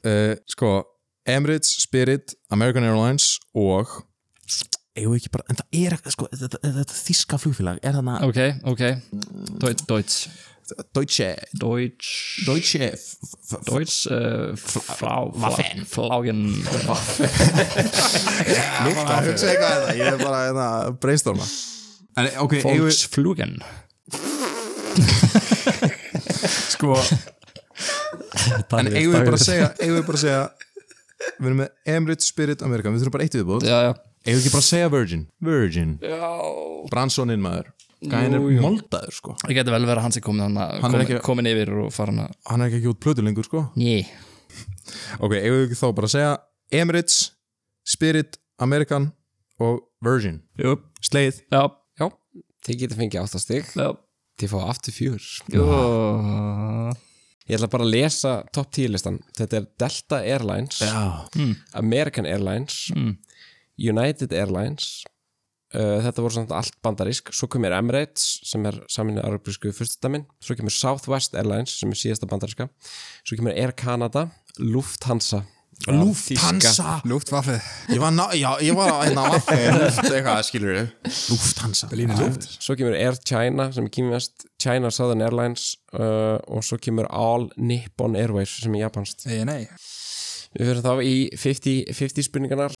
uh, sko Emirates, Spirit, American Airlines og eigum við ekki bara, en það er ekki, sko, þetta, þetta, þetta þíska flugfélag, er þarna Ok, ok Deutsch Deutsch Deutsche, Deutsch Deutsche f- f- Deutsch uh, Flá Waffen Flágen Líkt að hugsa eitthvað þetta, ég er bara hérna að brainstorma en eh, ok, eigum við, Volksflugen sko en eigum við bara að segja eigum við bara að segja við erum með Emirates, Spirit, American, við þurfum bara eitt viðbúð Já, já eigum við ekki bara að segja Virgin Virgin, já Bransoninn maður, gæðin er moldaður sko Það getur vel verið að hann sem komin, hana, Hann er komin, ekki- komin yfir og farin að hann er ekki ekki út plötu lengur sko Ný Ok, eigum við ekki þá bara að segja Emirates, Spirit, American og Virgin Jú, Sleið já, Já, þið getið fengið áttastig já Þið fá aftur fjör Jú Ég ætla bara að lesa topp 10 listan Þetta er Delta Airlines Já American Airlines Mm. United Airlines uh, Þetta voru samt allt bandarísk Svo kemur Emirates sem er saminu arabísku fyrstudæmin Svo kemur Southwest Airlines sem er síðasta bandaríska Svo kemur Air Canada Lufthansa Lufthansa Luftwaffe, Ég var, ná, já, ég var að hérna vaffi Luft eitthvað, skilur við Lufthansa Línu Luft Svo kemur Air China sem er kýmjast China Southern Airlines uh, og svo kemur All Nippon Airways sem er japanskt. ei nei Við fyrir þá í 50, 50 spurningarnar.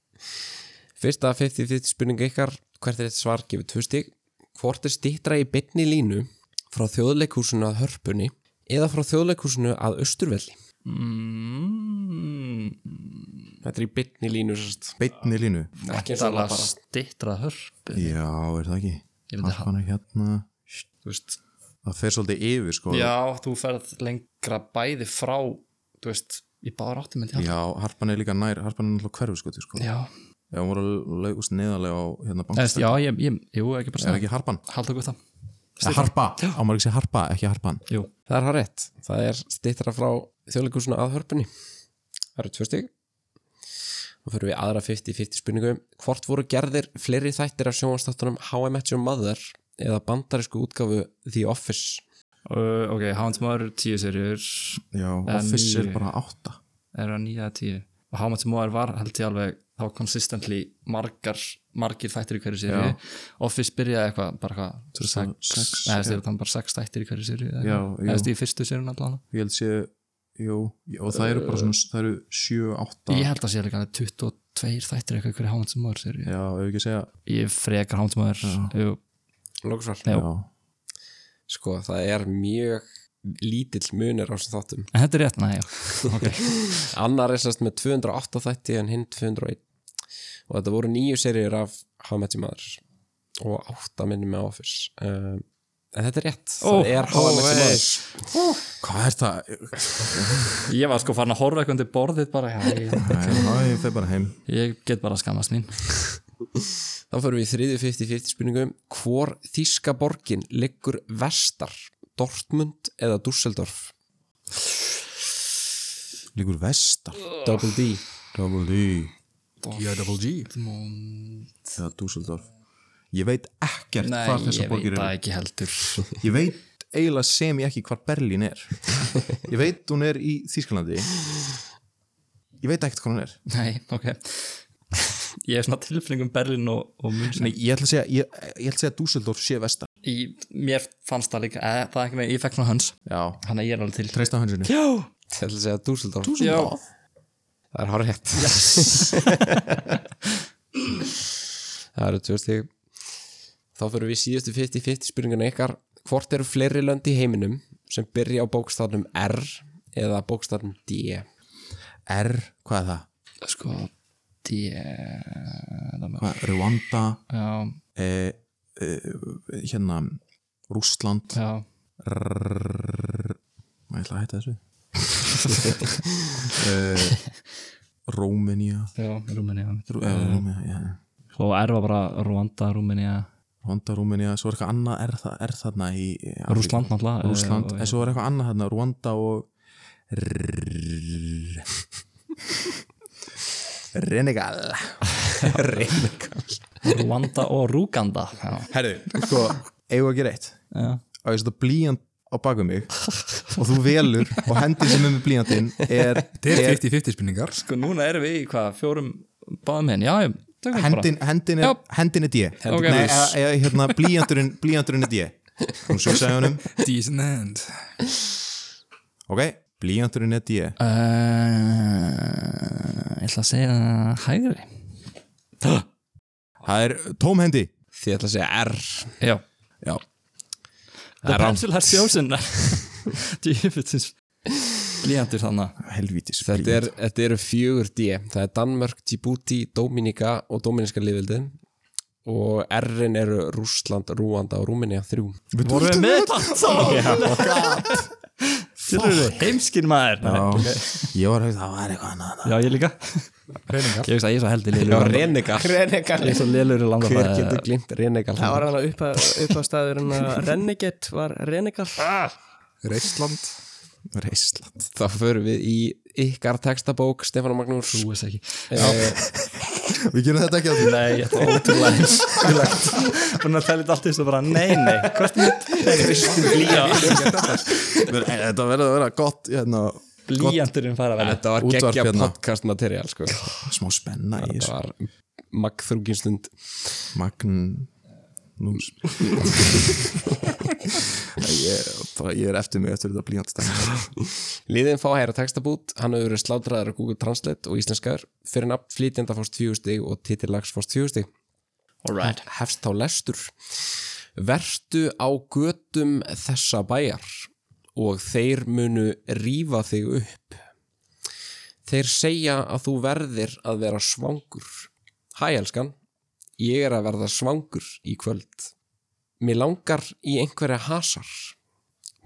Fyrsta 50-50 spurninga ykkar, hvert er þetta svar gefið tvö stík? Hvort er stýttra í bytni línu frá þjóðleikúsinu að hörpunni eða frá þjóðleikúsinu að austurvelli? mm, Þetta er í bytni línu sérst. Beinni línu Ekki eins og Tala bara bara, stittra hörpu Já, er það ekki Ég myndi Harpan er hérna þú veist, Það fer svolítið yfir sko Já, þú ferð lengra bæði frá þú veist, í bára áttum myndi ég halda. Já, harpan er líka nær, harpan er náttúrulega hverfi sko, sko. Já, Já, hún voru að laugust neðarlega á hérna Eða, veist, bankastæð já ég, ég, jú, ekki bara Er segja ekki harpan? Halda okkur það Er harpa? Á maður ekki sé harpa, ekki harpan Jú, það er hár rétt. Það er stittra frá þjóðleikursuna að hörpunni. Það eru tvö stig. Þá fyrir við í aðra 50-50 spurningu. Hvort voru gerðir fleiri þættir af sjónvastáttunum How I Met Your Mother eða bandarísku útgáfu The Office? uh, ok, Houndsmore tíu serjur er Já, En office er níu. bara átta að nýja eða tíu og Houndsmore var held ég alveg þá consistently margar margir þættir í hverju serju Office byrjaði eitthvað bara Þú hvað veist, það- sex, eða þú veist, það var bara sex þættir í hverju serju eða Já, eitthvað. jú. eða þú veist, í fyrstu serjun allan Ég held sé, jú Og það eru bara svona, það eru sjö, átta ég held að sé líka alveg 22 þættir eitthvað í hverju Houndsmore serju Já, ef ekki segja ég frekar Houndsmore jú, Lóksvar. Já. Já, Sko, það er mjög lítill munir á þessum þáttum. en þetta er rétt, næja Annar er sérst með 208 þætti en hinn 201 og þetta voru nýju seríur af How I Met Your Mother og átta minni með Office um, en þetta er rétt, Ó, það er How I Met Your Mother Hvað er það? Ég var sko farin að horfa eitthvað undir borðið bara, já, ég, Æ, það fer bara heim ég get bara að skammast mín. Þá fyrir við í þriðju 50-50 spurningum Hvor þýska borgin liggur vestar? Dortmund eða Dusseldorf? Líkur vestar Double D Double D Double G eða Dusseldorf ég veit ekkert Nei, hvar þessar ég veit borgir það eru ekki heldur. ég veit eiginlega sem ég ekki hvar Berlín er ég veit hún er í Þýskalandi ég veit ekkert hvað hún er Nei, ok. Ég hef svona tilfinning um Berlin og, og München. Nei, ég ætla að segja, ég, ég ætla að segja að Dusseldorf sé vestar Í, mér fannst það líka, eða, það er ekki með, ég fekk svona hans. já, Þannig að ég er alveg til. treysta hansinu Já, Þetta er að segja Dusseldorf já. Það er hár rétt Það eru tvö stig Þá fyrir við í síðustu 50-50 spurninguna ykkar Hvort eru fleiri lönd í heiminum sem byrja á bókstafnum R eða bókstafnum D R, hvað er það? Sko, D, það með, Hvað, Rwanda já, e, e, hérna Rússland já. Rrrr. Má ég ætla að hætta þessu uh, Rómenía Já, Rúmeníja. Honda Og R var bara Rwanda, Rúmeníja, Rúmenía, svo er eitthvað annað er, það, er þarna í Afríku. Rússland náttúrulega. Rússland, en Eh, og- svo er eitthvað annað þarna Rwanda og Rrrr. Renegal Rwanda og Rúganda. Já, Herðu, sko, eigum við að gera eitt já. á ég setja blíjant á baku mig og þú velur og hendið sem er með blíjantinn er, Þetta er er 50-50 spurningar Sko núna erum við í hvað, fjórum báðum henn, já, ég tökum bara. hendin, hendin er, Já. hendin er D Ok. Nei, eða, eða, hérna, blíjanturinn blíjanturinn er D hún svo sagði honum, Decent end ok, blíjanturinn er D Uh, Eh, ég ætla að segja hægri. það er tómhendi Þið ætla að segja R Já. Já. The pencil has chosen. Djöfutins. Blíjandur þannig. helvítis Þetta, er, þetta eru fjögur D Það er Danmörk, Djibouti, Dominika og Dominíska liðvildið og R-in eru Rússland, Rúanda og Rúminja þrjú Voru við með þetta? Oh Sérur þið, heimskin maður. Já, Nei. ég var að hugsa, það var eitthvað annað Já, ég líka. Hreiningar Ég veist að ég er svo heldur Já, lélur. Renegal Ég er svo lélur í langa Hver getur glimt Renegal það var alveg upp að, upp að staður en að Renegade var Renegal Reisland Reisland Þá förum við í ykkar textabók Stefán Magnús Þú veist ekki. Við gerum þetta ekki að því Nei, þetta var ótrúlega heimskulegt Búin að tella þetta allt í þessu bara Nei, nei, hvert er Kristin blíjant Þetta verður að vera gott hérna, Blíjanturinn fara að vera Þetta var Útvarp geggja hérna. podcast material sko. smá spenna í Þetta þessu var magþrúkinstund Magn Nús ég, bara, ég er eftir mig eftir þetta blíjantstæð Liðin fá hæra textabút, hann hefur verið slátraður á Google Translate og íslenskaður fyrir nafn flytjenda fórst fjögustig og titillags fórst fjögustig Alright hefst þá lestur Vertu á götum þessa bæjar og þeir munu rífa þig upp Þeir segja að þú verðir að vera svangur Hæ elskan, ég er að verða svangur í kvöld Mér langar í einhverja hasar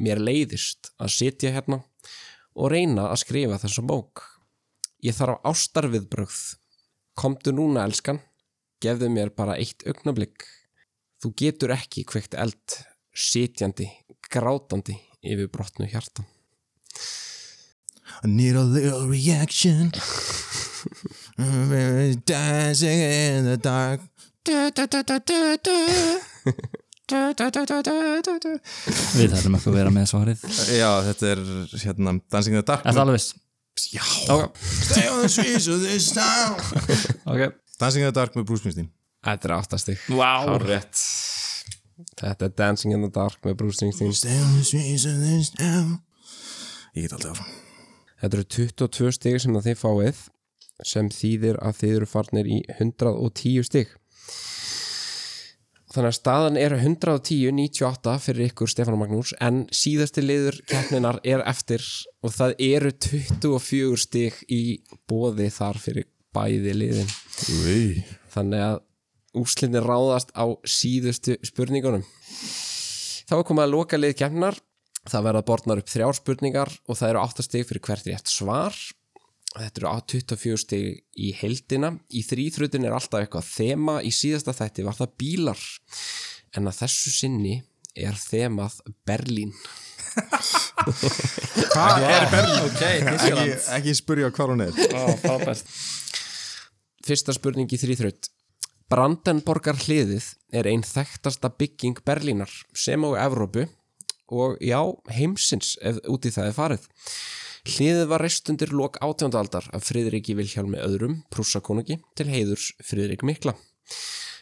Mér leiðist að sitja hérna og reyna að skrifa þessa bók Ég þarf ástarviðbrögð Komdu núna elskan, gefðu mér bara eitt augnablik Þú getur ekki kveikt eld, sitjandi, grátandi yfir brotnu hjarta I need a little reaction Dancing in the dark Du, du, du, du, du, du. Du, du, du, du, du, du. Við þarfum ekki að vera með svarið Já, þetta er hérna Dancing in the Dark Er það alveg viss? Já Stay on the streets of this town Ok Dancing in the Dark með Bruce Springsteen Þetta er áttastig wow. Hárrétt Þetta er Dancing in the Dark með Bruce Springsteen Stay on the streets of this town Ég get aldrei áfram Þetta eru 22 stig sem að þið fáið sem þýðir að þið eru farnir í 110 stig Þannig að staðan er 110-98 fyrir ykkur Stefán og Magnús en síðasti liður keppninar er eftir og það eru 24 stig í bóði þar fyrir bæði liðin Úi þannig að úrslinni ráðast á síðustu spurningunum þá er komið að loka lið kemnar það verða borðnar upp þrjár spurningar og það eru 8 stig fyrir hvert rétt svar þetta eru á 24 stig í heldina í þrýþrutin er alltaf eitthvað þema í síðasta þætti var það bílar en að þessu sinni er þemað Berlín Hvað er Berlín? Ekki, ekki spurja hvað hún er Fyrsta spurning í þrýþraut. Brandenborgar hliðið er ein þekktasta bygging Berlínar sem á Evrópu og já, heimsins ef út í það er farið. Hliðið var reist undir lok 18. aldar af Friðriki Vilhjálmi öðrum, Prússakonungi, til heiðurs Friðrik Mikla.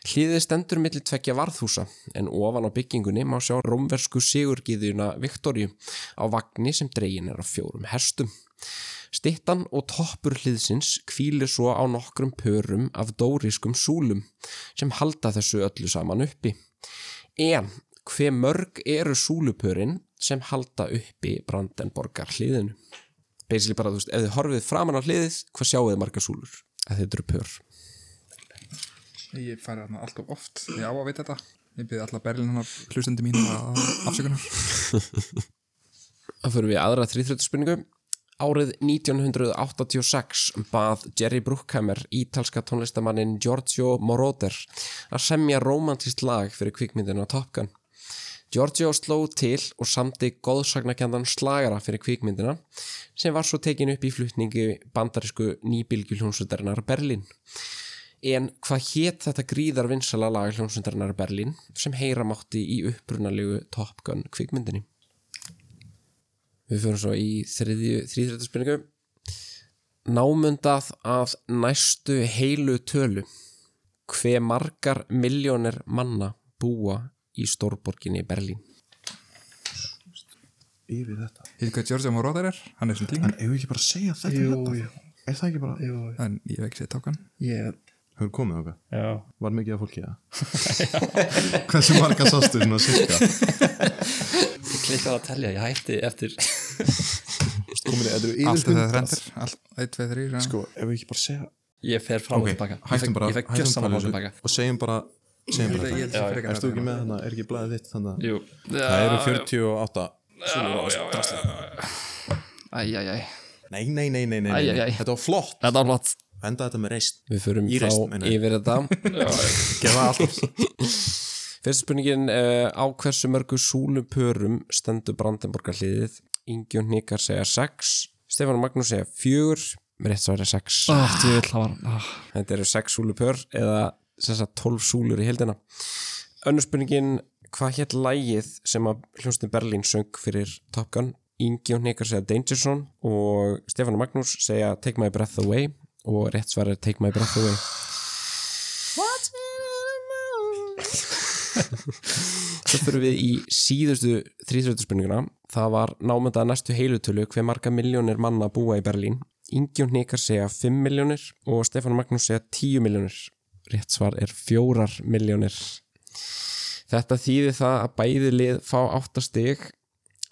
Hliðið stendur milli tvekja varðhúsa en ofan á byggingunni má sjá rómversku sigurgiðjuna Viktoríu á vagni sem dregin er á fjórum hestum. Stittan og toppur hliðsins kvílir svo á nokkrum pörum af dóriskum súlum sem halda þessu öllu saman uppi. En hve mörg eru súlupörin sem halda uppi Brandenborgar hliðinu? Basically bara, þú veist, ef þið horfið framan á hliðið, hvað sjáu þið marga súlur? Að þetta eru pör. Ég færi þarna alltaf oft, ég á að vita þetta Ég byrði alltaf Berlín hann hlustandi mín að afsökunar Það fyrir við í aðra þrýþröðspurningu. Árið 1986 bað Jerry Bruckheimer ítalska tónlistamannin Giorgio Moroder að semja romantist lag fyrir kvikmyndina Top Gun. Giorgio sló til og samti góðsagnakjandan slagara fyrir kvikmyndina sem var svo tekin upp í flutningi bandarísku nýbylgjuljónsutarinnar Berlín. En hvað hétt þetta gríðar vinsala lag hljónsundarinnar Berlín sem heyra mátti í upprunalegu Top Gun kvikmyndinni? Við fyrir svo í þriðju, þrýþrættu spurningu. Námundað að næstu heilu tölu. Hve margar miljónir manna búa í stórborginni Berlín? Yfir þetta Ég veit hvað George Moroder er, hann er sem tíling En ef við ekki bara að segja þetta Jú, hérna? jú. Er það ekki bara Jú, En ég hef ekki séð tókan ég Hefur komið okkar? Já Var mikið af fólki það? Hversu marga sástu svona cirka? Ég klitti á að telja, ég hætti eftir komin eða yfir Allt er það rendir, allt, 1, 2, 3 Sko, ef við ekki bara segja Ég fer fram Ok, og tilbaka Ég hættum fekk- bara Ég fekk hættum gjössan að bara fá þessu tilbaka Og segjum bara Segjum bara þetta Ég Erstu ekki með hana? Er ekki blæðið þitt þannig að Jú Það eru 48 súlur á drasli. Æjæjæj Nei, nei, nei, nei, nei, Æ, nei, æ, æ. nei. Þetta var flott Þetta var flott Enda þetta með reist Við förum Í þá reist, meina ég. yfir þetta. Gefa alltaf Fyrsta spurningin uh, á hversu mörgu súlupörum stendur Brandenborgar hliðið? Ingi og Nikar segja 6, Stefán og Magnús segja 4, rétt svo er 6. Ah, djöfull, Það var ah. Þetta eru 6 súlupör eða sem sagt 12 súlur í heldina. Önnur spurningin, hvað hétt lægið sem að hljómsnið Berlín söng fyrir Top Gun? Ingi og Nikar segja Dangerson og Stefán og Magnús segja Take My Breath Away og rétt svar er Take My Breath Away. Svo fyrir við í síðustu þrýþrjóttuspurninguna. Það var námöndað næstu heilutölu hver marga miljónir manna búa í Berlín. Ingjón Hnikar segja 5 miljónir og Stefán Magnús segja 10 miljónir. Rétt svar er 4 miljónir. Þetta þýðir það að bæði lið fá 8 stig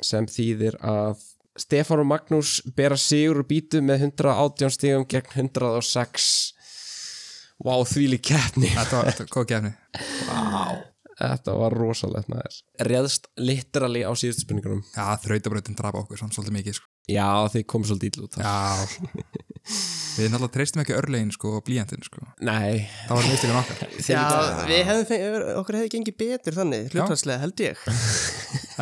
sem þýðir að Stefán og Magnús bera sigur og býtu með 118 stigum gegn 106 Vá, þvíli keppni Þetta var þetta var góð gefni Þetta var rosalegt maður Réðst literally á síðustu spurningunum Já, þrautabrautin drapa okkur samt svolítið mikið sko. Já, þið kom svolítið illa út þar. Já Við náttúrulega treystum ekki örlegin sko, og blíjantin sko. Nei, Það var mistökun okkar þið Já, við hefðum fengið, okkur hefði gengið betur þannig, hlutvarslega held ég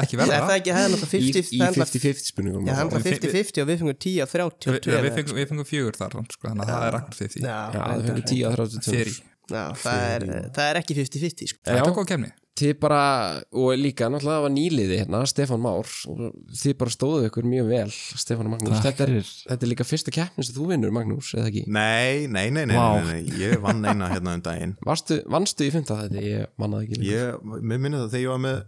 Ekki Er verða það ekki, hefði náttúrulega í, í 50 það er náttúrulega- 50-50 spurningum Já, hann var Við- 50-50 og við fengum 10 af 30 og Við, 2 við, fengum, við fengum fjögur þar samt, sko, þannig að það er akkur fyrir því Já, Já, þið reyndar. fengur 10 að 32 Fyrir, Já, það er, það er ekki 50-50 sko. þetta Já. er góð kemni Þið bara, og líka náttúrulega það var nýliði hérna, Stefán Már og þið bara stóðu ykkur mjög vel Stefán og Magnús, þetta er, þetta er líka fyrsta keppni sem þú vinnur Magnús, eða ekki? Nei, nei, nei, nei, Vá. nei, nei, nei. ég vann eina hérna um daginn Varstu, vannstu í fymta þetta? Ég mannaði ekki líka Ég, mér minna það þegar ég var með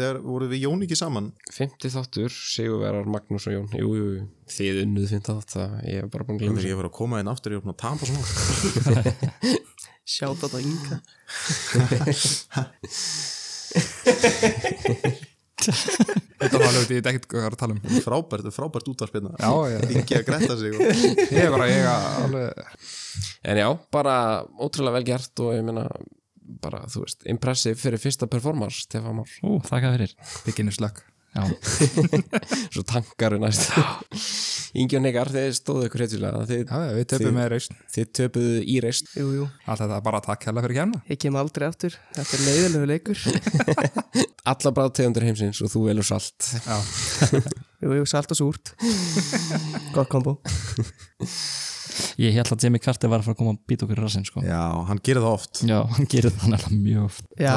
þegar voru við Jón ekki saman Fymti þáttur, Sigurverar, Magnús og Jón Jú, jú, jú, þið unnuð fymta þátt það ég er bara búin að glemja Þegar ég var að koma einn aftur, ég var búin að tapa svona Sjátt á þetta ynga Þetta var alveg, ég veit ekkert hvað það er að tala um Frábært, frábært útvarspilna Já, já. Ingi að gretta sig og... Ég er bara, ég er alveg En já, bara ótrúlega vel gert og ég meina bara, þú veist, impressive fyrir fyrsta performance Stefán Már, Ú, þakka fyrir Beginner slökk Já, svo tankar við næst Ingi og Negar, þið stóðu ykkur heitjulega þið, Já, já, við töpum Þið- með reysn þið töpuðu í reist Jú, jú, Allt þetta bara takk hella fyrir hérna. kemna ég kem aldrei aftur Þetta er leiðilegu leikur alla bráðtegundur heimsins og þú velur salt Já, Jú, jú, salt og súrt Gott kombo ég held að Jimmy Carter var að fara að koma að býta okkur í rassinn sko. Já, hann gerir það oft Já, hann gerir það nefnilega mjög oft Já,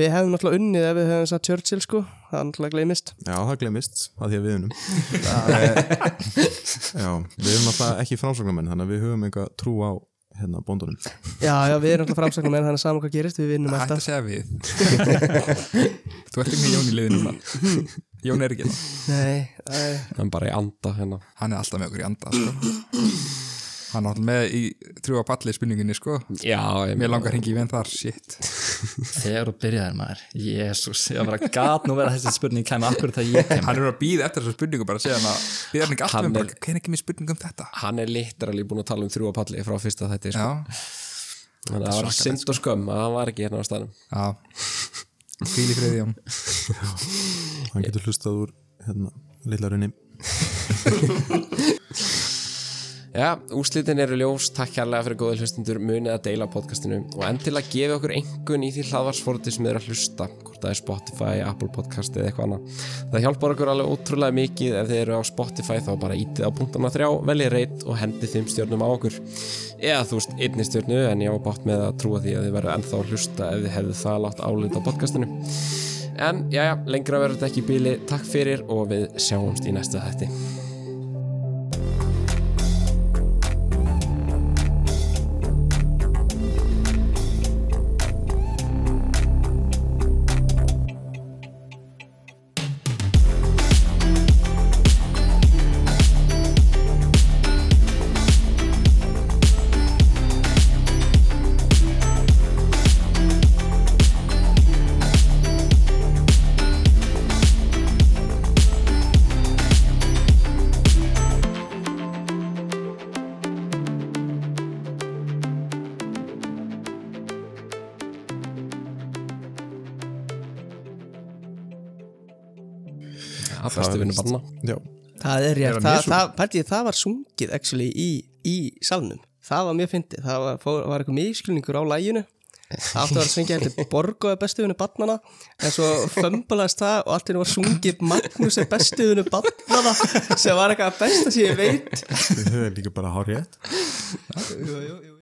við hefðum náttúrulega unnið ef við hefðum sagt Churchill sko Það er náttúrulega gleymist Já, það glemist, að því að við unum Já, við erum alltaf ekki framsóknarmenn þannig að við höfum einhver trú á hérna bóndunum Já, já, við erum náttúrulega framsaknum en hann er saman hvað gerist Við vinnum hætt alltaf að segja við Þú ert ekki með Jón í liðinu núna Jón er ekki hérna. Nei, æ, en bara í anda hérna Hann er alltaf með okkur í anda sko. Hann er alltaf með í trúa balli spurninginni sko. Já, ég Mér langar hengi í venn þar, shit Þegar þú byrjaðir maður Jésús, ég var bara gat nú vera þessi spurning kæmi akkur þegar ég kem Hann er að býða eftir þessu spurningu bara að segja hann að Býða hann ekki alltaf Hann er- um bara, hvernig ekki mér spurning um þetta? Hann er literally búin að tala um þrjúa palli frá fyrsta þætti sko. Já, Þannig að það var synd og skömm að hann var ekki hérna á staðnum já Hvíl í friði Jón Hann getur hlustað úr hérna lilla runni Já, úslitin eru ljós, takk hérlega fyrir góðu hlustundur, munið að deila podcastinu og endilega gefið okkur engun í því hlaðvarsforti sem þið eru að hlusta, hvort það er Spotify, Apple Podcast eða eitthvað annað. Það hjálpar okkur alveg ótrúlega mikið ef þið eru á Spotify þá bara ítið á punktana þrjá, veljið reyt og hendið þeim stjórnum á okkur. Eða þú veist, einni stjórnu en ég á bátt með að trúa því að þið verðu ennþá að hlusta ef þið hefðu það látt álit á podcastinu. En já, lengra verður þetta ekki í bíli, takk fyrir og við sjáumst í næsta þætti. Já, bestu vinnu banna. Já, það er Er rétt hann Það, Jesú? það, pældi ég, það var sungið actually í, í salnum Það var mjög fyndið, það var, fór, var eitthvað miskilningur á læginu Það átti að vera að syngja heldur Borgo er bestuðinu barnana en svo fömbalaðist það og allt í henni var sungið Magnús er bestuðinu barnana sem var eitthvað að besta sem ég veit við höfum líka bara hár rétt jú, jú, jú.